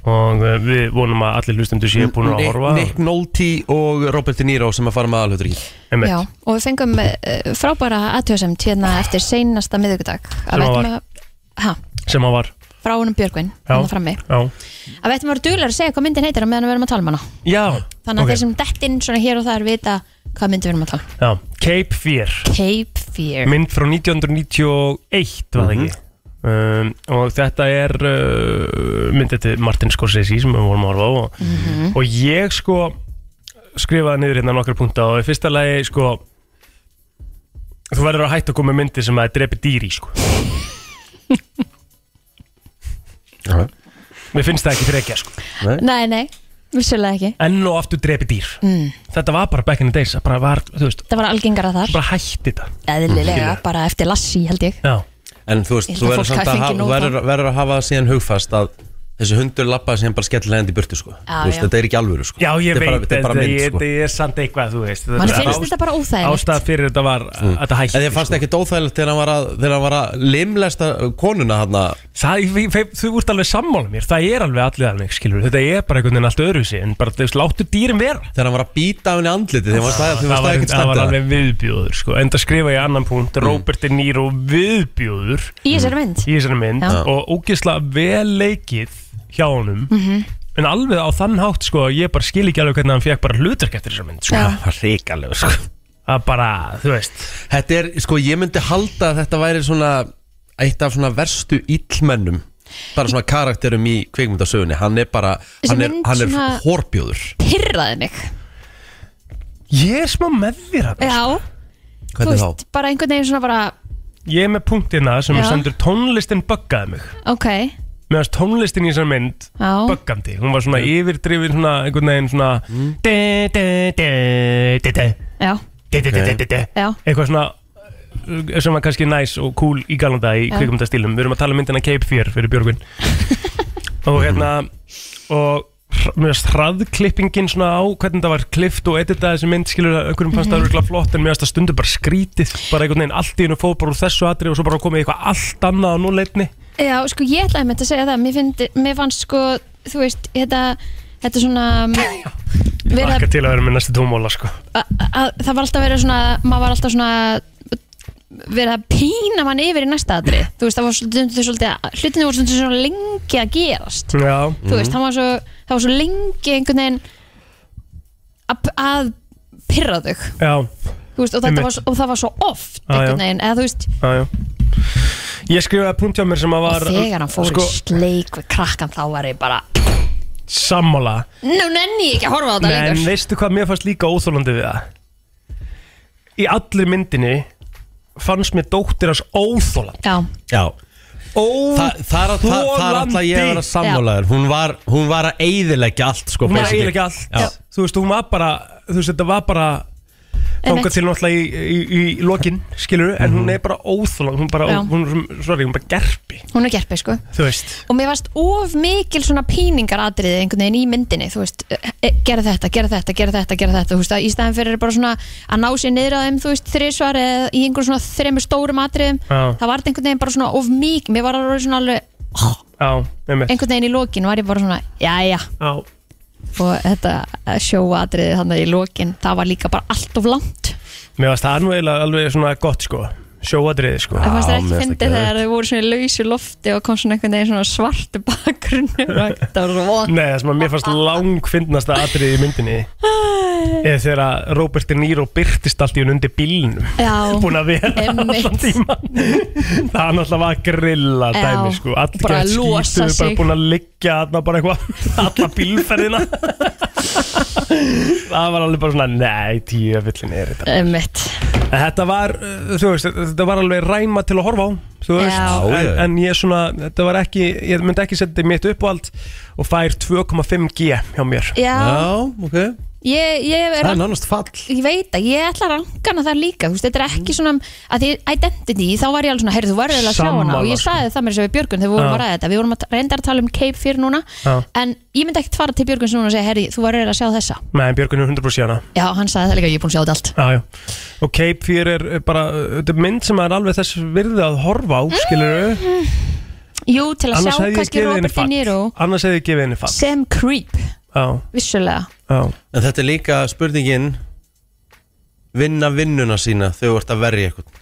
[SPEAKER 3] Og uh, við vonum að allir hlustundur séu búin að
[SPEAKER 1] Nick-
[SPEAKER 3] horfa
[SPEAKER 1] Nick Nolte og Robert De Niro sem að fara með aðalhutur í
[SPEAKER 3] Einmitt.
[SPEAKER 2] Já, og við fengum uh, frábæra aðtjóðsemt hérna eftir seinasta miðvikudag að
[SPEAKER 3] Sem
[SPEAKER 2] við
[SPEAKER 3] að
[SPEAKER 2] ættum að ha,
[SPEAKER 3] Sem hann var
[SPEAKER 2] frá honum Björgvin hérna frammi,
[SPEAKER 3] Já,
[SPEAKER 2] að við ættum að vera duglar að segja hvað myndin heitir á meðan við erum að tala um hana
[SPEAKER 3] já.
[SPEAKER 2] þannig að
[SPEAKER 3] ok.
[SPEAKER 2] þeir sem dettinn svona hér og þar vita hvað myndin við erum að tala um.
[SPEAKER 3] já. Cape Fear
[SPEAKER 2] Cape Fear
[SPEAKER 3] Mynd frá 1991 var það ekki
[SPEAKER 1] Mhm.
[SPEAKER 3] um, Og þetta er uh, myndið til Martin Scorsese sem við vorum að horfa á og,
[SPEAKER 2] Mhm.
[SPEAKER 3] og ég sko skrifaði niður hérna nokkra punkta og í fyrsta lagi sko Þú verður að hætta að koma með myndir sem að drepi dýri sko
[SPEAKER 1] Já,
[SPEAKER 3] Mér finnst það ekki frekja sko
[SPEAKER 2] Nei, nei, vissulega ekki
[SPEAKER 3] Enn og aftur drepi dýr mm. Þetta var bara back in the days það bara var, þú veist,
[SPEAKER 2] Það var algengara þar
[SPEAKER 3] bara hætti þetta
[SPEAKER 2] eðlilega, bara eftir lassi held ég
[SPEAKER 3] Já,
[SPEAKER 1] En þú veist,
[SPEAKER 2] Ég held
[SPEAKER 1] þú
[SPEAKER 2] að
[SPEAKER 1] verður
[SPEAKER 2] fólk
[SPEAKER 1] samt
[SPEAKER 2] hafi
[SPEAKER 1] að
[SPEAKER 2] fengið
[SPEAKER 1] hafa,
[SPEAKER 2] nóg
[SPEAKER 1] verður, verður að hafa síðan hugfast að þessi hundur lappa síðan bara skellilega hendi í burtu sko.
[SPEAKER 2] Já,
[SPEAKER 1] Þú veist,
[SPEAKER 2] já.
[SPEAKER 1] þetta er ekki alvöru sko.
[SPEAKER 3] já ég
[SPEAKER 1] þetta er bara,
[SPEAKER 3] veit
[SPEAKER 1] þetta er bara mynd
[SPEAKER 3] ég,
[SPEAKER 1] sko.
[SPEAKER 3] ég er samt eitthvað, þú veist
[SPEAKER 2] Man
[SPEAKER 3] Þetta er
[SPEAKER 2] finnst
[SPEAKER 3] ást-
[SPEAKER 2] þetta bara óþægilegt
[SPEAKER 3] Ástæða fyrir þetta var að þetta
[SPEAKER 1] Mm.
[SPEAKER 3] hætti sko.
[SPEAKER 1] En ég fannst ekkert óþægilegt þegar hann var að, þegar hann var að limlesta konuna hann
[SPEAKER 3] Það, við- við- þú ert alveg sammála mér, það er alveg allir alveg, skilur, þetta er bara einhvern veginn allt öðruvísi, en bara, þú veist, láttu dýrin vera.
[SPEAKER 1] þegar hann var að býta af henni andliti þegar hann var
[SPEAKER 3] Ah, það, var,
[SPEAKER 1] stæðið
[SPEAKER 3] það var
[SPEAKER 1] stæðið
[SPEAKER 3] alveg viðbjóður, sko, en það skrifa ég annan punkt, Robert De Niro viðbjóður
[SPEAKER 2] Í þessari mynd
[SPEAKER 3] Mm. í þessari mynd
[SPEAKER 2] Já.
[SPEAKER 3] og ógisla vel leikið hjá honum,
[SPEAKER 2] Mhm.
[SPEAKER 3] en alveg á þann hátt, sko, að ég bara skil ekki alveg hvernig hann fekk bara hlutverk eftir þessari mynd, sko.
[SPEAKER 2] Já.
[SPEAKER 1] Það var ríkalegu sko.
[SPEAKER 3] Það bara, þú veist,
[SPEAKER 1] Þetta er, sko, ég myndi halda að þetta væri svona eitt af svona verstu illmennum bara svona karakterum í kvikmyndasögunni hann er bara,
[SPEAKER 2] Þessi
[SPEAKER 1] hann er,
[SPEAKER 2] mynd
[SPEAKER 1] hann er
[SPEAKER 2] svona-
[SPEAKER 1] hórbjóður
[SPEAKER 2] Pyrraði mig
[SPEAKER 3] ég er smá með þér að
[SPEAKER 2] Já, þú
[SPEAKER 1] Hvernig
[SPEAKER 2] veist,
[SPEAKER 1] þá?
[SPEAKER 2] bara einhvern veginn svona bara
[SPEAKER 3] Ég er með punktina sem
[SPEAKER 2] Já.
[SPEAKER 3] sendur tónlistin buggaði mig.
[SPEAKER 2] Ok,
[SPEAKER 3] Mér fannst tónlistin í þessari mynd
[SPEAKER 2] já
[SPEAKER 3] böggandi, hún var svona yfirdrifin svona einhvern veginn svona de, de, de, de, de,
[SPEAKER 2] Já,
[SPEAKER 3] de, de, de, de, de, de.
[SPEAKER 2] já,
[SPEAKER 3] eitthvað svona uh, sem var kannski næs og cool í galanda í
[SPEAKER 2] Já.
[SPEAKER 3] kvikmyndastílum, við erum að tala um myndina Cape Fear fyrir Björgvin og hérna og hr- mér finnst hraðklippingin svona á hvernig það var klift og editað þessi mynd skilur að einhverjum
[SPEAKER 2] Mhm.
[SPEAKER 3] fannst það örgulega flott en mér finnst það stundu bara skrítið bara einhvern veginn allt í hennu fóð bara úr þessu atri og svo bara komið eitthvað allt annað á núleitni
[SPEAKER 2] já, sko ég ætlaði með þetta að segja það Mér, find, mér fannst sko, þú veist, þetta Þetta er svona verið að,
[SPEAKER 3] Akka til að vera með næstu tómóla sko
[SPEAKER 2] að, að, Það var alltaf verið svona Maður var alltaf svona verið að pína mann yfir í næsta atri Þú veist, það var svolítið, svolítið Hlutinu voru svolítið svona lengi að gerast
[SPEAKER 3] Já,
[SPEAKER 2] þú veist, það var svo, það var svo lengi einhvern veginn að, að pyrra þau
[SPEAKER 3] já,
[SPEAKER 2] þú veist, og, þetta
[SPEAKER 3] Einmitt.
[SPEAKER 2] var, svo- og það var svo oft
[SPEAKER 3] Já, já.
[SPEAKER 2] einhvern veginn, eða þú veist
[SPEAKER 3] Já, já. Ég skrifaði punkt hjá mér sem að var
[SPEAKER 2] og þegar hann fór
[SPEAKER 3] sko,
[SPEAKER 2] í sleik við krakkan þá var ég bara
[SPEAKER 3] Sammála
[SPEAKER 2] nú nenni ég ekki að horfa á þetta
[SPEAKER 3] En
[SPEAKER 2] lengur
[SPEAKER 3] veistu hvað mér fannst líka óþólandi við það Í allir myndinni fannst mér dóttir hans óþólandi
[SPEAKER 2] já,
[SPEAKER 1] Já, Þa, það er að- það- það er alltaf ég að vera
[SPEAKER 3] Óþólandi
[SPEAKER 1] sammálaður hún var, hún var að eyðileggja allt sko,
[SPEAKER 3] Hún var
[SPEAKER 1] basically.
[SPEAKER 3] eiginlega allt
[SPEAKER 1] Já.
[SPEAKER 3] Þú veist, hún var bara Þú veist, þetta var bara Þangað
[SPEAKER 2] Einmitt.
[SPEAKER 3] til náttúrulega í, í, í, í lokin Skilur, en
[SPEAKER 1] Mhm.
[SPEAKER 3] hún er bara óþólandi Hún bara,
[SPEAKER 2] Já.
[SPEAKER 3] hún, sorry, hún bara gerpi
[SPEAKER 2] hún er gerpi sko
[SPEAKER 3] Þú veist
[SPEAKER 2] og mér varst of mikil svona píningaradriði einhvern veginn í myndinni þú veist, eh, eh, gera þetta, gera þetta, gera þetta, gera þetta þú veist, að í staðin fyrir bara svona að ná sér niður að þeim, þú veist, þrisvar eða í einhverjum svona þremur stórum atriðum
[SPEAKER 3] Já.
[SPEAKER 2] það var einhvern veginn bara svona of mikil mér var alveg svona alveg,
[SPEAKER 3] Já, einmitt
[SPEAKER 2] einhvern veginn í lokin var ég bara svona, jæja
[SPEAKER 3] Já,
[SPEAKER 2] og þetta sjóatriði þannig í lokin, það var líka bara allt of langt
[SPEAKER 3] Mér varst það nú eiginlega alveg svona gott sko sjóadriði sko
[SPEAKER 2] Það fannst
[SPEAKER 1] mér
[SPEAKER 2] þér
[SPEAKER 1] finnst
[SPEAKER 2] ekki
[SPEAKER 1] það
[SPEAKER 2] fyndið
[SPEAKER 1] geðveikt.
[SPEAKER 2] þegar þau voru svona í lausu lofti og kom svona einhvern veginn svona svartu bakgrunni Það var svona vond
[SPEAKER 3] Nei, það sem að mér fannst langfinnasta atriði í myndinni er þegar að Robert De Niro byrtist allt í hún undir bílnum
[SPEAKER 2] Já,
[SPEAKER 3] búin að vera
[SPEAKER 2] Einmitt.
[SPEAKER 3] allan tíman það náttúrulega var grilla
[SPEAKER 2] Já.
[SPEAKER 3] dæmi sko, allir
[SPEAKER 2] Bara
[SPEAKER 3] gett
[SPEAKER 2] losa
[SPEAKER 3] skítuðu, bara
[SPEAKER 2] sig.
[SPEAKER 3] búin að liggja þarna bara eitthvað alla bílferðina það var alveg bara svona nei, tíu að villin er þetta
[SPEAKER 2] mitt
[SPEAKER 3] En þetta var, uh, þú veist, þetta var alveg ræma til að horfa á, þú veist
[SPEAKER 2] Já.
[SPEAKER 1] Já,
[SPEAKER 3] en,
[SPEAKER 1] já.
[SPEAKER 3] en ég svona, þetta var ekki ég myndi ekki setja þetta í mitt uppáhald og fær 2,5G hjá mér
[SPEAKER 2] Já,
[SPEAKER 1] Já, ok
[SPEAKER 2] ég, ég,
[SPEAKER 1] Það
[SPEAKER 2] er,
[SPEAKER 1] er nánast fall
[SPEAKER 2] ég veit að ég ætla að rangana það líka þú veist, Þetta er ekki
[SPEAKER 3] Mm.
[SPEAKER 2] svona, að því identity þá var ég alveg svona, heyrðu, þú verður eiginlega að sjá hana
[SPEAKER 3] Sammála,
[SPEAKER 2] og ég
[SPEAKER 3] sko.
[SPEAKER 2] sagði það mér sem við Björgun þegar við vorum
[SPEAKER 3] Já.
[SPEAKER 2] að ræða þetta Við vorum að reynda að tala um Cape fyrir núna
[SPEAKER 3] Já.
[SPEAKER 2] en ég myndi ekkert fara til Björguns núna og segja, heyrðu, þú verður eiginlega að sjá þessa
[SPEAKER 3] Nei, Björgun er 100% hana
[SPEAKER 2] Já, hann sagði það líka, ég er búin að sjá þetta allt
[SPEAKER 3] Já, já. Og Cape Fear er uh, bara, uh, þetta er mynd sem er alveg þess virði að horfa á, skilur þau?
[SPEAKER 2] Jú, til að
[SPEAKER 3] Annars
[SPEAKER 2] sjá
[SPEAKER 3] hefði
[SPEAKER 2] Mm,
[SPEAKER 3] ég
[SPEAKER 2] kannski
[SPEAKER 3] gefið henni
[SPEAKER 2] Robert De Niro
[SPEAKER 3] fall. Annars hefði ég gefið henni fall.
[SPEAKER 2] sem creep,
[SPEAKER 3] Já,
[SPEAKER 2] vissulega
[SPEAKER 3] já.
[SPEAKER 1] En þetta er líka spurningin Vinna vinnuna sína þegar þú ert að verja eitthvað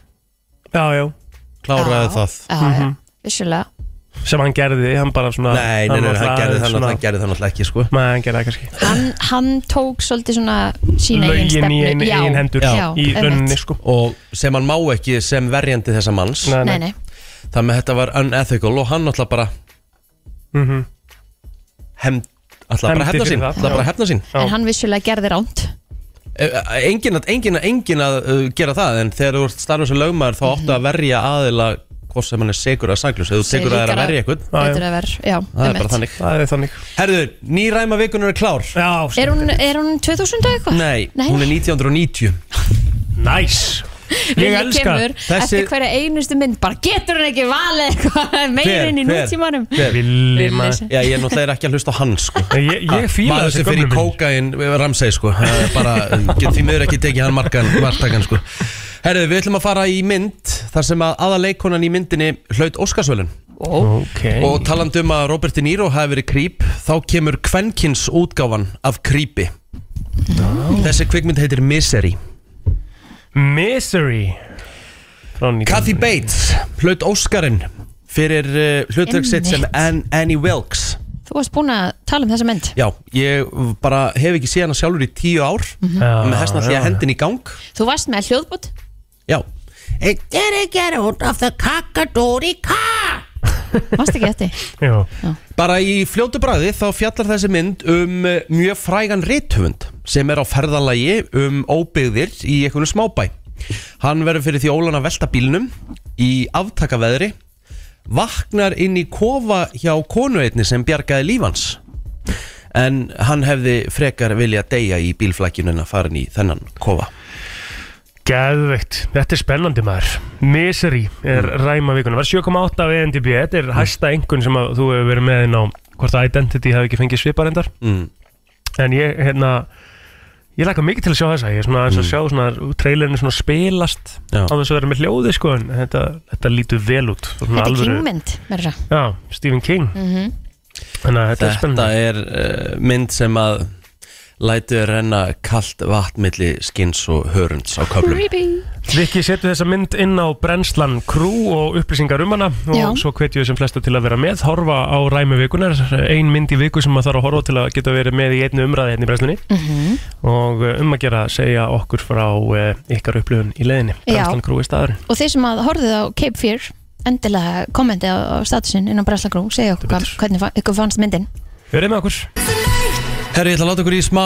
[SPEAKER 3] Já, já.
[SPEAKER 1] Kláraði
[SPEAKER 2] Já,
[SPEAKER 1] það
[SPEAKER 2] já, já,
[SPEAKER 3] Mhm.
[SPEAKER 2] vissulega
[SPEAKER 3] Sem hann gerði, hann bara svona...
[SPEAKER 1] Nei, nei, nei,
[SPEAKER 3] var
[SPEAKER 1] hann
[SPEAKER 3] svona
[SPEAKER 1] gerði það
[SPEAKER 3] aðeins
[SPEAKER 1] náttúrulega- hann gerði það náttúrulega ekki sko
[SPEAKER 3] Nei, hann gerði það kannski.
[SPEAKER 2] hann, hann tók svolítið svona sína eigin
[SPEAKER 3] Lögin í
[SPEAKER 2] stefnu.
[SPEAKER 3] einu
[SPEAKER 2] Já,
[SPEAKER 3] ein hendur
[SPEAKER 2] já,
[SPEAKER 3] í
[SPEAKER 2] einmitt.
[SPEAKER 3] rauninni, sko.
[SPEAKER 1] Og sem hann má ekki sem verjandi þessa manns
[SPEAKER 2] Nei, nei,
[SPEAKER 1] Þannig að þetta var unethical og hann náttúrulega bara
[SPEAKER 3] Mm -hmm.
[SPEAKER 1] hefnd Ætlaði bara að
[SPEAKER 3] Hefndi
[SPEAKER 1] hefna
[SPEAKER 3] fyrir
[SPEAKER 1] sín,
[SPEAKER 3] það.
[SPEAKER 1] ætlaði bara að hefna sín
[SPEAKER 3] Já.
[SPEAKER 2] en hann vissulega gerði ránt
[SPEAKER 1] E- e- Engin að, engin að, engin að uh, gera það En þegar þú ert starfum sem lögmaður þá áttu að verja aðila Hvort sem hann er segur að saklus Þegar þú tekur að það er að verja eitthvað
[SPEAKER 3] Já, já.
[SPEAKER 2] Betur að vera, já,
[SPEAKER 1] Það er
[SPEAKER 2] einmitt.
[SPEAKER 1] bara þannig
[SPEAKER 3] Það er þannig.
[SPEAKER 1] Herðu, ný ræma vikunur er klár
[SPEAKER 3] Já,
[SPEAKER 2] er hún, er hún 2000 og eitthvað?
[SPEAKER 1] Nei,
[SPEAKER 2] Nei.
[SPEAKER 1] hún er 1990
[SPEAKER 3] Næs. Ég
[SPEAKER 2] Lilja
[SPEAKER 3] elska.
[SPEAKER 2] kemur
[SPEAKER 1] Þessi-
[SPEAKER 2] eftir hverja einustu mynd bara getur hún ekki valið eitthvað meirinn í
[SPEAKER 1] Hver?
[SPEAKER 2] nútímanum
[SPEAKER 1] Hver?
[SPEAKER 3] Villi
[SPEAKER 2] Villi
[SPEAKER 3] maður.
[SPEAKER 2] sem-
[SPEAKER 1] Já, ég er náttúrulega ekki að hlusta á hann sko
[SPEAKER 3] Ég, ég fíla
[SPEAKER 1] Maður
[SPEAKER 3] þessi
[SPEAKER 1] sem fyrir
[SPEAKER 3] gömlu mynd.
[SPEAKER 1] kókain Ramsey sko Það er bara, get því miður ekki tekið hann markan, martakan sko Herðu, við ætlum að fara í mynd Þar sem að aða leikonan í myndinni hlaut Óskarsvölun
[SPEAKER 2] Ó,
[SPEAKER 3] Ok.
[SPEAKER 1] Og talandi um að Robert De Niro hafi verið Creep Þá kemur kvenkins útgáfan af Creepi Þessi kvikmynd heitir Misery
[SPEAKER 3] Misery. Frá 19.
[SPEAKER 1] Kathy Bates hlaut Óskarinn Fyrir uh, hlutverk sitt sem Ann, Annie Wilkes
[SPEAKER 2] þú varst búin að tala um þessa mynd
[SPEAKER 1] Já, ég bara hef ekki séð hana sjálfur í tíu ár
[SPEAKER 3] Mhm. Já,
[SPEAKER 1] með þessna því að hendin í gang
[SPEAKER 2] þú varst með hljóðbútt
[SPEAKER 1] Já, Hey,
[SPEAKER 2] varst ekki þetta
[SPEAKER 3] Já.
[SPEAKER 1] bara í fljótu bræði þá fjallar þessi mynd um eh, mjög frægan rithöfund sem er á ferðalagi um óbyggðir í einhvern smábæ Hann verður fyrir því ólan að velta bílnum í aftakaveðri vaknar inn í kofa hjá konueitni sem bjargaði lífans en hann hefði frekar vilja deyja í bílflækjunina farin í þennan kofa
[SPEAKER 3] Gæðveikt, þetta er spennandi maður Misery er
[SPEAKER 1] Mm.
[SPEAKER 3] ræma vikuna Var 7,8 af ENDB Þetta er hæsta engun sem að þú hefur verið með inn á Hvort að Identity hafi ekki fengið sviparendar
[SPEAKER 1] mm.
[SPEAKER 3] En ég, hérna Ég lækka mikið til að sjá þessa Ég er svona aðeins að sjá svona Trailerinu svona spilast
[SPEAKER 1] Mm. Já.
[SPEAKER 3] Á þess að vera með hljóði sko En þetta, þetta lítur vel út Þetta
[SPEAKER 2] þetta er kingmynd meira að segja.
[SPEAKER 3] Já, Stephen King
[SPEAKER 2] Mhm.
[SPEAKER 3] Þannig að þetta er
[SPEAKER 1] Þetta
[SPEAKER 3] spennandi
[SPEAKER 1] er uh, mynd sem að lætur renna kalt vatnmilli skins og hörunds á köflum
[SPEAKER 2] creepy
[SPEAKER 3] Viki setur þessa mynd inn á brennslan krú og upplýsingar um hana og
[SPEAKER 2] Já.
[SPEAKER 3] svo hvetjum við sem flesta til að vera með horfa á ræmi vikunar, ein mynd í viku sem maður þarf að horfa á til að geta verið með í einni umræði hérna í brennslunni
[SPEAKER 2] Mhm.
[SPEAKER 3] og eh, um að gera að segja okkur frá eh, ykkar upplöfun í leiðinni,
[SPEAKER 2] Já.
[SPEAKER 3] brennslan krú í staðurinn
[SPEAKER 2] og þeir sem að horfið á Cape Fear endilega kommentið á statusinn inn á Breslagrú, segja okkur hvað, hvernig fa- ykkur fannst myndin
[SPEAKER 3] Verið með okkur
[SPEAKER 1] Herri, ég ætla að láta okkur í smá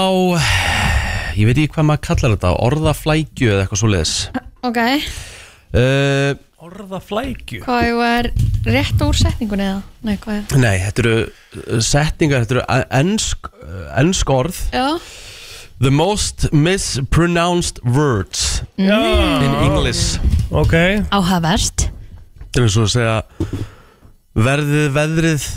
[SPEAKER 1] Ég veit ekki hvað maður kallar þetta Orðaflækju eða eitthvað svoleiðis
[SPEAKER 2] ok,
[SPEAKER 1] uh,
[SPEAKER 3] Orða flækju
[SPEAKER 2] hvað ég var rétt úr setningunni eða, nei hvað er
[SPEAKER 1] Nei, þetta eru uh, setningar Þetta eru eh, ennsk, uh, ennsk orð
[SPEAKER 2] já,
[SPEAKER 1] The most mispronounced words In English
[SPEAKER 3] Ok,
[SPEAKER 2] áhafast
[SPEAKER 1] Þetta er eins og að segja Verðið veðrið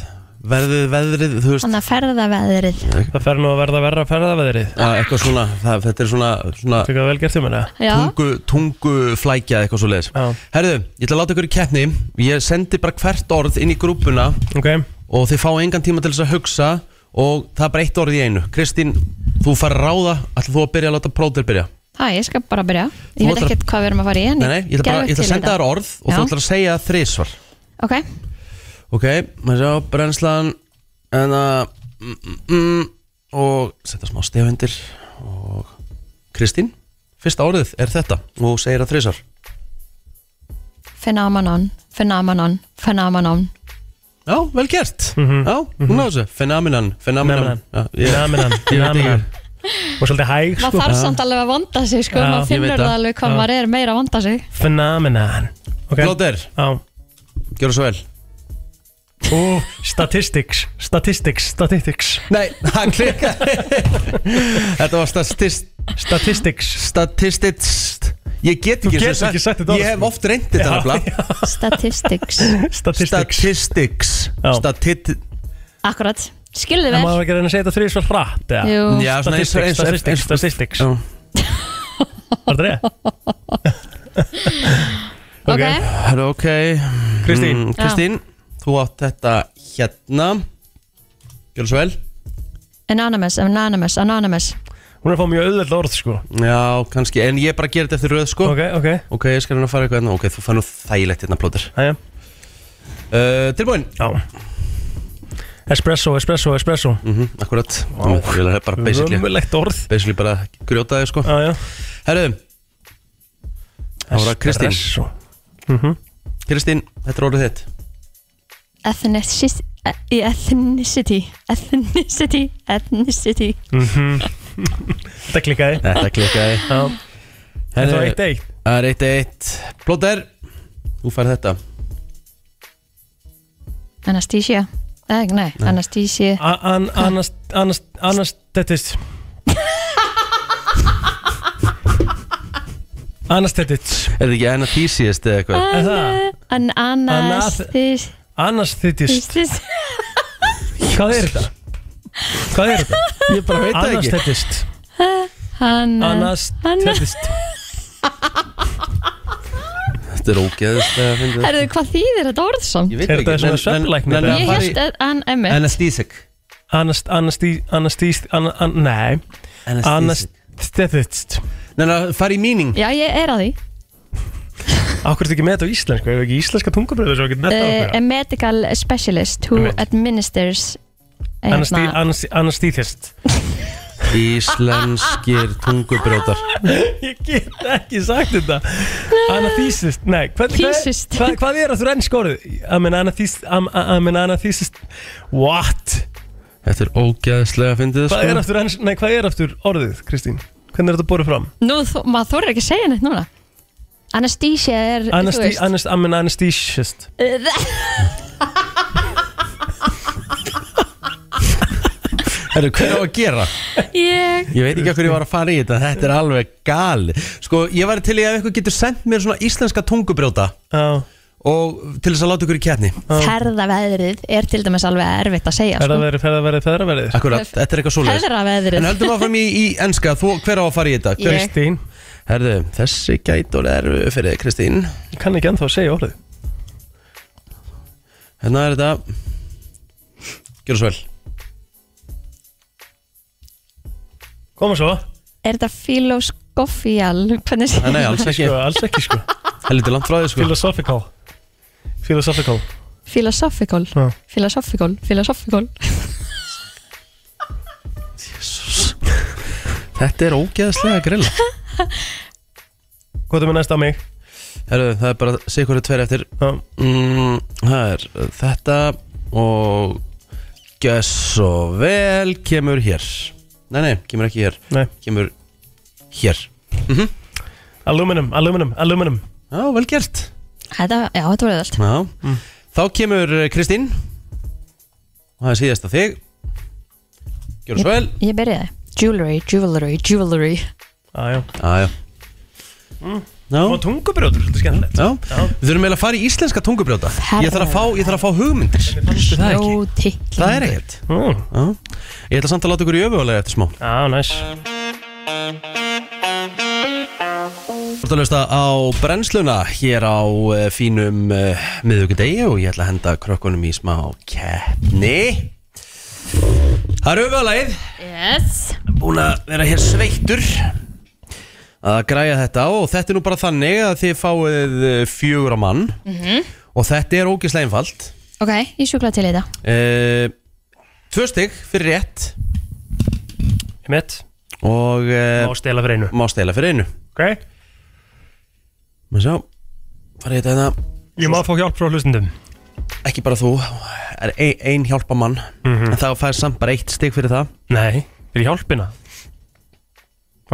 [SPEAKER 1] Verðið veðrið, þú veist
[SPEAKER 2] þannig að ferðaveðrið
[SPEAKER 3] það fer nú að verða verra ferðaveðrið
[SPEAKER 1] að Ah, Eitthvað svona, það, þetta er svona, svona
[SPEAKER 3] Fikk það vel gert um hana?
[SPEAKER 2] já,
[SPEAKER 1] tungu, tungu flækja eða eitthvað svo leiðis
[SPEAKER 3] Já.
[SPEAKER 1] Herðu, ég ætla að láta ykkur í keppni Ég sendi bara hvert orð inn í grúpuna
[SPEAKER 3] Ok,
[SPEAKER 1] og þið fá engan tíma til þess að hugsa og það er bara eitt orð í einu Kristín, þú fær að ráða Ætlar þú að byrja að láta prótir byrja?
[SPEAKER 2] það ég skal bara byrja
[SPEAKER 1] Þú
[SPEAKER 2] Ég veit
[SPEAKER 1] ætlar að-
[SPEAKER 2] ekkert hvað við erum að fara í en
[SPEAKER 1] Nei, nei, ég ætla bara ég ætla að senda þér orð og þú ætlar að segja það þrisvar
[SPEAKER 2] Ok,
[SPEAKER 1] Ok, maður sjá, brennslan En að mm, mm, mm, Og setja smá stefundir Og Kristín, fyrsta orðið er þetta Og þú segir það þrisvar
[SPEAKER 2] phenomenon, phenomenon, phenomenon
[SPEAKER 1] Sko. Já, vel gert
[SPEAKER 3] Mhm.
[SPEAKER 1] Já, hún á þessu Phenomenon Phenomenon
[SPEAKER 3] Phenomenon.
[SPEAKER 1] Já, ég-
[SPEAKER 3] Phenomenon,
[SPEAKER 1] Ég veit ekki.
[SPEAKER 3] phenomenon. og svolítið hæg
[SPEAKER 2] Maður
[SPEAKER 3] sko
[SPEAKER 2] þarf samt alveg að vanda sig sko,
[SPEAKER 3] Já,
[SPEAKER 2] maður
[SPEAKER 3] ég
[SPEAKER 2] finnur
[SPEAKER 1] veit
[SPEAKER 2] það
[SPEAKER 1] það.
[SPEAKER 2] alveg hvað
[SPEAKER 3] Já.
[SPEAKER 2] maður er meira að vanda sig
[SPEAKER 3] Phenomenon Ok.
[SPEAKER 1] Blóter,
[SPEAKER 3] Já.
[SPEAKER 1] gjör það svo vel
[SPEAKER 3] Ó, Statistics Statistics Statistics
[SPEAKER 1] Nei, hann klikka Þetta var statist
[SPEAKER 3] Statistics
[SPEAKER 1] Statistist Ég get
[SPEAKER 3] Þú
[SPEAKER 1] ekki
[SPEAKER 3] getur
[SPEAKER 1] þessu
[SPEAKER 3] ekki sagt þetta orð,
[SPEAKER 1] Ég hef
[SPEAKER 3] sko.
[SPEAKER 1] oft reyndið þetta
[SPEAKER 3] Já,
[SPEAKER 1] nefnilega
[SPEAKER 2] Statistics,
[SPEAKER 3] Statistics
[SPEAKER 1] Statistics
[SPEAKER 3] Já.
[SPEAKER 1] Statit
[SPEAKER 2] akkurat Skilðu
[SPEAKER 3] En
[SPEAKER 2] vel
[SPEAKER 3] maður var ekki að reyna að segja þetta þrið svo hratt eða?
[SPEAKER 2] Jú,
[SPEAKER 1] Já, svona eins- eins-
[SPEAKER 3] Statistics,
[SPEAKER 1] eins- eins-
[SPEAKER 3] statistics, statistics.
[SPEAKER 1] Já. Mm.
[SPEAKER 3] Var þetta reyð?
[SPEAKER 2] ok,
[SPEAKER 1] Herra, ok
[SPEAKER 3] Kristín.
[SPEAKER 1] Mm, Kristín, þú átt þetta hérna Gjör það svo vel
[SPEAKER 2] Anonymous, anonymous, anonymous
[SPEAKER 3] Hún er að fá mjög auðveld orð sko
[SPEAKER 1] Mm. Já, kannski, en ég bara ger þetta eftir röð sko
[SPEAKER 3] Ok, ok
[SPEAKER 1] Ok, ég skal hérna fara eitthvað hérna Ok, þú fann nú þægilegt hérna plóter
[SPEAKER 3] Æja
[SPEAKER 1] uh, Tilbúin
[SPEAKER 3] Já Espresso, espresso, espresso
[SPEAKER 1] mm -hmm, Akkurat wow. Það er bara basically
[SPEAKER 3] Römmulegt orð
[SPEAKER 1] Basically bara grjótaði sko
[SPEAKER 3] Já, já
[SPEAKER 1] Herru, Það var að Kristín.
[SPEAKER 3] Espresso.
[SPEAKER 1] Kristín, þetta er orðið þitt
[SPEAKER 2] Ethnicis- e- Ethnicity Ethnicity Ethnicity
[SPEAKER 3] Þetta klikkaði
[SPEAKER 1] Þetta klikkaði
[SPEAKER 3] Já Þetta var eitt eitt
[SPEAKER 1] Það er eitt eitt Plóter, þú fær þetta
[SPEAKER 2] Anesthesia Eh, Nei, nei, anesthesia
[SPEAKER 3] Anastetist Anastetist
[SPEAKER 1] Er þetta ekki anathesiast eða
[SPEAKER 2] Ah.
[SPEAKER 1] eitthvað?
[SPEAKER 3] Er það?
[SPEAKER 2] An Anesthesia
[SPEAKER 3] Anastetist Hvað er þetta? Hvað er þetta?
[SPEAKER 1] Ég bara veit það ekki
[SPEAKER 3] Anastetist
[SPEAKER 2] Anesthesia
[SPEAKER 3] Anastetist
[SPEAKER 1] Þetta er ógeðislega að finna
[SPEAKER 2] Herðu, hvað þýðir þetta orð samt?
[SPEAKER 1] Ég veit
[SPEAKER 3] Er
[SPEAKER 1] ekki
[SPEAKER 3] þetta svona svefnlæknir eða?
[SPEAKER 2] Ég held að an emmi
[SPEAKER 1] Anesthetic
[SPEAKER 3] Anast, anastí, anastíst, an, an, nei
[SPEAKER 1] Anesthetic
[SPEAKER 3] Anastetist
[SPEAKER 1] Nei, það fari í míning
[SPEAKER 2] Já, ég er að því
[SPEAKER 3] Akkur er ekki með þetta á íslensku, hefur ekki íslenska tungabröðu svo ekki netta
[SPEAKER 2] uh,
[SPEAKER 3] á
[SPEAKER 2] A medical specialist who
[SPEAKER 3] Einmitt.
[SPEAKER 2] administers eh,
[SPEAKER 3] hverja
[SPEAKER 2] hérna,
[SPEAKER 3] Anastíðist
[SPEAKER 1] Íslenskir tungubrjótar
[SPEAKER 3] Ég get ekki sagt þetta Anathísist, nei hvað,
[SPEAKER 2] Thysist.
[SPEAKER 3] hvað, hvað er að þú renn skórið? I mean anathísist I mean anathísist What?
[SPEAKER 1] Þetta er ógeðislega að finna
[SPEAKER 3] Hvað er
[SPEAKER 1] þetta sko
[SPEAKER 3] aftur, ens- nei, hvað er aftur orðið, Kristín? Hvernig er þetta borðið fram?
[SPEAKER 2] Nú, þú, maður þorir ekki að segja neitt núna Anesthesia er,
[SPEAKER 3] Anastí,
[SPEAKER 2] þú
[SPEAKER 3] anast, I mean anesthesist
[SPEAKER 2] veist
[SPEAKER 1] Herru, hvað er það að gera?
[SPEAKER 2] Ég
[SPEAKER 1] Ég veit ekki hvað ég var að fara í þetta Þetta er alveg gali Sko, ég væri til í að eitthvað getur sendt mér svona íslenska tungubrjóta
[SPEAKER 3] Já,
[SPEAKER 1] Og til þess að láta ykkur í kjarni
[SPEAKER 2] Ferðaveðrið er til dæmis alveg erfitt að segja sko.
[SPEAKER 3] ferðaverið, ferðaverið, ferðaverið
[SPEAKER 1] Akkurat, þetta er eitthvað svoleiðis En
[SPEAKER 2] Ferðaveðrið
[SPEAKER 1] höldum áfram í, í enska, þú, hver á að fara í þetta? Hver,
[SPEAKER 2] Ég.
[SPEAKER 3] Kristín,
[SPEAKER 1] Herðu, þessi gætur er fyrir þig, Kristín
[SPEAKER 3] ég kann ekki ennþá að segja orðið
[SPEAKER 1] Hérna er þetta Gjör svo vel
[SPEAKER 3] Koma svo
[SPEAKER 2] Er þetta filoskofial? Hvernig
[SPEAKER 1] Nei,
[SPEAKER 2] segir
[SPEAKER 1] Nei, alls ekki,
[SPEAKER 3] Sko, alls ekki sko
[SPEAKER 1] það er lítið langt frá þig sko
[SPEAKER 3] Philosophical Philosophical
[SPEAKER 2] Philosophical
[SPEAKER 3] Já.
[SPEAKER 2] Philosophical Philosophical
[SPEAKER 1] Þetta er ógeðslega grill
[SPEAKER 3] Hvað er með næst á mig?
[SPEAKER 1] Herðu, það er bara sigur tveir eftir
[SPEAKER 3] Já,
[SPEAKER 1] mm, Það er þetta og Gjör svo vel kemur hér Nei, nei, kemur ekki hér
[SPEAKER 3] nei
[SPEAKER 1] Kemur hér
[SPEAKER 3] Aluminum, aluminum, aluminum
[SPEAKER 1] Já, vel gert
[SPEAKER 2] Þetta, já, þetta voru allt
[SPEAKER 1] Já. Þá kemur eh, Kristín og það er síðast að þig Gjör svo vel
[SPEAKER 2] Ég byrjaði Jewelry, jewelry, jewelry
[SPEAKER 3] Já, já
[SPEAKER 1] Já, já Já,
[SPEAKER 3] Og tungubrjótur, svolítið skemmtilegt
[SPEAKER 1] já Við þurfum eiginlega að fara í íslenska tungubrjóta
[SPEAKER 2] Herra.
[SPEAKER 1] Ég þarf að fá, ég þarf að fá hugmyndir
[SPEAKER 3] það ekki?
[SPEAKER 2] Snjóti
[SPEAKER 1] Það er ekkert
[SPEAKER 3] Mm.
[SPEAKER 1] Já. Ég ætla samt að láta ykkur í öfugulega eftir smá
[SPEAKER 3] Já, næs
[SPEAKER 1] Þú ert að hlusta á brennsluna hér á eh, fínum uh, miðugdegi og ég ætla að henda krökkunum í smá keppni Það er öfugulegið
[SPEAKER 2] Yes
[SPEAKER 1] búin að vera hér sveittur að græja þetta og þetta er nú bara þannig að þið fáið eh, fjögur á mann og þetta er ógislega einfalt
[SPEAKER 2] Ok, ég sjúkla til í þetta
[SPEAKER 1] uh, Tvö stygg fyrir rétt
[SPEAKER 3] Emmett,
[SPEAKER 1] og uh,
[SPEAKER 3] má stela fyrir einu
[SPEAKER 1] má stela fyrir einu
[SPEAKER 3] Ok,
[SPEAKER 1] Má sjá, farið þetta hérna
[SPEAKER 3] ég má fá hjálp frá hlustendum
[SPEAKER 1] ekki bara þú, er ein, ein hjálpamann
[SPEAKER 3] Mhm.
[SPEAKER 1] en það fær samt bara eitt stygg fyrir það
[SPEAKER 3] Nei, fyrir hjálpina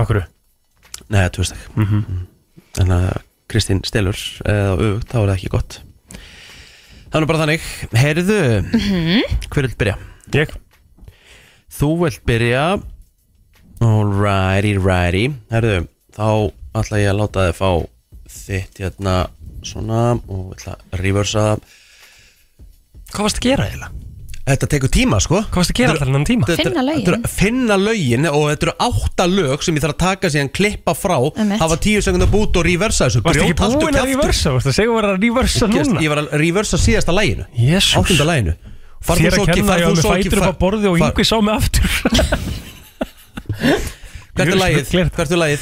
[SPEAKER 3] Akkur
[SPEAKER 1] Nei, það er tvö stygg En að Kristín stelur eða auðvögt, þá er það ekki gott Það er nú bara þannig, heyrðu Hver vilt byrja?
[SPEAKER 3] Ég,
[SPEAKER 1] Þú vilt byrja Alrighty, righty Herðu, þá ætla ég að láta þið fá þitt hérna svona og ætla að reversa það.
[SPEAKER 3] hvað varst að gera eiginlega?
[SPEAKER 1] Þetta tekur tíma sko
[SPEAKER 3] Hvað varst að gera allan enn tíma?
[SPEAKER 1] Þetta er-
[SPEAKER 2] Finna lögin.
[SPEAKER 1] þetta er- Finna lögin og þetta eru átta lög sem ég þarf að taka síðan klippa frá
[SPEAKER 2] Einmitt.
[SPEAKER 1] hafa tíu sekundar bút og reversa þessu
[SPEAKER 3] Varst ekki
[SPEAKER 1] Grjót, haltu
[SPEAKER 3] búin að
[SPEAKER 1] kjafti.
[SPEAKER 3] reversa? Varst að segja að vera að reversa
[SPEAKER 1] Gerst-
[SPEAKER 3] núna?
[SPEAKER 1] Ég var að reversa síðasta læginu
[SPEAKER 3] Jesús.
[SPEAKER 1] Áttunda læginu
[SPEAKER 3] Þér að kenna ég var með fætur upp á borði og yngvi sá mig aftur
[SPEAKER 1] Hvert er
[SPEAKER 3] Ég er
[SPEAKER 1] lægið?
[SPEAKER 3] svo glert.
[SPEAKER 1] Hvert er lægið?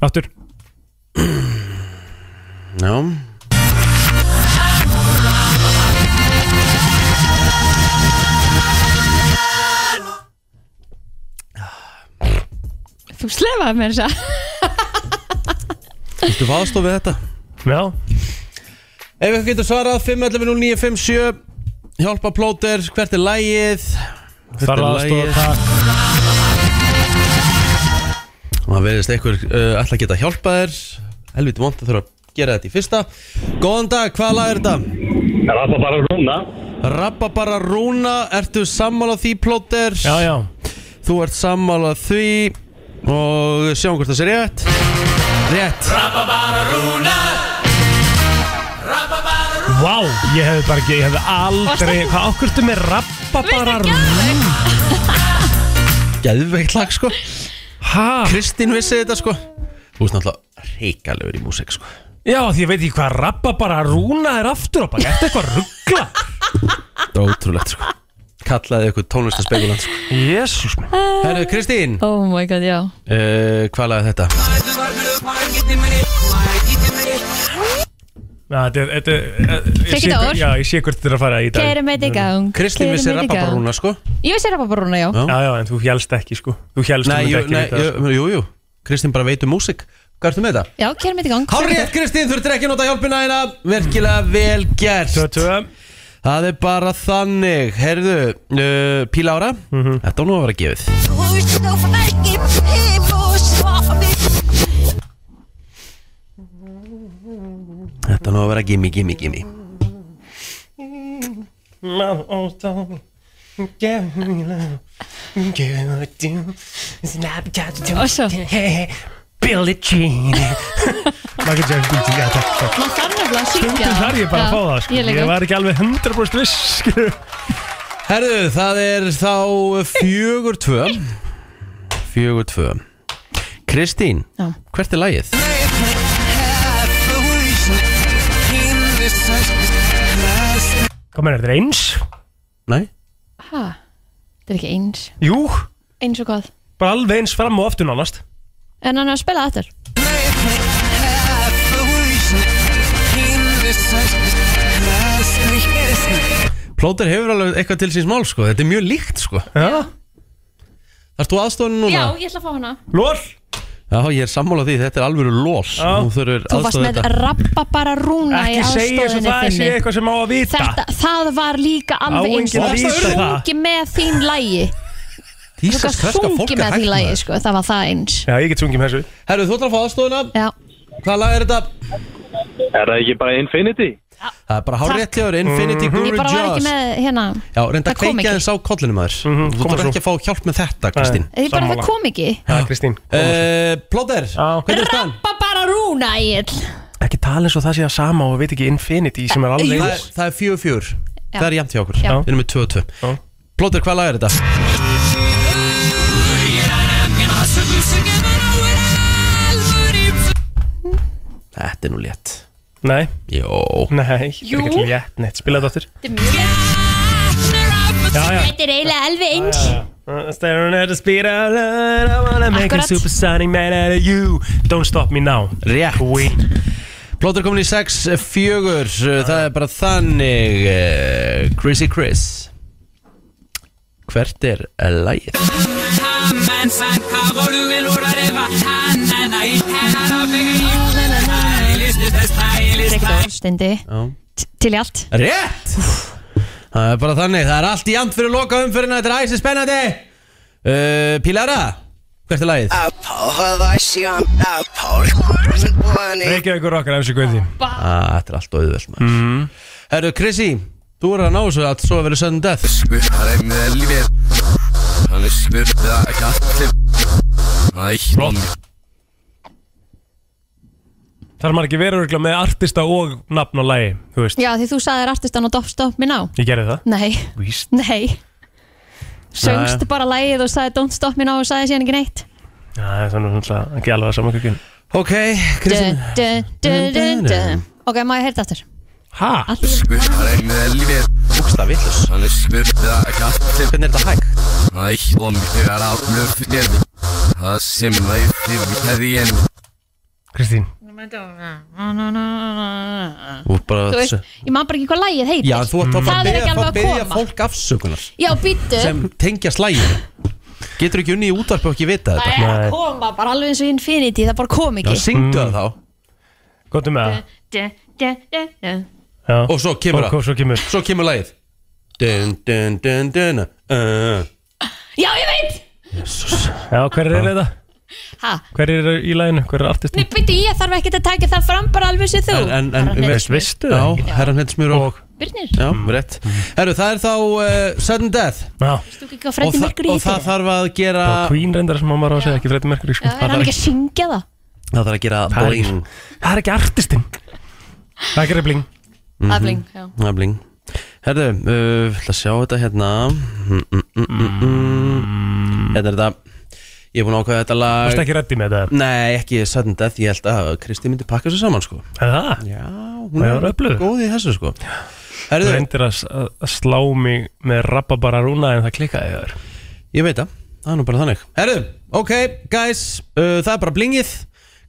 [SPEAKER 3] Aftur
[SPEAKER 1] Já
[SPEAKER 2] Þú slefaði mér þess að
[SPEAKER 1] Þú fást og við þetta
[SPEAKER 3] Já,
[SPEAKER 1] Ef ykkur getur svarað 5.11.09.57 Hjálpa plóter, hvert er lægið? Hvert
[SPEAKER 3] þarf
[SPEAKER 1] er
[SPEAKER 3] að stóða
[SPEAKER 1] lægið?
[SPEAKER 3] það
[SPEAKER 1] Og það verðist einhver uh, alltaf geta hjálpa þér Helviti vond að þurfa að gera þetta í fyrsta Góðan dag, hvaða lag er þetta?
[SPEAKER 6] Rababara Rúna
[SPEAKER 1] Rababara Rúna, ertu sammála því plóter?
[SPEAKER 3] Já, já
[SPEAKER 1] Þú ert sammála því Og sjáum hvort það sé rétt Rétt
[SPEAKER 3] Vá, ég hefði bara ekki, ég hefði aldrei Hvað ákvörtu með rababara rúna?
[SPEAKER 1] Geðveikt lag sko
[SPEAKER 3] Hæ?
[SPEAKER 1] Kristín vissi þetta sko Þú veist náttúrulega reikalegur í músík sko
[SPEAKER 3] Já, því ég veit ekki hvað rababara rúna er aftur og bara, þetta er eitthvað ruggla
[SPEAKER 1] Það er ótrúlegt sko Kallaði ykkur tónlistaspekulant sko
[SPEAKER 3] Jésús minn
[SPEAKER 1] Herru Kristín
[SPEAKER 2] Oh my god, já
[SPEAKER 3] Eh,
[SPEAKER 1] uh, Hvað lagði þetta?
[SPEAKER 3] Já, þetta er, þetta er ég
[SPEAKER 2] Take
[SPEAKER 3] sé
[SPEAKER 2] it
[SPEAKER 3] hver-
[SPEAKER 2] over.
[SPEAKER 3] Já, ég sé hvert þetta er að fara í dag
[SPEAKER 2] Kerum eitt í gang
[SPEAKER 1] Kristín
[SPEAKER 2] keyrum
[SPEAKER 1] vissi
[SPEAKER 2] eitt í gang.
[SPEAKER 1] rababarúna sko
[SPEAKER 2] Ég vissi rababarúna, já
[SPEAKER 1] Já.
[SPEAKER 3] Já, já, en þú hélst ekki, sko Þú hélst
[SPEAKER 1] Nei,
[SPEAKER 3] þú
[SPEAKER 1] jú,
[SPEAKER 3] myndi
[SPEAKER 1] nei,
[SPEAKER 3] ekki vita,
[SPEAKER 1] jú, jú, jú Kristín bara veit um músík Hvað ertu með þetta?
[SPEAKER 2] Já, kerum eitt í gang
[SPEAKER 1] Hárið, Kristín, þurftir ekki að nota hjálpina hérna Virkilega vel gert
[SPEAKER 3] sko. Tvö, tvö
[SPEAKER 1] Það er bara þannig Herðu, uh, Píla Ára Þetta á nú að vera gefið Þetta á nú að vera gimmi, gimmi, gimmi
[SPEAKER 3] Má og þá Gef mér laf Gef mér djú Snapchat
[SPEAKER 2] Og svo
[SPEAKER 3] Billie Jean Michael Jackson Já, takk, takk
[SPEAKER 2] Má þarf nefnilega að syngja
[SPEAKER 3] Stundum þar ég bara að fá það, sko
[SPEAKER 2] Ég
[SPEAKER 3] Ég,
[SPEAKER 2] líka
[SPEAKER 3] var ekki alveg 100% viss, sko
[SPEAKER 1] Herðu, það er þá fjögur tvö Fjögur tvö Kristín,
[SPEAKER 2] Já.
[SPEAKER 1] hvert er lagið?
[SPEAKER 3] Hvað meina, þetta er eins?
[SPEAKER 1] Nei,
[SPEAKER 2] Ha, Þetta er ekki eins
[SPEAKER 3] Jú,
[SPEAKER 2] Eins og hvað
[SPEAKER 3] bara alveg eins fram og aftur nánast
[SPEAKER 2] En hann er að spila þetta
[SPEAKER 1] plóter hefur alveg eitthvað til síns mál sko Þetta er mjög líkt sko
[SPEAKER 3] Já
[SPEAKER 1] Þarst þú aðstofan núna?
[SPEAKER 2] Já, ég ætla að fá hana
[SPEAKER 3] Lól
[SPEAKER 1] Já, ég er sammála því, þetta er alvöru lól
[SPEAKER 3] Já.
[SPEAKER 1] Nú þurfur
[SPEAKER 2] Þú varst
[SPEAKER 1] aðstoð
[SPEAKER 2] með
[SPEAKER 1] þetta
[SPEAKER 2] rababarúna í
[SPEAKER 3] Ekki segja svo
[SPEAKER 2] aðstofinni
[SPEAKER 3] það sé
[SPEAKER 2] þinni
[SPEAKER 3] eitthvað sem á að vita
[SPEAKER 2] Þetta, það var líka alveg eins
[SPEAKER 3] enginn
[SPEAKER 2] Þú
[SPEAKER 3] að
[SPEAKER 2] varst
[SPEAKER 3] vita
[SPEAKER 2] að
[SPEAKER 3] það.
[SPEAKER 2] rungi með þín lægi Þú
[SPEAKER 1] Jesus,
[SPEAKER 2] varst að
[SPEAKER 1] hverska fólk
[SPEAKER 2] sungi
[SPEAKER 1] er
[SPEAKER 2] með
[SPEAKER 1] hægt
[SPEAKER 2] þín
[SPEAKER 1] maður.
[SPEAKER 2] lægi, sko Það var það eins
[SPEAKER 3] Já, ég get sungið með þessu
[SPEAKER 1] Herru, þú ætlar að fá aðstofuna
[SPEAKER 2] Já,
[SPEAKER 1] Hvaða lag er þetta?
[SPEAKER 6] Er það ekki bara Infinity?
[SPEAKER 1] Það er bara hár rétt hjá þér, Infinity
[SPEAKER 2] Mm-hmm. ég
[SPEAKER 1] Guru
[SPEAKER 2] bara var ekki
[SPEAKER 1] Jaws
[SPEAKER 2] með hérna
[SPEAKER 1] Já, reynda
[SPEAKER 2] Það
[SPEAKER 1] að
[SPEAKER 2] kom
[SPEAKER 1] kveikja
[SPEAKER 2] ekki.
[SPEAKER 1] þess á kollinu maður Þú
[SPEAKER 3] kom
[SPEAKER 1] þarf
[SPEAKER 3] svo.
[SPEAKER 1] ekki að fá hjálp með þetta, Kristín
[SPEAKER 2] Ég bara það
[SPEAKER 3] Sammála.
[SPEAKER 2] kom ekki
[SPEAKER 3] Já, Kristín
[SPEAKER 1] uh, Plóter, hvernig er stann?
[SPEAKER 2] Rababarúna, ég
[SPEAKER 3] Ekki tala eins og það sé að sama og veit ekki Infinity sem er alveg
[SPEAKER 1] Það
[SPEAKER 3] eins
[SPEAKER 1] er- það er fjögur fjögur Það er jæmt hjá okkur,
[SPEAKER 2] Já.
[SPEAKER 1] við erum með 2-2
[SPEAKER 3] Já.
[SPEAKER 1] Plóter, hvað lag er þetta? Þetta er nú létt
[SPEAKER 3] Nei,
[SPEAKER 1] Jó
[SPEAKER 3] nei, þetta
[SPEAKER 7] Jú.
[SPEAKER 3] er ekki létt neitt, spilaði þetta
[SPEAKER 7] Þetta er mjög
[SPEAKER 3] Já, já.
[SPEAKER 7] Þetta er eiginlega alveg eins
[SPEAKER 3] aftur Staring at the speed of light I wanna make a
[SPEAKER 7] Akkurat.
[SPEAKER 3] supersonic man out of you Don't stop me now
[SPEAKER 1] Rétt
[SPEAKER 3] Queen
[SPEAKER 1] Plótur komin í 6-4 eh, Það er bara þannig eh, Chrissy Chris Hvert er lægið?
[SPEAKER 2] Reykjavík, Stundi, t- til í allt
[SPEAKER 1] Rétt Það er bara þannig, það er allt í jant fyrir loka umfyrirna Þetta er æsi spennandi uh, Pílara, hvert er lagið?
[SPEAKER 2] Ah.
[SPEAKER 3] Reykjavík og okkar, efsir guði
[SPEAKER 1] Ah, þetta er allt auðvöld maður mm. Herru, Chrissy, þú er að ná þessu að svo að vera sudden death
[SPEAKER 3] Þar maður ekki verið örgulega með artista og nafn á lagi, þú veist
[SPEAKER 2] Já, því þú saðir artistan og Don't Stop Me Now
[SPEAKER 3] Ég gerði það
[SPEAKER 2] Nei,
[SPEAKER 3] Víst
[SPEAKER 2] nei Söngst
[SPEAKER 1] Nei.
[SPEAKER 2] bara lægið og saði Don't Stop Me Now og saði síðan ekki neitt
[SPEAKER 3] Já, það er náttúrulega ekki alveg að saman kökjum
[SPEAKER 1] Ok, Chrissy
[SPEAKER 2] Dun, dun, dun, dun, dun. Ok, má ég heyrða þetta aftur?
[SPEAKER 3] Ha?
[SPEAKER 1] Búksta villus Hvernig er þetta hægt?
[SPEAKER 3] Kristín
[SPEAKER 1] Þú er bara
[SPEAKER 2] Þú veist, ég man bara ekki hvað lægið heitir
[SPEAKER 1] Já, þú ert að fá
[SPEAKER 2] Það
[SPEAKER 1] að
[SPEAKER 2] er ekki
[SPEAKER 1] biðja- fá
[SPEAKER 2] alveg
[SPEAKER 1] að
[SPEAKER 2] að
[SPEAKER 1] byggja
[SPEAKER 2] koma.
[SPEAKER 1] fólk afsökunar
[SPEAKER 2] Já, býttu
[SPEAKER 1] sem tengja slæginu Getur ekki unni í útvarpi og ekki vita
[SPEAKER 2] Það
[SPEAKER 1] þetta
[SPEAKER 2] er
[SPEAKER 3] Nei.
[SPEAKER 2] að koma, bara alveg eins og Infinity, það bara kom
[SPEAKER 1] Já,
[SPEAKER 2] ekki
[SPEAKER 3] Mm.
[SPEAKER 1] syngdu það þá
[SPEAKER 3] Góttu með það
[SPEAKER 2] Dun, dun, dun, dun.
[SPEAKER 3] um Já.
[SPEAKER 1] Og svo kemur
[SPEAKER 3] Og
[SPEAKER 1] það
[SPEAKER 3] svo kemur
[SPEAKER 1] Svo kemur lagið Dun dun dun dun uh.
[SPEAKER 2] Já, ég veit
[SPEAKER 3] Já, hver er þetta?
[SPEAKER 2] Ha,
[SPEAKER 3] Hver er í laginu? Hver er artistin?
[SPEAKER 2] nei, býttu, ég þarf ekkert að taka það fram bara alveg sem þú
[SPEAKER 1] En, en, en
[SPEAKER 2] Bara
[SPEAKER 3] veist- veistu
[SPEAKER 1] Já,
[SPEAKER 3] það ekki?
[SPEAKER 1] herran hendur smjur og
[SPEAKER 3] Og
[SPEAKER 2] Birnir,
[SPEAKER 1] Já, rétt Herru, það er þá uh, sudden death
[SPEAKER 3] Já,
[SPEAKER 2] þú ekki hvað
[SPEAKER 1] og,
[SPEAKER 2] Freddy
[SPEAKER 1] þa-
[SPEAKER 2] Mercury
[SPEAKER 1] og
[SPEAKER 2] heitir
[SPEAKER 1] það þarf að gera
[SPEAKER 3] og Queen reyndar sem maður var að segja ekki Freddy Mercury sko.
[SPEAKER 2] Já, er hann ekki að syngja það?
[SPEAKER 1] Það þarf að gera
[SPEAKER 3] Það er ekki-
[SPEAKER 1] bling
[SPEAKER 3] Það er ekki artistin Það er ekki reyfling
[SPEAKER 1] Mhm.
[SPEAKER 2] Afling, já
[SPEAKER 1] Það er bling Herru, uh, ætla að sjá þetta hérna Mm, mm, mm, mm, mm. Hérna er þetta Ég er búin að ákvæða þetta
[SPEAKER 3] Það
[SPEAKER 1] lag
[SPEAKER 3] er ekki reddi með það
[SPEAKER 1] Nei, ekki sudden death, ég held að Kristi myndi pakka þessu saman sko
[SPEAKER 3] Er það?
[SPEAKER 1] Já, hún
[SPEAKER 3] Það er öflug.
[SPEAKER 1] góð í þessu sko
[SPEAKER 3] Þú
[SPEAKER 1] Herðu,
[SPEAKER 3] reyndir að, að að slá mig með rababara rúna en það klikkaði þér
[SPEAKER 1] ég veit það, það er nú bara þannig Herðu, ok, guys, uh, það er bara blingið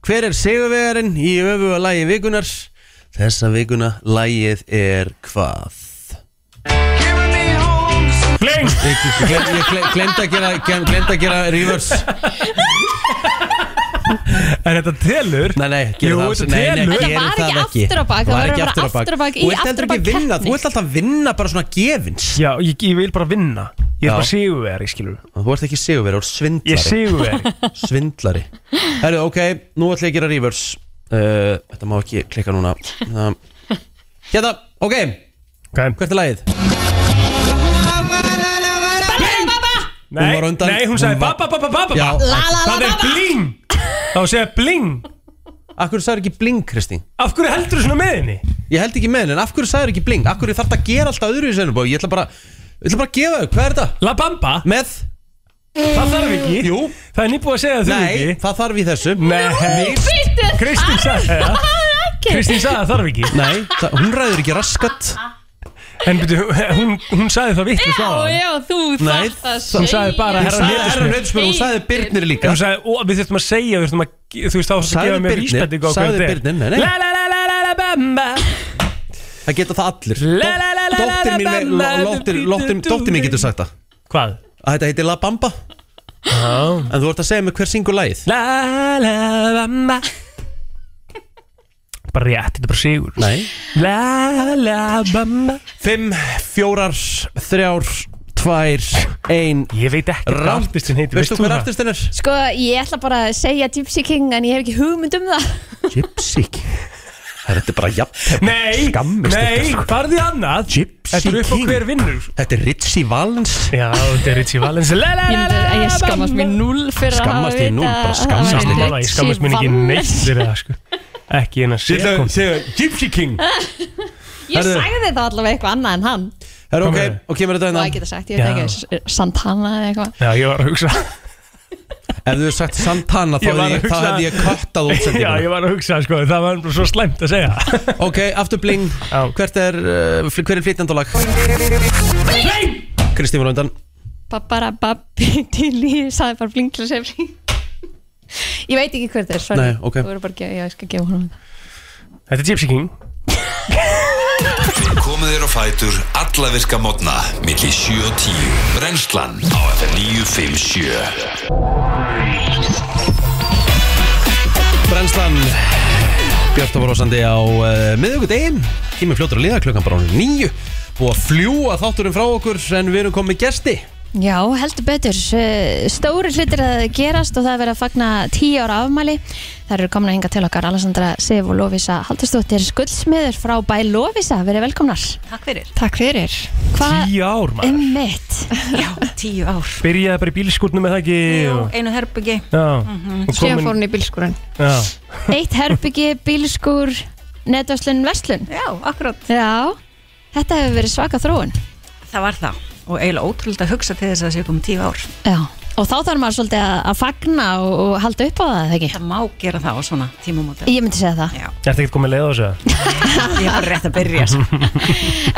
[SPEAKER 1] Hver er sigurvegarinn í öfuga lagi vikunar? Þessa vikuna lagið er hvað?
[SPEAKER 3] Bling!
[SPEAKER 1] Ég, ég, ég, ég gle- glemdi að gera, gem- glemdi að gera reverse
[SPEAKER 3] Er þetta telur?
[SPEAKER 1] Nei, nei,
[SPEAKER 3] Jú,
[SPEAKER 1] gerum það
[SPEAKER 3] þetta
[SPEAKER 1] nei, nei,
[SPEAKER 2] Þetta
[SPEAKER 3] telur.
[SPEAKER 1] gerum
[SPEAKER 2] var
[SPEAKER 1] það
[SPEAKER 2] ekki aftur á bak, það
[SPEAKER 1] var
[SPEAKER 2] var
[SPEAKER 1] ekki
[SPEAKER 2] að vera aftur á bak í
[SPEAKER 1] Þú ert heldur
[SPEAKER 2] aftur á
[SPEAKER 1] ekki
[SPEAKER 2] bak
[SPEAKER 1] vinna,
[SPEAKER 2] keppni.
[SPEAKER 1] þú ert alltaf að vinna bara svona gefins
[SPEAKER 3] Já, ég, ég vil bara vinna Ég
[SPEAKER 1] Já.
[SPEAKER 3] er bara sigurveri, skilur
[SPEAKER 1] Þú ert ekki sigurvegar, þú ert svindlari
[SPEAKER 3] Ég er sigurveri
[SPEAKER 1] svindlari Herru, ok, nú ætla ég að gera reverse uh, Þetta má ekki klikka núna Það- Hérna, ok,
[SPEAKER 3] okay.
[SPEAKER 1] hvert er lagið?
[SPEAKER 3] Nei,
[SPEAKER 1] var undan-
[SPEAKER 3] nei, hún
[SPEAKER 1] hún
[SPEAKER 3] sagði
[SPEAKER 1] var-
[SPEAKER 3] babba, babba, babba
[SPEAKER 1] Já,
[SPEAKER 3] Það er bling Þá segja bling
[SPEAKER 1] af hverju sagður ekki bling, Kristín?
[SPEAKER 3] Af hverju heldur þú svona með henni?
[SPEAKER 1] Ég held ekki með henni, en af hverju sagður ekki bling? Af hverju þarf þetta að gera alltaf öðru í senum? Ég ætla bara, ég ætla bara að gefa þau, hvað er þetta?
[SPEAKER 3] La Bamba?
[SPEAKER 1] Með?
[SPEAKER 3] Það þarf ekki
[SPEAKER 1] Jú.
[SPEAKER 3] Það er nýbúið að segja það þurfi
[SPEAKER 1] Nei,
[SPEAKER 3] ekki
[SPEAKER 1] það þarf í þessu
[SPEAKER 3] Nei Kristín sagði það Kristín sagði það þarf ekki
[SPEAKER 1] Nei, það, hún ræður ekki raskat
[SPEAKER 3] En byrju, hún, hún sagði það vitt
[SPEAKER 7] Já, já, þú
[SPEAKER 1] Nei,
[SPEAKER 7] þarft að segja
[SPEAKER 3] Hún sagði bara
[SPEAKER 1] Hún
[SPEAKER 3] herra
[SPEAKER 1] sagði, herra,
[SPEAKER 3] hér
[SPEAKER 1] hreitsmjör, hún sagði Birnir líka
[SPEAKER 3] Hún sagði, ó, við þurfum að segja Við þurfum að, þú veist, þá þarfst að
[SPEAKER 1] Sagði
[SPEAKER 3] gefa mér
[SPEAKER 1] Birnir,
[SPEAKER 3] vísbendingu á hverju
[SPEAKER 1] sagði
[SPEAKER 3] þetta er.
[SPEAKER 1] Birnir, nei, nei.
[SPEAKER 3] La la la la la la bamba
[SPEAKER 1] Það geta það allir
[SPEAKER 3] La, la, la, la, la,
[SPEAKER 1] Dóttir mín,
[SPEAKER 3] la, la, la,
[SPEAKER 1] dóttir- dóttir- dóttir mín getur sagt það
[SPEAKER 3] Hvað?
[SPEAKER 1] að Þetta heitir La Bamba
[SPEAKER 8] Ah.
[SPEAKER 3] Já.
[SPEAKER 1] En þú ert að segja mig hver syngur lagið
[SPEAKER 3] La la bamba Bara rétt, þetta er bara sigur
[SPEAKER 1] Nei
[SPEAKER 3] La la bamba
[SPEAKER 1] 5, 4, 3, 2, 1
[SPEAKER 3] Ég veit ekki hvað
[SPEAKER 1] Rámt
[SPEAKER 3] artistin heitir,
[SPEAKER 1] Veistu hver artistinn er?
[SPEAKER 2] Sko, ég ætla bara að segja Gypsy King en ég hef ekki hugmynd um það
[SPEAKER 1] Gypsy Þetta er bara jafn
[SPEAKER 3] Nei,
[SPEAKER 1] Skammist
[SPEAKER 3] nei,
[SPEAKER 1] ykkar, sko.
[SPEAKER 3] farði annað
[SPEAKER 1] Gypsy
[SPEAKER 3] Þetta er upp á
[SPEAKER 1] King.
[SPEAKER 3] hver vinnur
[SPEAKER 1] Þetta er Ritchie Valens
[SPEAKER 3] Já, þetta er Ritchie Valens La,
[SPEAKER 2] Ég,
[SPEAKER 3] la, la,
[SPEAKER 2] myndi,
[SPEAKER 3] la,
[SPEAKER 2] að ég
[SPEAKER 3] la,
[SPEAKER 2] skammast mér
[SPEAKER 3] la.
[SPEAKER 2] null fyrir að hafa
[SPEAKER 1] Skammast þín núll,
[SPEAKER 2] vitað
[SPEAKER 1] bara
[SPEAKER 2] að það
[SPEAKER 1] skammast
[SPEAKER 2] væri
[SPEAKER 1] þín.
[SPEAKER 3] Sammála, ég skammast mér ekki
[SPEAKER 2] Valens.
[SPEAKER 3] neitt fyrir það sko Ekki eina sekund
[SPEAKER 1] Gypsy King
[SPEAKER 2] Ég sagði það allavega eitthvað annað en hann
[SPEAKER 1] Það er ok,
[SPEAKER 3] Ok.
[SPEAKER 1] og kemur þetta
[SPEAKER 2] Það
[SPEAKER 1] hérna
[SPEAKER 2] geta sagt, ég veit
[SPEAKER 3] Já.
[SPEAKER 2] ekki, S- Santana eða eitthvað
[SPEAKER 3] Já, ég var að hugsa
[SPEAKER 8] Ef þú hefði sagt Santana þá
[SPEAKER 3] Ég
[SPEAKER 8] hefði
[SPEAKER 3] var að
[SPEAKER 8] ég, þá
[SPEAKER 3] hugsa-
[SPEAKER 8] hefði ég kattað
[SPEAKER 3] Já,
[SPEAKER 8] útsendinguna
[SPEAKER 3] ég var að hugsa, sko, það var bara svo slæmt að segja
[SPEAKER 8] Ok, aftur bling
[SPEAKER 3] Já.
[SPEAKER 8] Hvert er, uh, fl- hver er flytjandalag? Kristín var undan
[SPEAKER 2] Babarababbi til í sagði bara bling til að segja bling Ég veit ekki hver það er, sorry
[SPEAKER 8] Nei, ok.
[SPEAKER 2] Þú verður bara að gefa, já, ég skal gefa honum það
[SPEAKER 3] Þetta er Gypsy King
[SPEAKER 9] Komið þér á fætur alla virka mótna milli 7 og 10 Brennslan á FM 957
[SPEAKER 8] Brennslan Björn og Rósandi á uh, miðugudegin Tími fljótur að liða klukkan bara á nýju Búið að fljúa þátturinn frá okkur En við erum komið gesti
[SPEAKER 2] Já, heldur betur, Eh, stóri hlutir að gerast og það er verið að fagna tíu ára afmæli Það eru komin að hinga til okkar Alessandra Sif og Lovisa Haldurstóttir Skuldsmiður frá Bæ Lovisa, verið velkomnar
[SPEAKER 10] Takk fyrir.
[SPEAKER 11] Takk fyrir
[SPEAKER 2] Hvað um
[SPEAKER 3] Tíu ár, maður
[SPEAKER 2] emmitt?
[SPEAKER 10] Já, tíu ár.
[SPEAKER 3] Byrjaði bara í bílskúrnum með það ekki
[SPEAKER 10] Jú,
[SPEAKER 3] og-
[SPEAKER 10] einu herbyggi.
[SPEAKER 3] Já, og
[SPEAKER 11] Síðan fór
[SPEAKER 3] komin
[SPEAKER 11] hún í bílskurinn
[SPEAKER 3] Já,
[SPEAKER 2] Eitt herbyggi, bílskur, netvarslun, verslun
[SPEAKER 10] Já, akkurat.
[SPEAKER 2] Já, þetta hefur verið svaka þróun
[SPEAKER 10] Það var það. Og eiginlega ótrúlega að hugsa til þess að það sé komið tíu ár.
[SPEAKER 2] Já, og þá þarf maður svolítið að, að fagna og, og halda upp á það, eða ekki?
[SPEAKER 10] Það má gera það á svona tímumóti.
[SPEAKER 2] Ég myndi segja það.
[SPEAKER 10] Já,
[SPEAKER 3] ertu ekkert komið leið á þessu?
[SPEAKER 10] ég er bara rétt að byrja. sko.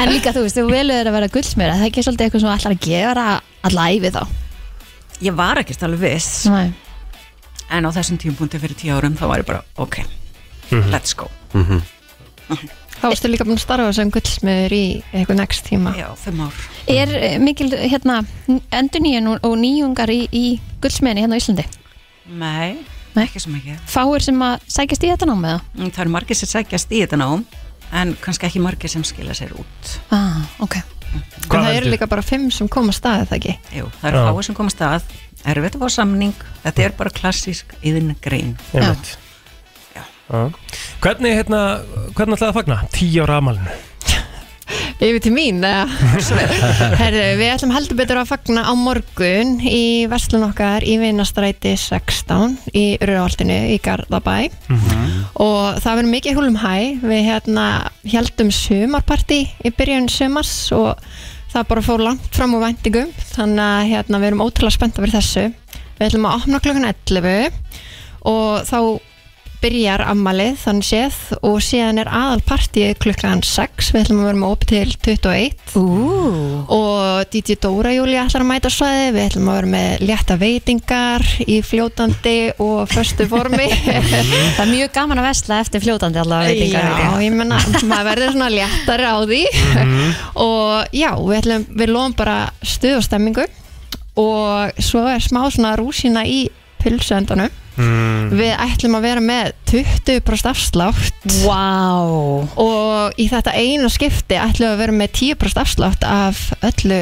[SPEAKER 2] En líka þú veist, þú velur þér að vera gullsmjör, það er ekki svolítið eitthvað sem þú ætlar að gera alla æfi þá.
[SPEAKER 10] Ég var ekkert alveg viss,
[SPEAKER 2] Nei.
[SPEAKER 10] en á þessum tímupunkti fyrir tíu árum þá var ég bara, ok, let's go.
[SPEAKER 11] Þá varstu líka búin að starfa sem gullsmiður í eitthvað next tíma
[SPEAKER 10] Já, fimm ár.
[SPEAKER 2] Er eh, mikil, hérna, endur nýjun og nýjungar í, í gullsmjörni hérna á Íslandi?
[SPEAKER 10] Nei,
[SPEAKER 2] Nei.
[SPEAKER 10] ekki svo mikið.
[SPEAKER 2] Fáir sem að sækjast í þetta námið?
[SPEAKER 10] Mm, Það eru margir sem sækjast í þetta nám, en kannski ekki margir sem skila sér út.
[SPEAKER 2] Ah, ok.
[SPEAKER 11] En
[SPEAKER 3] Hvað
[SPEAKER 11] það eru
[SPEAKER 3] veldur?
[SPEAKER 11] líka bara fimm sem kom að staði það ekki
[SPEAKER 10] Jú, það eru
[SPEAKER 3] Já.
[SPEAKER 10] fáið sem komast að, erfitt að fá samning, þetta er bara klassísk yðingrein.
[SPEAKER 3] Einmitt.
[SPEAKER 10] Já.
[SPEAKER 3] Já. Hvernig, hérna, hvernig ætlaði að fagna? Tíu ára afmælinu
[SPEAKER 11] Yfir til mín Herðu, við ætlum heldur betur að fagna á morgun í verslun okkar í vinastræti 16 í Rauðaltinu í Garðabæ og það verður mikið húlum hæ við hérna heldum sumarparti í byrjun sumars og það bara fór langt fram úr væntingum þannig að hérna, við erum ótrúlega spennt fyrir þessu við ætlum að opna klukkan 11 og þá byrjar ammalið E þannig séð og síðan er aðalpartíið klukkan 6 við ætlum að vera með opið til 21
[SPEAKER 2] Ú,
[SPEAKER 11] og DJ Dóra Júli ætlar að mæta á svæði við ætlum að vera með létta veitingar í fljótandi og föstu formi
[SPEAKER 2] það er mjög gaman að vesla eftir fljótandi allavega veitingar. held ég.
[SPEAKER 11] Já, ég menna, maður verður svona léttari á því og já, við ætlum, við lofum bara stuð og stemmingu og svo er smá svona rúsina í pulsuendunum við ætlum að vera með 20% afslátt
[SPEAKER 2] Vá,
[SPEAKER 11] og í þetta eina skipti ætlum við að vera með 10% afslátt af öllu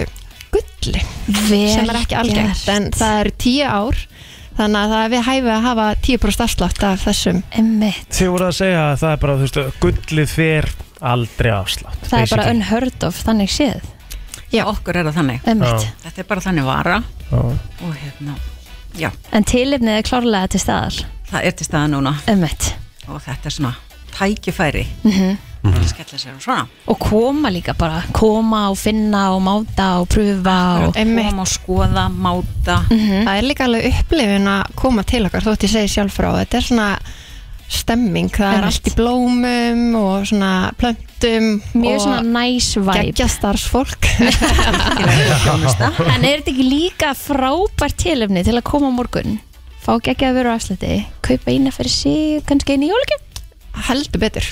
[SPEAKER 11] gulli
[SPEAKER 2] vel
[SPEAKER 11] sem er ekki algengt en það eru 10 ár þannig að það er við hæfið að hafa 10% afslátt af þessum
[SPEAKER 2] Einmitt.
[SPEAKER 3] Þið voru að segja að það er bara, þú veist, gullið fer aldrei
[SPEAKER 2] Það
[SPEAKER 3] afslátt
[SPEAKER 2] er bara
[SPEAKER 3] basically.
[SPEAKER 2] unheard of, þannig séð.
[SPEAKER 10] Já, okkur er það þannig.
[SPEAKER 2] Einmitt.
[SPEAKER 10] Þetta er bara þannig vara
[SPEAKER 3] Já.
[SPEAKER 10] og hérna, já,
[SPEAKER 2] En tilifnið er klárlega til staðar.
[SPEAKER 10] það er til staða núna
[SPEAKER 2] Einmitt.
[SPEAKER 10] og þetta er svona tækifæri mm
[SPEAKER 11] Mhm.
[SPEAKER 10] -hmm. skella sér á svona
[SPEAKER 2] og koma líka bara koma og finna og máta og prufa og
[SPEAKER 11] Einmitt. Mhm.
[SPEAKER 10] koma og skoða, máta
[SPEAKER 2] Mhm.
[SPEAKER 11] það er líka alveg upplifin að koma til okkar þótt ég segi sjálf frá, þetta er svona stemming, það er
[SPEAKER 2] Einmitt.
[SPEAKER 11] allt í blómum og svona plöntum
[SPEAKER 2] mjög
[SPEAKER 11] og
[SPEAKER 2] svona nice vibe
[SPEAKER 11] geggja starfsfólk
[SPEAKER 10] þjónusta.
[SPEAKER 2] en er þetta ekki líka frábært tilöfni til að koma á morgun fá geggja að vera á afsluti kaupa eina fyrir sig, kannski einu jólugjöf
[SPEAKER 11] heldur betur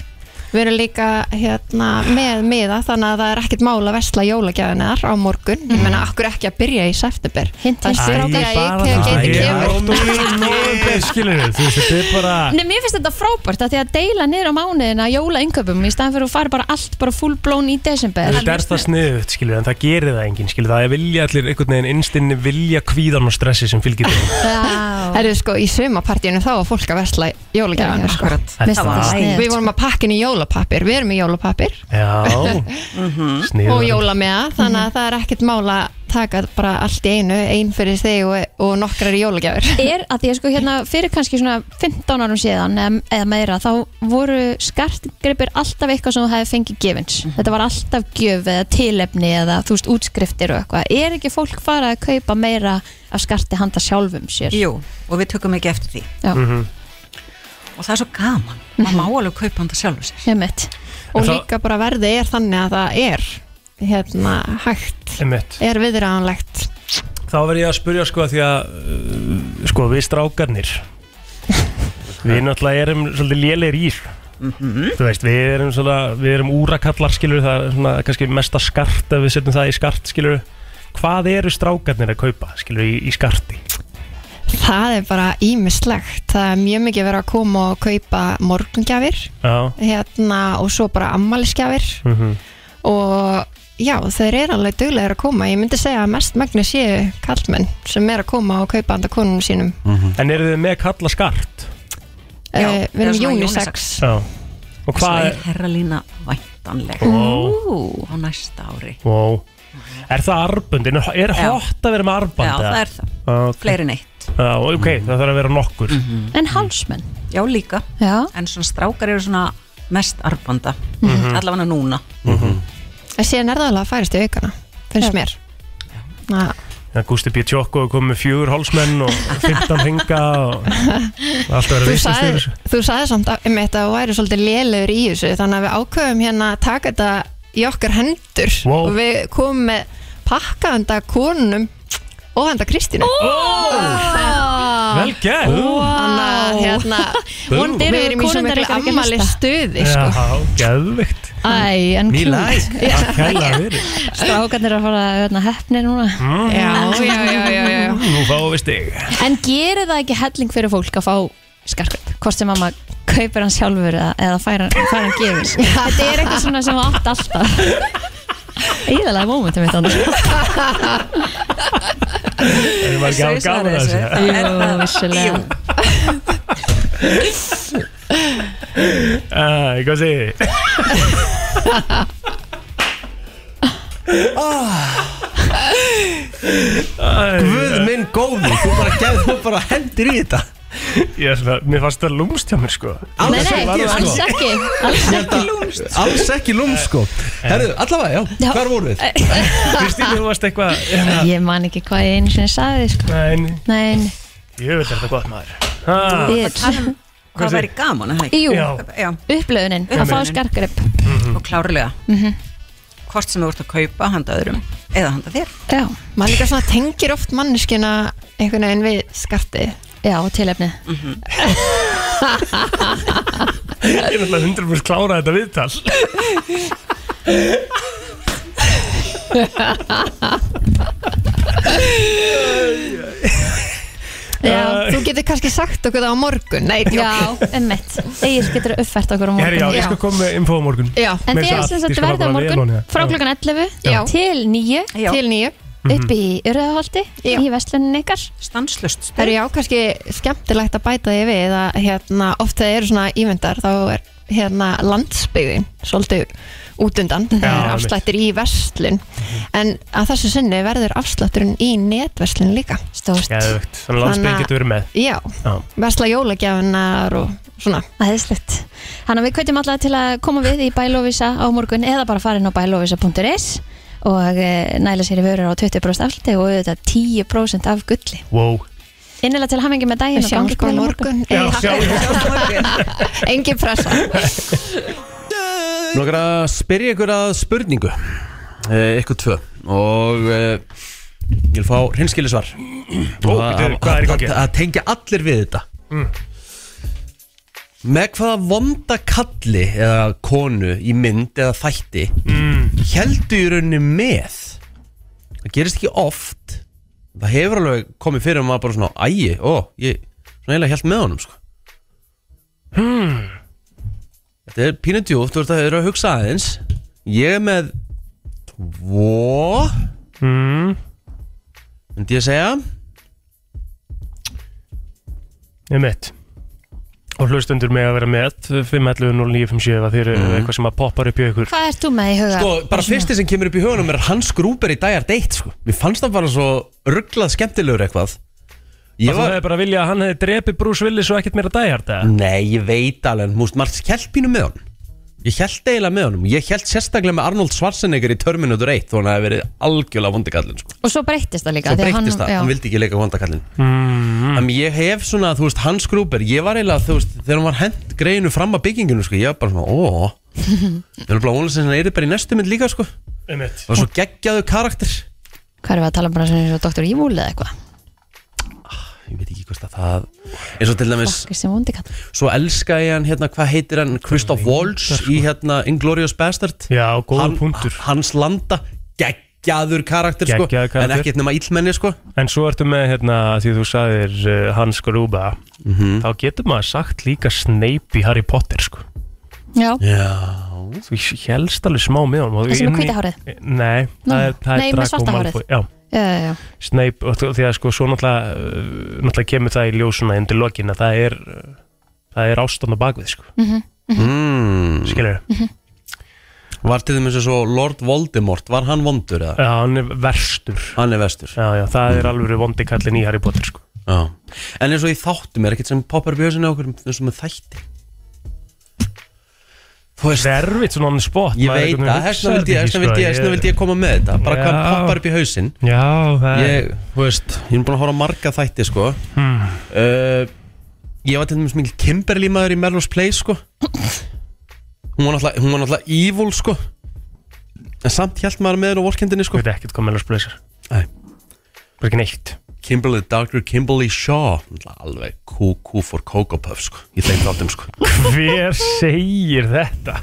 [SPEAKER 11] við erum líka hérna, með miða þannig að það er ekkert mál að vesla jólagjafinar á morgun, ég meina akkur ekki að byrja í september
[SPEAKER 2] Mhm. Hint, hint.
[SPEAKER 11] það
[SPEAKER 2] Æ,
[SPEAKER 11] er stráka
[SPEAKER 2] bara
[SPEAKER 11] ekki að
[SPEAKER 3] Það
[SPEAKER 11] geti
[SPEAKER 3] er
[SPEAKER 11] kemur
[SPEAKER 3] ótrúlega nóðum skilur við, þú veist, þetta er bara
[SPEAKER 2] Nei, mér finnst þetta frábært að því að deila niður á mánuðina jóla yngöpum í staðan fyrir að fara bara allt bara full blown í desember
[SPEAKER 3] Þetta er það sniðut, skilur, en það gerir það enginn, skilur, það er vilja allir einhvern veginn innstinni vilja kvíðan og stressi sem fylgir þeim.
[SPEAKER 2] Já.
[SPEAKER 11] Það eru sko í sumapartíinu þá að fólk að vesla jólagjafinar sko.
[SPEAKER 10] Akkurat.
[SPEAKER 3] Þetta
[SPEAKER 2] Mér finnst
[SPEAKER 3] var-
[SPEAKER 2] þetta
[SPEAKER 11] Við
[SPEAKER 2] sniðugt.
[SPEAKER 11] vorum að pakka inn í jólapapir, við erum með jólapapir
[SPEAKER 3] Já, sniður
[SPEAKER 11] og jólameða, þannig að það er ekkert mála að taka bara allt í einu einn fyrir þig og, og nokkrar í jólagjafir
[SPEAKER 2] er að því að sko hérna fyrir kannski svona 15 árum síðan eða, eða meira þá voru skartgripir alltaf eitthvað sem þú hefði fengið gefins
[SPEAKER 11] Mhm.
[SPEAKER 2] þetta var alltaf gjöf eða tilefni eða þú veist útskriftir og eitthvað er ekki fólk farað að kaupa meira af skarti handa sjálfum sér
[SPEAKER 10] Jú, og við tökum ekki eftir því
[SPEAKER 2] Já. Mhm.
[SPEAKER 10] og það er svo gaman
[SPEAKER 11] Mhm.
[SPEAKER 10] maður má alveg kaupa hann það sjálfur sér
[SPEAKER 2] Einmitt.
[SPEAKER 11] og
[SPEAKER 10] En það-
[SPEAKER 11] líka bara verðið er þannig að það er hérna hægt
[SPEAKER 3] Einmitt.
[SPEAKER 11] er viðræðanlegt
[SPEAKER 3] Þá verð ég að spurja sko því að uh, sko við strákarnir við náttúrulega erum svolítið lélegir í þessu. þú veist við erum svona við erum úrakallar skilur það er svona kannski mesta skart ef við setjum það í skart skilur hvað eru strákarnir að kaupa skilur í, í skarti
[SPEAKER 11] það er bara ímislegt það er mjög mikið verið að koma og kaupa morgungjafir
[SPEAKER 3] Já
[SPEAKER 11] hérna, og svo bara ammælisgjafir
[SPEAKER 3] Mhm.
[SPEAKER 11] og já, þeir eru alveg duglegir að koma ég myndi segja að mest magna séu kallmenn sem er að koma og kaupa handa konunum sínum
[SPEAKER 3] Mhm. En eru þið með kalla skart?
[SPEAKER 11] já, Eh, við
[SPEAKER 10] eða
[SPEAKER 11] erum
[SPEAKER 10] svona
[SPEAKER 11] unisex
[SPEAKER 3] Já Og
[SPEAKER 10] Svo
[SPEAKER 3] hvað
[SPEAKER 10] er herralína væntanleg
[SPEAKER 3] Ó.
[SPEAKER 10] á næsta ári
[SPEAKER 3] Wow. Er það arbundin? Er
[SPEAKER 10] Já.
[SPEAKER 3] hot að vera með arbandi?
[SPEAKER 10] Já, það er það. Fleiri en eitt.
[SPEAKER 3] Já, ok, það þarf að vera nokkur
[SPEAKER 2] En hálsmenn?
[SPEAKER 10] Já, líka.
[SPEAKER 2] Já.
[SPEAKER 10] En svona strákar eru svona mest arbanda.
[SPEAKER 11] Mhm.
[SPEAKER 10] Allavega núna.
[SPEAKER 3] Mhm.
[SPEAKER 11] en síðan er það alveg að færast í aukana finnst mér já.
[SPEAKER 3] Já, Gústi B. Tjókko kom með fjögur hálsmenn og 15 ringa og allt að vera
[SPEAKER 11] Þú
[SPEAKER 3] vissist yfir
[SPEAKER 11] sagði,
[SPEAKER 3] þessu.
[SPEAKER 11] þú sagði samt að- um þetta og væri svolítið lélegur í þessu þannig að við ákveðum hérna að taka þetta í okkar hendur
[SPEAKER 3] Wow.
[SPEAKER 11] og við komum með pakka handa konunum og handa Kristínu
[SPEAKER 3] Vel gert.
[SPEAKER 11] Þannig að hérna
[SPEAKER 3] Bú.
[SPEAKER 11] vonandi eru
[SPEAKER 2] Við erum í svo
[SPEAKER 11] konundar
[SPEAKER 2] miklu
[SPEAKER 11] ekki
[SPEAKER 2] afmæli
[SPEAKER 11] ammali stuði
[SPEAKER 3] Já,
[SPEAKER 11] sko.
[SPEAKER 3] geðvikt
[SPEAKER 2] Æ, en
[SPEAKER 3] Me
[SPEAKER 2] cute.
[SPEAKER 3] like.
[SPEAKER 2] Já.
[SPEAKER 3] Kæla verið.
[SPEAKER 2] Strákarnir eru að fara hérna, hefni núna
[SPEAKER 11] Já, já, já, já, já.
[SPEAKER 3] Mhm. Nú fáum við stig
[SPEAKER 2] En gerir það ekki helling fyrir fólk að fá skarkvöld? Hvort sem að maður kaupir hann sjálfur eða, eða fær hann, fær hann gefins Þetta er eitthvað svona sem átt alltaf Íðalega mómentum mitt annars
[SPEAKER 3] Það var ekki að hafa gaman að þessu
[SPEAKER 2] Jú, vissulega
[SPEAKER 3] Æ, Hvað segir þið?
[SPEAKER 8] Guð minn góði, þú bara, gef, þú bara hendir í þetta
[SPEAKER 3] Ég er svona, mér fannst það lúmst hjá mér sko
[SPEAKER 2] Nei, nei,
[SPEAKER 8] var það,
[SPEAKER 2] alls
[SPEAKER 8] sko.
[SPEAKER 2] ekki Alls ekki lúmst
[SPEAKER 8] Alls ekki lúm sko Herðu, allavega, já,
[SPEAKER 2] Já.
[SPEAKER 8] hvar voru við?
[SPEAKER 3] Kristín, þú varst eitthvað hérna,
[SPEAKER 2] Ég man ekki hvað ég einu sinni sagði sko.
[SPEAKER 3] Nein,
[SPEAKER 2] Nei, nei.
[SPEAKER 3] ég veit þetta gott maður
[SPEAKER 2] Ah.
[SPEAKER 3] Ha,
[SPEAKER 2] Bitch.
[SPEAKER 10] um Hvað
[SPEAKER 3] Hvað
[SPEAKER 10] væri gaman að það ekki?
[SPEAKER 2] Jú,
[SPEAKER 3] Já.
[SPEAKER 10] Já,
[SPEAKER 2] upplöfunin að fá
[SPEAKER 10] Upplifunin.
[SPEAKER 2] skarkgrip
[SPEAKER 3] Mm.
[SPEAKER 10] og klárlega.
[SPEAKER 2] Mhm.
[SPEAKER 10] Hvort sem þú ert að kaupa handa öðrum eða handa þér.
[SPEAKER 2] Já,
[SPEAKER 11] maður líka svona tengir oft manneskina einhvern veginn við skarti
[SPEAKER 2] já, tilefni
[SPEAKER 3] Ég er alltaf 100% klára þetta viðtal
[SPEAKER 11] já, þú getur kannski sagt okkur það á morgun Nei, djók.
[SPEAKER 2] Já, emmitt Egil getur uppfært okkur á
[SPEAKER 3] Herri, já,
[SPEAKER 2] morgun
[SPEAKER 3] ég skal koma með info á morgun
[SPEAKER 11] já,
[SPEAKER 2] En
[SPEAKER 3] Meira
[SPEAKER 2] þið er
[SPEAKER 3] að
[SPEAKER 2] sem
[SPEAKER 3] ég
[SPEAKER 2] sagt
[SPEAKER 3] skal
[SPEAKER 2] verða
[SPEAKER 3] bara
[SPEAKER 2] á
[SPEAKER 3] vera
[SPEAKER 2] morgun
[SPEAKER 3] vel á því.
[SPEAKER 2] frá klokkan 11
[SPEAKER 11] Já.
[SPEAKER 2] til 9
[SPEAKER 10] Já.
[SPEAKER 11] til nýju
[SPEAKER 3] Mhm.
[SPEAKER 2] upp í Urðaholti
[SPEAKER 11] Já.
[SPEAKER 2] í verslunin ykkar
[SPEAKER 10] Stanslust.
[SPEAKER 11] Það eru já, kannski skemmtilegt að bæta því við að hérna, oft þegar eru svona ívendar þá er hérna landsbyggðin svolítið útundan
[SPEAKER 3] Já,
[SPEAKER 11] það er
[SPEAKER 3] einmitt. Mhm.
[SPEAKER 11] afslættir í verslun en að þessu sinni verður afslætturinn í netverslun líka
[SPEAKER 2] Stórt,
[SPEAKER 3] Geðvögt, þannig að
[SPEAKER 11] Þannig
[SPEAKER 3] landsbygg
[SPEAKER 11] að-
[SPEAKER 3] getur verið með
[SPEAKER 11] Já,
[SPEAKER 3] Já.
[SPEAKER 11] versla jólagjafinar og svona
[SPEAKER 2] aðeinslegt Þannig að við kveitjum alla til að koma við í Bælovisa á morgun eða bara farin á bælovisa.is og eh, næla sér í vörur á 20% afsluti og auðvitað 10% af gulli
[SPEAKER 3] Wow
[SPEAKER 2] Innilega til hamingi með daginn
[SPEAKER 11] Við
[SPEAKER 2] og
[SPEAKER 11] sjáum
[SPEAKER 2] gangi ykkur
[SPEAKER 11] sko
[SPEAKER 2] vel á
[SPEAKER 11] morgun,
[SPEAKER 3] Já,
[SPEAKER 11] morgun.
[SPEAKER 3] sjá
[SPEAKER 11] Engin pressa
[SPEAKER 8] Nókar að spyrja ykkur að spurningu eh, Ykkur tvö Og eh, ég vil fá hreinskilisvar
[SPEAKER 3] Ó,
[SPEAKER 8] Og
[SPEAKER 3] bíddu,
[SPEAKER 8] að-
[SPEAKER 3] hvað er í gangi? Mm.
[SPEAKER 8] að- Að tengja allir við þetta Með hvaða vonda kalli eða konu í mynd eða þætti mm. heldu í rauninni með Það gerist ekki oft Það hefur alveg komið fyrir að maður bara svona Æi, ó, ég svona eiginlega held með honum sko. Þetta er pínu djúft, þú ert að, eru að hugsa aðeins Ég er með Tvo
[SPEAKER 3] mm.
[SPEAKER 8] Myndi ég segja
[SPEAKER 3] Ég mitt og hlustundur með að vera með 511 0957 að þeir eru eitthvað sem að poppar upp í ykkur
[SPEAKER 2] Hvað ert þú með í huga?
[SPEAKER 1] Sko, bara fyrsti sem kemur upp í hugunum er Hans Gruber í Dæjar Date sko. Mér fannst það bara svo rugglað skemmtilegur eitthvað
[SPEAKER 3] Ég var... Það er bara að vilja að hann hefði drepið Bruce Willis og ekkert meira dæjar þetta
[SPEAKER 1] Nei, ég veit alveg, en, þú veist, maður held pínu með honum Ég held eiginlega með honum Ég held sérstaklega með Arnold Schwarzenegger í Terminator 1 Þó hann hefði verið algjörlega vondikallin sko.
[SPEAKER 2] Og svo breyttist það líka
[SPEAKER 1] Svo
[SPEAKER 2] því að
[SPEAKER 1] breyttist það,
[SPEAKER 2] já.
[SPEAKER 1] hann vildi ekki leika vondakallin
[SPEAKER 3] Mhm.
[SPEAKER 1] mm. En ég hef svona, þú veist, Hans Gruber Ég var eiginlega, þú veist, þegar hann var hent greinu fram að bygginginu sko, Ég var bara svona, ó Þegar hann blá ólega sem hann er bara í næstu mynd líka sko.
[SPEAKER 3] Einmitt.
[SPEAKER 1] Það var svo geggjaðu karakter
[SPEAKER 2] Hvað erum við að tala um bara svona eins og Dr. Evil eða eitthvað?
[SPEAKER 1] Ég veit ekki hvort að það eins og til dæmis,
[SPEAKER 2] Fokkir sem vondi kall
[SPEAKER 1] svo elska ég hann hérna, hvað heitir hann, Christoph Waltz í hérna Inglourious Bastard
[SPEAKER 3] Já, góður
[SPEAKER 1] hann,
[SPEAKER 3] punktur.
[SPEAKER 1] Hans Landa, geggjaður karakter,
[SPEAKER 3] Geggjaður
[SPEAKER 1] sko, en
[SPEAKER 3] karakter.
[SPEAKER 1] ekkert nema illmenni sko.
[SPEAKER 3] En svo ertu með, hérna, því þú sagðir uh, Hans Gruba þá getur maður sagt líka Snape í Harry Potter sko.
[SPEAKER 2] Já,
[SPEAKER 1] Já
[SPEAKER 3] Þú helst alveg smá með honum og
[SPEAKER 2] Þessi með
[SPEAKER 3] inn í-
[SPEAKER 2] hvíta hárið?
[SPEAKER 3] Nei, það er, það er
[SPEAKER 2] Nei, með
[SPEAKER 3] Draco
[SPEAKER 2] svarta hárið.
[SPEAKER 3] Malfoy. Já,
[SPEAKER 2] já, já, já.
[SPEAKER 3] Snape, og þú- því að sko svo náttúrulega, uh, náttúrulega kemur það í ljósuna undir lokin að það er uh, það er ástofn á bakvið sko,
[SPEAKER 1] mm.
[SPEAKER 3] skilur
[SPEAKER 1] Var til dæmis eins og Lord Voldemort, var hann vondur eða?
[SPEAKER 3] Já, hann er verstur
[SPEAKER 1] Hann er vestur
[SPEAKER 3] Já, já, það
[SPEAKER 1] Mm.
[SPEAKER 3] er alveg vondi kallin í Harry Potter sko.
[SPEAKER 1] Já. En eins og í þáttum er ekkert sem poppar upp í hausinu á okkur eins og með þætti Þú veist,
[SPEAKER 3] Verfitt svona annað spot
[SPEAKER 1] ég
[SPEAKER 3] maður
[SPEAKER 1] veit
[SPEAKER 3] einhvern veginn
[SPEAKER 1] það,
[SPEAKER 3] hugsar
[SPEAKER 1] þessna vildi,
[SPEAKER 3] þetta
[SPEAKER 1] ég- þessna
[SPEAKER 3] ekki, sko,
[SPEAKER 1] vildi, ég- þessna vildi ég koma með þetta bara hvað
[SPEAKER 3] Já.
[SPEAKER 1] poppar upp í hausinn
[SPEAKER 3] Já, það er
[SPEAKER 1] ég, þú veist, ég er búin að horfa á marga þætti sko
[SPEAKER 3] Hmm.
[SPEAKER 1] uh, ég var til dæmis mikil Kimberly maður í Melrose Place sko hún var náttúrulega, hún var náttúrulega evil sko en samt hjælt maður með henni á vorkendinni
[SPEAKER 3] Ég
[SPEAKER 1] sko
[SPEAKER 3] veit ekkert hvað Melrose Place er
[SPEAKER 1] Nei.
[SPEAKER 3] Bara ekki neitt
[SPEAKER 1] Kimberly, Dr. Kimberly Shaw náttúrulega alveg kúkú for Coco Puff sko í þeim þáttum sko
[SPEAKER 3] Hver segir þetta?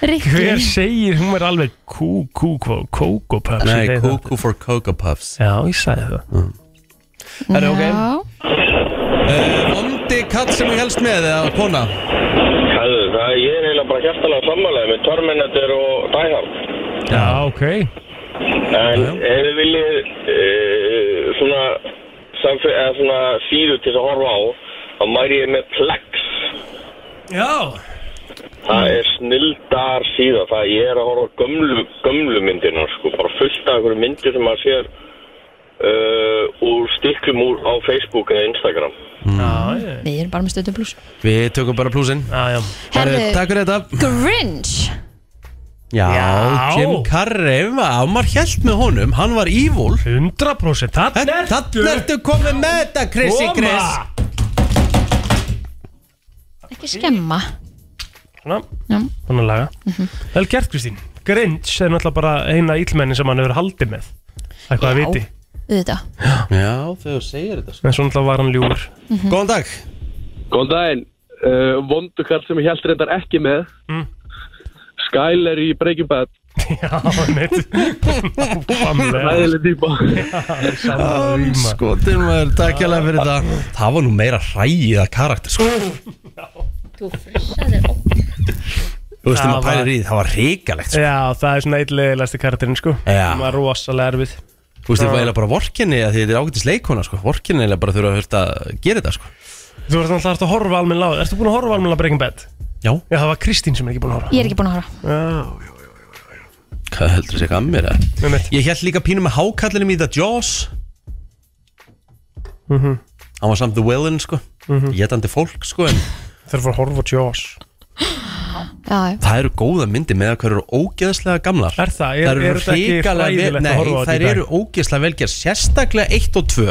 [SPEAKER 3] Hver
[SPEAKER 2] Rikki,
[SPEAKER 3] segir, hún er alveg kú, kú, kú, kókó pöps
[SPEAKER 1] nei, kúkú for Coco Puffs
[SPEAKER 3] Já, ég sagði það
[SPEAKER 1] er ok uh,
[SPEAKER 2] já,
[SPEAKER 1] vondi kall sem ég helst með eða kona
[SPEAKER 12] Hæðu, það ég er eiginlega bara hjartalega sammálaðið með Terminator og Die Hard.
[SPEAKER 3] Já, ok
[SPEAKER 12] En
[SPEAKER 1] Já, já.
[SPEAKER 12] ef þið viljið uh, svona, samfé- eða svona síðu til þess að horfa á, þá mæri ég með Plex.
[SPEAKER 3] Já,
[SPEAKER 12] Það er snildar síða, það ég er að horfa á gömlu, gömlu myndina, sko, bara fullt af einhverju myndir sem maður sér uh, úr stiklum úr á Facebook eða Instagram.
[SPEAKER 3] já,
[SPEAKER 2] við erum bara með stötu pluss
[SPEAKER 1] við tökum bara plúsin
[SPEAKER 3] já, já.
[SPEAKER 2] Herðu.
[SPEAKER 1] takk fyrir þetta
[SPEAKER 2] Grinch
[SPEAKER 1] Já,
[SPEAKER 3] Já.
[SPEAKER 1] Jim Carrey var, maður held með honum, hann var evil
[SPEAKER 3] 100% Þannig er
[SPEAKER 1] Þannig ertu komið með þetta, Chrissy Chris
[SPEAKER 2] Ekki skemma
[SPEAKER 3] Svona,
[SPEAKER 2] Já. Mhm.
[SPEAKER 3] svona laga Vel gert Kristín Grinch er náttúrulega bara eina íllmenni sem hann hefur haldið með Eitthvað að
[SPEAKER 2] Já.
[SPEAKER 3] viti
[SPEAKER 2] Þetta
[SPEAKER 1] Já, þegar þú segir þetta
[SPEAKER 3] En svo náttúrulega var hann ljúfur
[SPEAKER 1] Góðan dag
[SPEAKER 4] Góðan daginn, uh, vondukall sem ég held reyndar ekki með
[SPEAKER 3] Mm.
[SPEAKER 4] Skyler í Breaking Bad
[SPEAKER 3] Já, neitt Fámlega
[SPEAKER 4] Æðileg típa
[SPEAKER 3] Samlíma
[SPEAKER 1] Skotin maður, takk hjá fyrir þetta Það var nú meira ræðið að karakter sko. Þú veist,
[SPEAKER 3] Það
[SPEAKER 1] þegar maður
[SPEAKER 3] var-
[SPEAKER 1] pælir í því, það var ríkalegt sko.
[SPEAKER 3] Já, það er svona eitthvað karakterinn sko
[SPEAKER 1] Já.
[SPEAKER 3] Hún var rosalega erfið
[SPEAKER 1] Þú veist, það var eiginlega bara vorkinni að því þetta er ágætis leikona sko. Vorkinni eiginlega bara þurfa að þurfa að gera þetta sko.
[SPEAKER 3] Þú ert náttúrulega að horfa almenn láð Ertu búin að horfa almenn að Breaking Bad?
[SPEAKER 1] Já,
[SPEAKER 3] Já, það var Kristín sem er ekki búin að horfa
[SPEAKER 2] Ég er ekki búin að horfa
[SPEAKER 3] Já,
[SPEAKER 1] hvað heldur þessi ekki að mér eða?
[SPEAKER 3] með mitt
[SPEAKER 1] Ég held líka pínum með hákallinum í þetta Jaws Mhm. Hann var samt the villain sko Jétandi fólk sko En
[SPEAKER 3] Þurfa að horfa á Jaws
[SPEAKER 2] Já, já.
[SPEAKER 1] það eru góða myndi með að hverju eru ógeðslega gamlar
[SPEAKER 3] Er það? Er,
[SPEAKER 1] Þær
[SPEAKER 3] er þetta ekki
[SPEAKER 1] hrikalega vel-
[SPEAKER 3] fræðilegt
[SPEAKER 1] Nei,
[SPEAKER 3] að horfa á
[SPEAKER 1] þær
[SPEAKER 3] þetta í dag?
[SPEAKER 1] eru ógeðslega velgerð Sérstaklega 1 og 2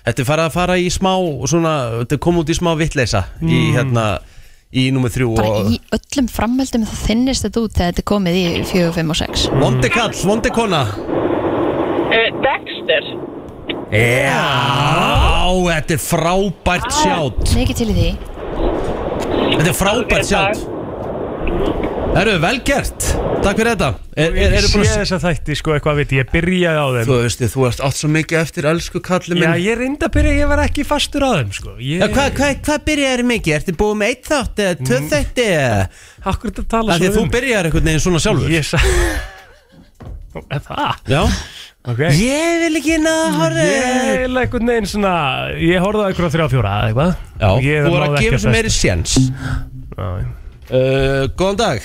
[SPEAKER 1] Þetta er farið að fara í smá svona, Þetta er komið út í smá vitleisa
[SPEAKER 3] Hmm.
[SPEAKER 1] Í hérna Í númer 3
[SPEAKER 2] Bara
[SPEAKER 1] og
[SPEAKER 2] í öllum framhaldum þá þinnist þetta út þegar þetta er komið í 4, 5 og 6
[SPEAKER 1] Vondi kall, vondi kona Eh,
[SPEAKER 13] Dexter
[SPEAKER 1] Já, þetta er frábært sjátt
[SPEAKER 2] Mikið til í því
[SPEAKER 1] Þetta er frábært sjátt Herru, vel gert Takk fyrir þetta er, er,
[SPEAKER 3] Ég
[SPEAKER 1] er,
[SPEAKER 3] sé
[SPEAKER 1] búin að,
[SPEAKER 3] þess að þætti sko eitthvað viti Ég byrjaði á þeim
[SPEAKER 1] Þú veist, þú ert átt svo mikið eftir Elsku kalli minn
[SPEAKER 3] Já, ég reyndi að byrja, ég var ekki fastur á þeim sko Ég,
[SPEAKER 1] Já, Hvað hva, hva byrjar þér mikið? Ertu búið með eitt þátt eða tvö þætti?
[SPEAKER 3] Akkur þetta tala
[SPEAKER 1] Það því að þú
[SPEAKER 3] um
[SPEAKER 1] byrjar einhvern veginn svona sjálfur
[SPEAKER 3] Ég sa Er það?
[SPEAKER 1] Já,
[SPEAKER 3] okay.
[SPEAKER 1] Ég vil ekki inn að horfa
[SPEAKER 3] Ég vil einhvern veginn svona Ég horfði á einhverja þrjá fjóra eða eitthvað
[SPEAKER 1] Já,
[SPEAKER 3] Ég
[SPEAKER 1] þú er
[SPEAKER 3] náði
[SPEAKER 1] að
[SPEAKER 3] ekki
[SPEAKER 1] gefa sem meiri
[SPEAKER 3] festa.
[SPEAKER 1] séns uh, Góðan dag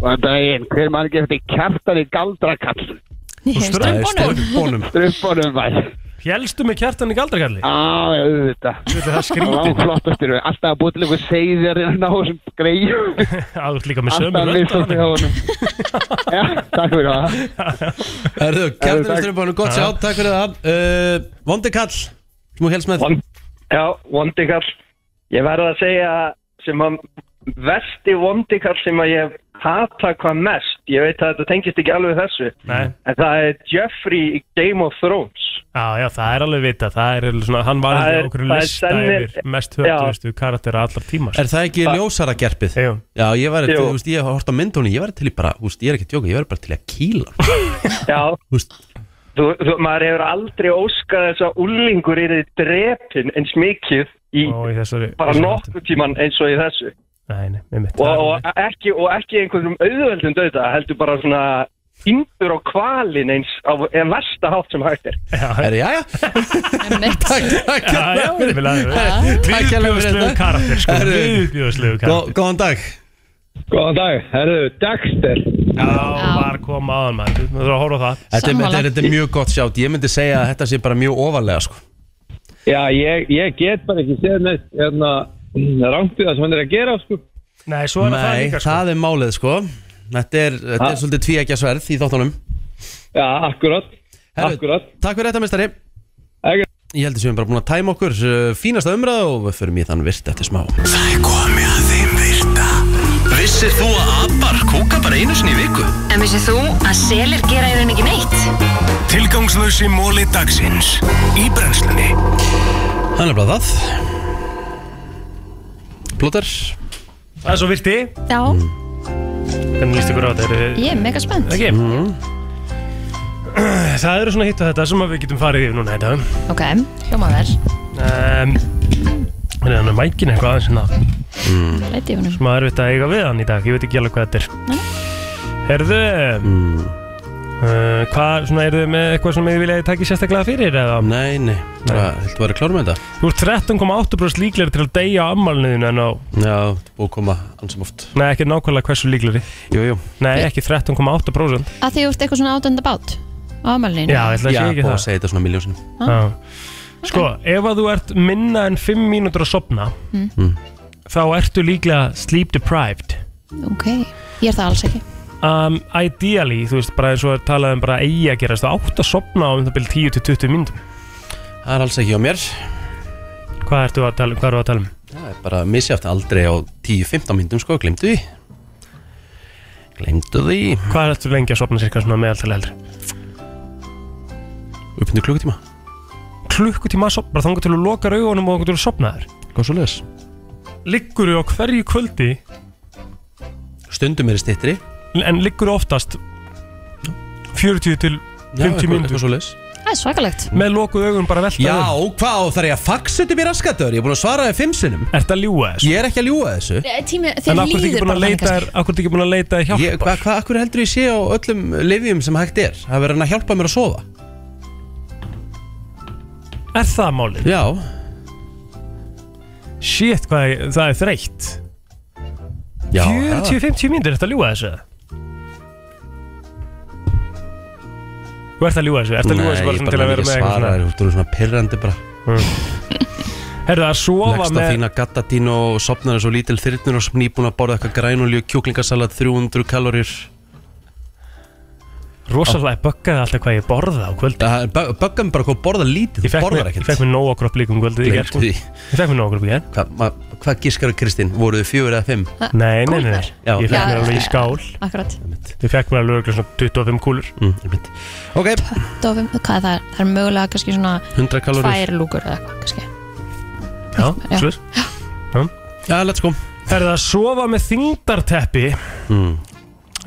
[SPEAKER 14] Góðan daginn, hver mann ekki eftir kjartan í galdrakall?
[SPEAKER 1] Strumbónum
[SPEAKER 14] Strumbónum var
[SPEAKER 3] Hélstu með kjartan í galdrakalli?
[SPEAKER 14] Á, já, auðvitað
[SPEAKER 3] Það er skrítið.
[SPEAKER 14] flottastur, alltaf að búið til einhver seiðjar inn hérna á þessum greiðum
[SPEAKER 3] Að þú ert líka með sömu
[SPEAKER 14] Alltaf
[SPEAKER 3] rödd
[SPEAKER 14] mistótt í
[SPEAKER 3] á
[SPEAKER 14] honum Já, takk fyrir það
[SPEAKER 1] Erðu,
[SPEAKER 14] Herðu,
[SPEAKER 1] Kjartan
[SPEAKER 14] takk.
[SPEAKER 1] Strumbónum, gott sjá,
[SPEAKER 14] Já.
[SPEAKER 1] takk fyrir það uh, Vondi kall, sem þú helst með
[SPEAKER 15] Já, vondikall Ég verða að segja sem að versti vondikall sem að ég hata hvað mest ég veit að þetta tengist ekki alveg þessu
[SPEAKER 3] Nei.
[SPEAKER 15] en það er Jeffrey í Game of Thrones
[SPEAKER 3] Já, já, það er alveg vita Það er svona, hann var
[SPEAKER 15] Það
[SPEAKER 3] ekki
[SPEAKER 15] er-
[SPEAKER 3] okkur
[SPEAKER 15] það er
[SPEAKER 3] lista
[SPEAKER 15] senni-
[SPEAKER 3] yfir mest höfðustu karaktera allar tímar
[SPEAKER 1] Er það ekki ljósara gerpið?
[SPEAKER 3] Jú.
[SPEAKER 1] Já, ég var,
[SPEAKER 3] Jú.
[SPEAKER 1] þú veist, ég hef hort á myndunni Ég var til í bara, þú veist, ég er ekki að djóka Ég var bara til í að kýla
[SPEAKER 15] Já þú, þú, Maður hefur aldrei óskað þess að úlingur eru drepin eins mikið í,
[SPEAKER 3] Ó, í þessari,
[SPEAKER 15] bara
[SPEAKER 3] þessari
[SPEAKER 15] nokkuð tíman eins og í þessu
[SPEAKER 3] Nei, nei, með mitt
[SPEAKER 15] og, og, ekki, og ekki einhverjum auðveldum döða heldur bara svona yndur á kvalin eins á en versta hátt sem hægt er
[SPEAKER 1] Er já, já Takk, takk
[SPEAKER 3] Já, já, við laðum
[SPEAKER 1] Takk hérlega fyrir
[SPEAKER 3] Viðbjóðslegu
[SPEAKER 1] þetta.
[SPEAKER 3] karakter, sko
[SPEAKER 1] Herðu,
[SPEAKER 3] Viðbjóðslegu karakter
[SPEAKER 1] gó- Góðan dag
[SPEAKER 14] Góðan dag, herru, Dexter
[SPEAKER 3] Já, var kom aðan maður Þú þurfum að horfa á það
[SPEAKER 1] Þetta er- þetta er þetta er mjög gott sjátt Ég myndi segja að þetta sé bara mjög ofarlega sko.
[SPEAKER 14] Já, ég, ég get bara ekki séð neitt hérna, rangt við það sem hann er að gera sko.
[SPEAKER 3] Nei, svo er það
[SPEAKER 1] Nei,
[SPEAKER 3] líka
[SPEAKER 1] það er málið sko Þetta er, þetta er
[SPEAKER 14] Ha?
[SPEAKER 1] svolítið tvíækja sverð í þáttunum
[SPEAKER 14] Já, akkurat, akkurat.
[SPEAKER 1] Takk fyrir þetta, mistari Ég held að við erum bara búin að tæma okkur uh, fínasta umræð og við förum í þann virt eftir smá
[SPEAKER 9] Það er komið að þeim virta Vissir þú að abar kúka bara einu sinni í viku?
[SPEAKER 11] En vissið þú að selir gera í rauninni ekki neitt?
[SPEAKER 9] Tilgangslösi móli dagsins Í brennslunni
[SPEAKER 1] Hann er bara það Plóter
[SPEAKER 3] Það er svo virti
[SPEAKER 2] Já,
[SPEAKER 1] Mm.
[SPEAKER 3] Hvernig líst ykkur á þetta? Eru-
[SPEAKER 2] ég er mega spennt
[SPEAKER 3] Ekki Það eru svona hitt og þetta sem að við getum farið yfir núna þetta
[SPEAKER 2] Ok, hljóma vel
[SPEAKER 3] um, Er þannig að mækin eitthvað aðeins hérna mm.
[SPEAKER 2] Leiti í honum
[SPEAKER 3] Smá erfitt að eiga við hann í dag, ég veit ekki alveg hvað þetta er Herðu Mm. uh, Hvað, svona, eru þið með eitthvað sem þið viljaði takja sérstaklega fyrir eða?
[SPEAKER 1] Nei, nei, bara, heldur að vera klár með þetta
[SPEAKER 3] Þú ert 13,8% líklegri til að deyja á ammálniðinu en á
[SPEAKER 1] Já, þetta er búið að koma ansam oft
[SPEAKER 3] Nei, ekki nákvæmlega hversu líklegri
[SPEAKER 1] Jú, jú
[SPEAKER 3] Nei, ekki 13,8%
[SPEAKER 2] Að því þú ert eitthvað svona átönda bát á afmælinu
[SPEAKER 3] Já, ég ætla að sé ekki
[SPEAKER 1] búið
[SPEAKER 3] það
[SPEAKER 1] að segja þetta svona miljósin
[SPEAKER 3] Já. Sko, ef að þú ert minna en 5 mínútur að sopna
[SPEAKER 2] Mm.
[SPEAKER 3] þá ertu líklega sleep deprived
[SPEAKER 2] Ok, ég er það alls ekki
[SPEAKER 3] um, Ideally, þú veist, bara eins og er talað um bara eigi að gerast, þá átt að sopna á um það byrja 10-20 mínútur
[SPEAKER 1] Það er alls ekki á mér
[SPEAKER 3] Hvað ertu að tala, hvað eru að tala um?
[SPEAKER 1] Það er bara misjátt aldrei á 10-15 myndum sko, glemdu því Glemdu því
[SPEAKER 3] Hvað ertu lengi að sopna sirka svona meðaltal eldri?
[SPEAKER 1] Uppindu klukkutíma
[SPEAKER 3] Klukkutíma að sopna, bara þangar til að loka augunum og þangar til að sopna þér
[SPEAKER 1] Hvað svo leðis?
[SPEAKER 3] Liggur á hverju kvöldi
[SPEAKER 1] Stundum er í stittri
[SPEAKER 3] en liggur oftast 40 til 50 mínútur
[SPEAKER 2] Það er svakalegt
[SPEAKER 3] með lokuð augun bara velta
[SPEAKER 1] Já,
[SPEAKER 3] augunum.
[SPEAKER 1] hvað, og þarf ég að faxa þetta mér raskatur? Ég er búin að svara þið fimm sinnum
[SPEAKER 3] Ertu að ljúga þessu?
[SPEAKER 1] Ég er ekki að ljúga þessu
[SPEAKER 2] Nei, tími, Þeir
[SPEAKER 1] En af hverju ertu ekki
[SPEAKER 2] líður
[SPEAKER 1] búin að
[SPEAKER 2] bara þannig
[SPEAKER 1] leita
[SPEAKER 2] kannski.
[SPEAKER 3] Er, akkur er ekki búin að leita hjálpar?
[SPEAKER 1] Ég- Hvað hva, hva, heldur ég sé á öllum livjum sem hægt er? Það verður hann að hjálpa mér að sofa
[SPEAKER 3] Er það málið?
[SPEAKER 1] Já
[SPEAKER 3] Shit, hvað, ég- það er þreytt
[SPEAKER 1] Já,
[SPEAKER 3] 40-50 mínútur, ertu að ljúga þessu? Þú ert að ljúga þessu, ert að ljúga þessu bara svona til að vera með eitthvað
[SPEAKER 1] svara
[SPEAKER 3] svona Mm.
[SPEAKER 1] þér, Þú eru svona pirrandi bara
[SPEAKER 3] Herðu að sofa
[SPEAKER 1] Leggst á
[SPEAKER 3] með
[SPEAKER 1] þína gattatín og sopnar þessu lítil þyrnur og sem nýbúin að borða eitthvað grænulju, kjúklingasalat, 300 kalorir
[SPEAKER 3] Rosalega böggaði alltaf hvað ég borða á kvöldi
[SPEAKER 1] Böggaði mig bara hvað borða lítið,
[SPEAKER 3] þú
[SPEAKER 1] borðar ekkert.
[SPEAKER 3] Ég fekk mér nóg okkur upp líkum kvöldið í gær, sko.
[SPEAKER 1] Gleymdu því.
[SPEAKER 3] Ég fekk mér nóg okkur upp í gerð
[SPEAKER 1] Hvað ma- hvað gískar og Kristín, voruð þið fjögur eða fimm?
[SPEAKER 3] Nei, nei, nei, nei.
[SPEAKER 1] Já.
[SPEAKER 3] Ég fekk
[SPEAKER 2] Já,
[SPEAKER 3] mér alveg í skál
[SPEAKER 2] Akkurat
[SPEAKER 3] Ég fekk mér alveg örugglega svona 25 kúlur
[SPEAKER 1] mm, Ok
[SPEAKER 2] Dofum, hvað er það? Það er mögulega kannski svona
[SPEAKER 1] 100 kaloríur.
[SPEAKER 2] Tvær lúkur eða eitthvað kannski
[SPEAKER 3] Já,
[SPEAKER 2] Já.
[SPEAKER 3] slur
[SPEAKER 1] Já, let's go
[SPEAKER 3] Herðu að sofa með þingdarteppi
[SPEAKER 1] Mm.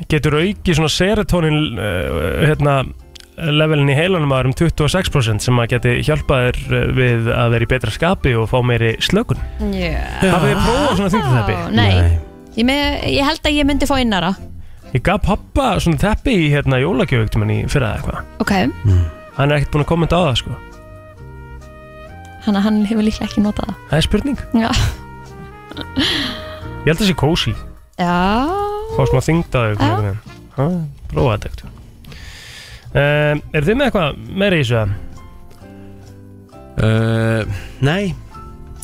[SPEAKER 3] Getur aukið svona serotonin uh, hérna, levelin í heilanum að um 26% sem að geti hjálpað þér uh, við að vera í betra skapi og fá meiri slökun
[SPEAKER 2] yeah.
[SPEAKER 3] Hafið þið prófað svona þyngdarteppi?
[SPEAKER 2] Nei, Ég, með, ég held að ég myndi fá innara
[SPEAKER 3] Ég gaf pappa svona teppi í hérna jólagjöfugtum henni fyrir það eitthvað
[SPEAKER 2] Ok,
[SPEAKER 3] Hann er ekkert búin að kommenta á það sko
[SPEAKER 2] hann, hann hefur líklega ekki notað
[SPEAKER 3] Það er spurning
[SPEAKER 2] það Já,
[SPEAKER 3] Ég held að það sé kósi
[SPEAKER 2] já.
[SPEAKER 3] Fá smá þingdaðu Prófa þetta ekkert um, Er þið með eitthvað meira í þessu að?
[SPEAKER 1] uh, Nei,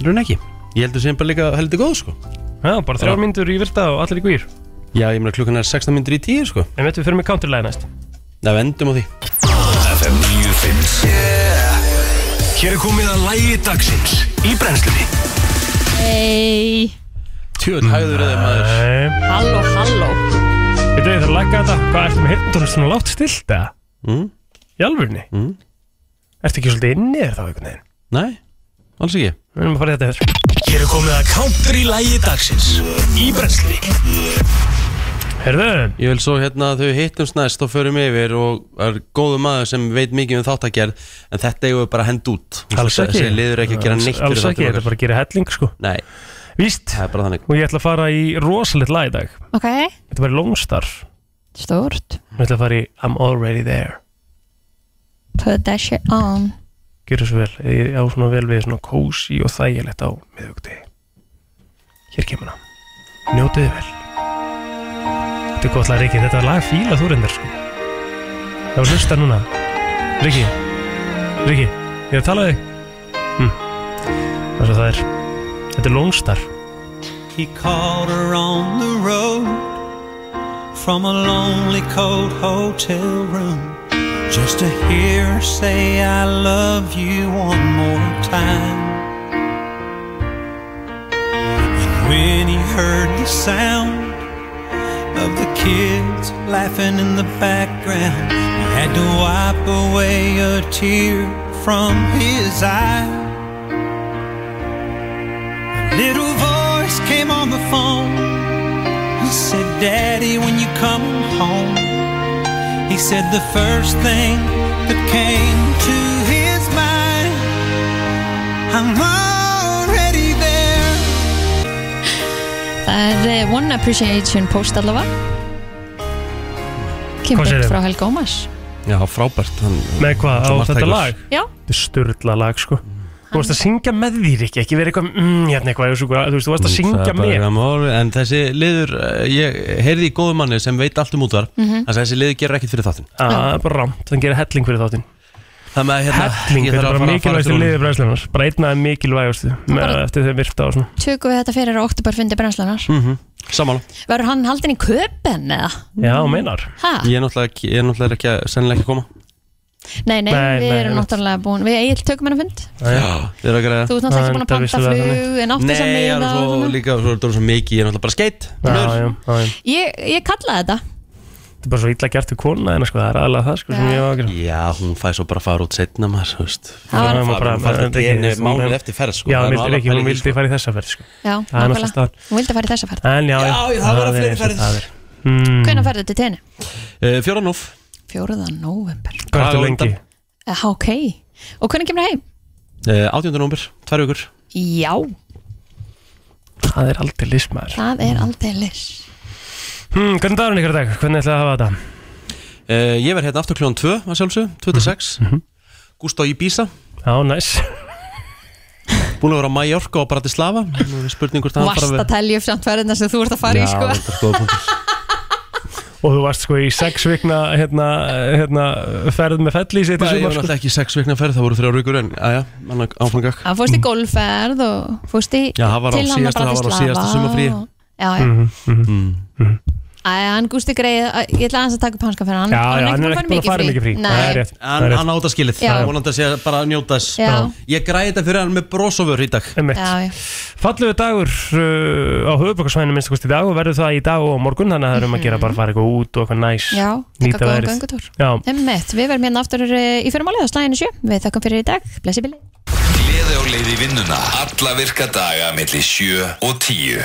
[SPEAKER 1] raun ekki Ég heldur sem bara líka heldur góð sko
[SPEAKER 3] Já, bara þrjár myndur í virta og allir í guýr
[SPEAKER 1] Já, ég meina klukkan er 16 myndur í 10 sko
[SPEAKER 3] En veitum við fyrir með counterlæði næst
[SPEAKER 1] Það við endum á því
[SPEAKER 9] FM 957 Hér er komið að lægi dagsins í brennslunni
[SPEAKER 2] Hey.
[SPEAKER 1] Tjöld, hæður eða maður
[SPEAKER 2] Halló, halló
[SPEAKER 3] Við þau þarf að lækka þetta Hvað ertu með hirtunum svona látt stilt eða? Mm. Í alvörni? Mm. Ertu ekki svolítið inni þér þá einhvern veginn?
[SPEAKER 1] Nei, alls ekki
[SPEAKER 3] Við erum að fara í þetta yfir
[SPEAKER 9] Hér er komið að counter í lægi dagsins í brennslunni
[SPEAKER 3] Herðu
[SPEAKER 1] Ég vil svo hérna að þau hittumst næst og förum yfir og er góðu maður sem veit mikið um þáttagerð en þetta eigum við bara að henda út
[SPEAKER 3] Alls ekki
[SPEAKER 1] Þessi liður ekki að gera neitt fyrir
[SPEAKER 3] Alls
[SPEAKER 1] þáttinn
[SPEAKER 3] ekki,
[SPEAKER 1] okkar.
[SPEAKER 3] þetta er bara að gera helling sko
[SPEAKER 1] Nei
[SPEAKER 3] Víst
[SPEAKER 1] Það er bara þannig
[SPEAKER 3] Og ég ætla að fara í rosalegt lag í dag
[SPEAKER 2] Ok,
[SPEAKER 3] Þetta var í Longstar
[SPEAKER 2] stórt
[SPEAKER 3] Ég ætla að fara í I'm Already There
[SPEAKER 2] Put that shit on
[SPEAKER 3] Gjörðu svo vel Ég á svona vel við svona cozy og þægilegt á miðugti Hér kemur hann Njótiði vel Þetta er gott lag Riki Þetta er lag fíla þú reyndar sko Það var hlusta núna Riki Riki Ég er að tala við þig hm. Það er svo það er Þetta er Longstar
[SPEAKER 15] He caught her on the road from a lonely, cold hotel room just to hear her say, I love you one more time. And when he heard the sound of the kids laughing in the background, he had to wipe away a tear from his eye. Little voice came on the phone. He said, Daddy, when you come home. He said the first thing that came to his mind. I'm already there.
[SPEAKER 2] Það er eh, One Appreciation Post allavega
[SPEAKER 3] Hvað
[SPEAKER 2] Kemur
[SPEAKER 3] segirðu?
[SPEAKER 2] frá Helga Ómars
[SPEAKER 1] Já, frábært hann,
[SPEAKER 3] Með hvað á
[SPEAKER 1] Svo margt
[SPEAKER 3] þetta
[SPEAKER 1] tækur.
[SPEAKER 3] lag?
[SPEAKER 2] Já.
[SPEAKER 3] Þetta er störla lag sko Þú varst að syngja með þýr ekki, ekki verið eitthvað mm, hérna eitthvað, þú veist, þú varst
[SPEAKER 1] Mm,
[SPEAKER 3] að
[SPEAKER 1] Það
[SPEAKER 3] syngja
[SPEAKER 1] er
[SPEAKER 3] með
[SPEAKER 1] bara mál, En þessi liður, eh, ég heyrði í góðu manni sem veit allt um útvar
[SPEAKER 3] Mhm.
[SPEAKER 1] Þannig að þessi liður gerir ekkert fyrir þáttinn
[SPEAKER 3] Já, það er Ah, bara rámt, þannig gerir helling fyrir þáttinn
[SPEAKER 1] Þannig að hérna,
[SPEAKER 3] Helling,
[SPEAKER 1] ég þarf að
[SPEAKER 3] þetta er
[SPEAKER 1] fara að
[SPEAKER 3] bara
[SPEAKER 1] fara
[SPEAKER 3] mikilvægstu
[SPEAKER 1] eftir
[SPEAKER 3] liði
[SPEAKER 1] honum.
[SPEAKER 3] bræðslunar Bara einn aðeins mikilvægastu með eftir þeim virta og svona
[SPEAKER 2] Tökum við þetta fyrir á oktoberfundi brennslanar
[SPEAKER 1] mm -hmm. Samála
[SPEAKER 2] Verður hann haldin í köpen eða?
[SPEAKER 1] Já, meinar
[SPEAKER 2] Ha?
[SPEAKER 1] Ég er náttúrulega, ekki- ég er náttúrulega ekki að, sennilega ekki að koma
[SPEAKER 2] Nei, nei,
[SPEAKER 1] Nei,
[SPEAKER 2] við
[SPEAKER 1] nei,
[SPEAKER 2] erum
[SPEAKER 1] einmitt.
[SPEAKER 2] náttúrulega búin Við eigin tökum hennar fund
[SPEAKER 1] Já, þið eru að greiða
[SPEAKER 2] Þú ert náttúrulega ekki búin að panta flug, en átti sem
[SPEAKER 1] Nei,
[SPEAKER 2] miða
[SPEAKER 1] en
[SPEAKER 2] og
[SPEAKER 1] svo
[SPEAKER 2] svona.
[SPEAKER 1] líka, svo er það svo mikið, ég er náttúrulega bara skeitt
[SPEAKER 3] Já, já, já, já.
[SPEAKER 2] Ég, ég kallaði þetta
[SPEAKER 3] Þetta er bara svo illa gert við kona en sko, það er aðalega það sko, sem ég var að gera
[SPEAKER 1] Já, hún fæði svo bara að fara út setna maður, þú veist
[SPEAKER 2] Það var-
[SPEAKER 1] Hún fara- hún fara til DNA málið eftir ferð, sko
[SPEAKER 3] Já,
[SPEAKER 1] það er nú
[SPEAKER 3] vildi,
[SPEAKER 1] alveg
[SPEAKER 3] ekki, hún
[SPEAKER 1] pæling,
[SPEAKER 3] vildi fara í þessa ferð sko.
[SPEAKER 2] Já,
[SPEAKER 3] Það er náttúrulega
[SPEAKER 2] nákvæmlega
[SPEAKER 3] staðan.
[SPEAKER 2] Hún vildi fara í þessa ferð
[SPEAKER 3] En já,
[SPEAKER 2] Já, það verða
[SPEAKER 3] er
[SPEAKER 2] fleiri
[SPEAKER 3] eins og
[SPEAKER 2] ferðir.
[SPEAKER 3] það er. Mm.
[SPEAKER 2] Hvenær ferðu til tenni?
[SPEAKER 1] sko. Fjóra núf
[SPEAKER 2] 4. november
[SPEAKER 3] Hvað ertu lengi?
[SPEAKER 2] Eh, Ok, og hvernig kemur heim?
[SPEAKER 1] 18. nómur, Eh, tvær vikur
[SPEAKER 2] Já,
[SPEAKER 3] Það er aldrei lismæður
[SPEAKER 2] það
[SPEAKER 1] Mm.
[SPEAKER 2] er aldrei lis
[SPEAKER 3] hmm, Hvernig dagur hún ykkur í dag? Hvernig ætlaði að hafa þetta?
[SPEAKER 1] Eh, Ég verð hérna aftur kljóðan 2, að sjálfsög,
[SPEAKER 3] Mhm,
[SPEAKER 1] 26 Gústa í Bísa
[SPEAKER 3] Já, næs
[SPEAKER 1] Búin að vera á Mallorca og Bratislava Nú er Spurning hvort hann
[SPEAKER 2] Vasta telju samt ferðina sem þú ert að fara í sko
[SPEAKER 3] Og þú varst sko í sex vikna hérna, hérna, ferð með felli í sitt í
[SPEAKER 1] Ég var
[SPEAKER 3] sumar
[SPEAKER 1] náttúrulega
[SPEAKER 3] sko.
[SPEAKER 1] ekki sex vikna ferð, það voru þrjá vikur en aðja, áframgak
[SPEAKER 2] Það fórst í golfferð og fórst í
[SPEAKER 1] Mm. Já, það var á
[SPEAKER 2] til hann að
[SPEAKER 1] síðasta- það var á
[SPEAKER 2] Bratislava
[SPEAKER 1] síðasta sumarfríi. Mm.
[SPEAKER 2] og- Já, já,
[SPEAKER 3] Mhm,
[SPEAKER 2] Æ, hann gústi greið Ég ætla aðeins að taka upp hanska fyrir Mm, hann
[SPEAKER 1] Já, já, hann er ekki búin að fara í mikið frí
[SPEAKER 2] Nei,
[SPEAKER 1] Hann, hann áta skilið,
[SPEAKER 2] Já.
[SPEAKER 1] það er vonandi að sé bara að njóta þess
[SPEAKER 2] Já.
[SPEAKER 1] Ég græði þetta fyrir hann með brosofur í dag
[SPEAKER 2] Já, já.
[SPEAKER 3] Fallegur dagur uh, á höfubokarsvæðinu minnst kosti í dag og verður það í dag og á morgun þannig að það er um að gera bara að fara eitthvað út og eitthvað næs
[SPEAKER 2] Já,
[SPEAKER 3] nýta
[SPEAKER 2] taka góðan
[SPEAKER 3] veðrið.
[SPEAKER 2] göngutúr.
[SPEAKER 3] Já,
[SPEAKER 2] Einmitt, við verðum hérna aftur eh, í fyrirmálið á slæðinu sjö Við þakkum fyrir í dag, blessi bili
[SPEAKER 9] Gleði á leið í vinnuna Alla virka daga melli 7 og 10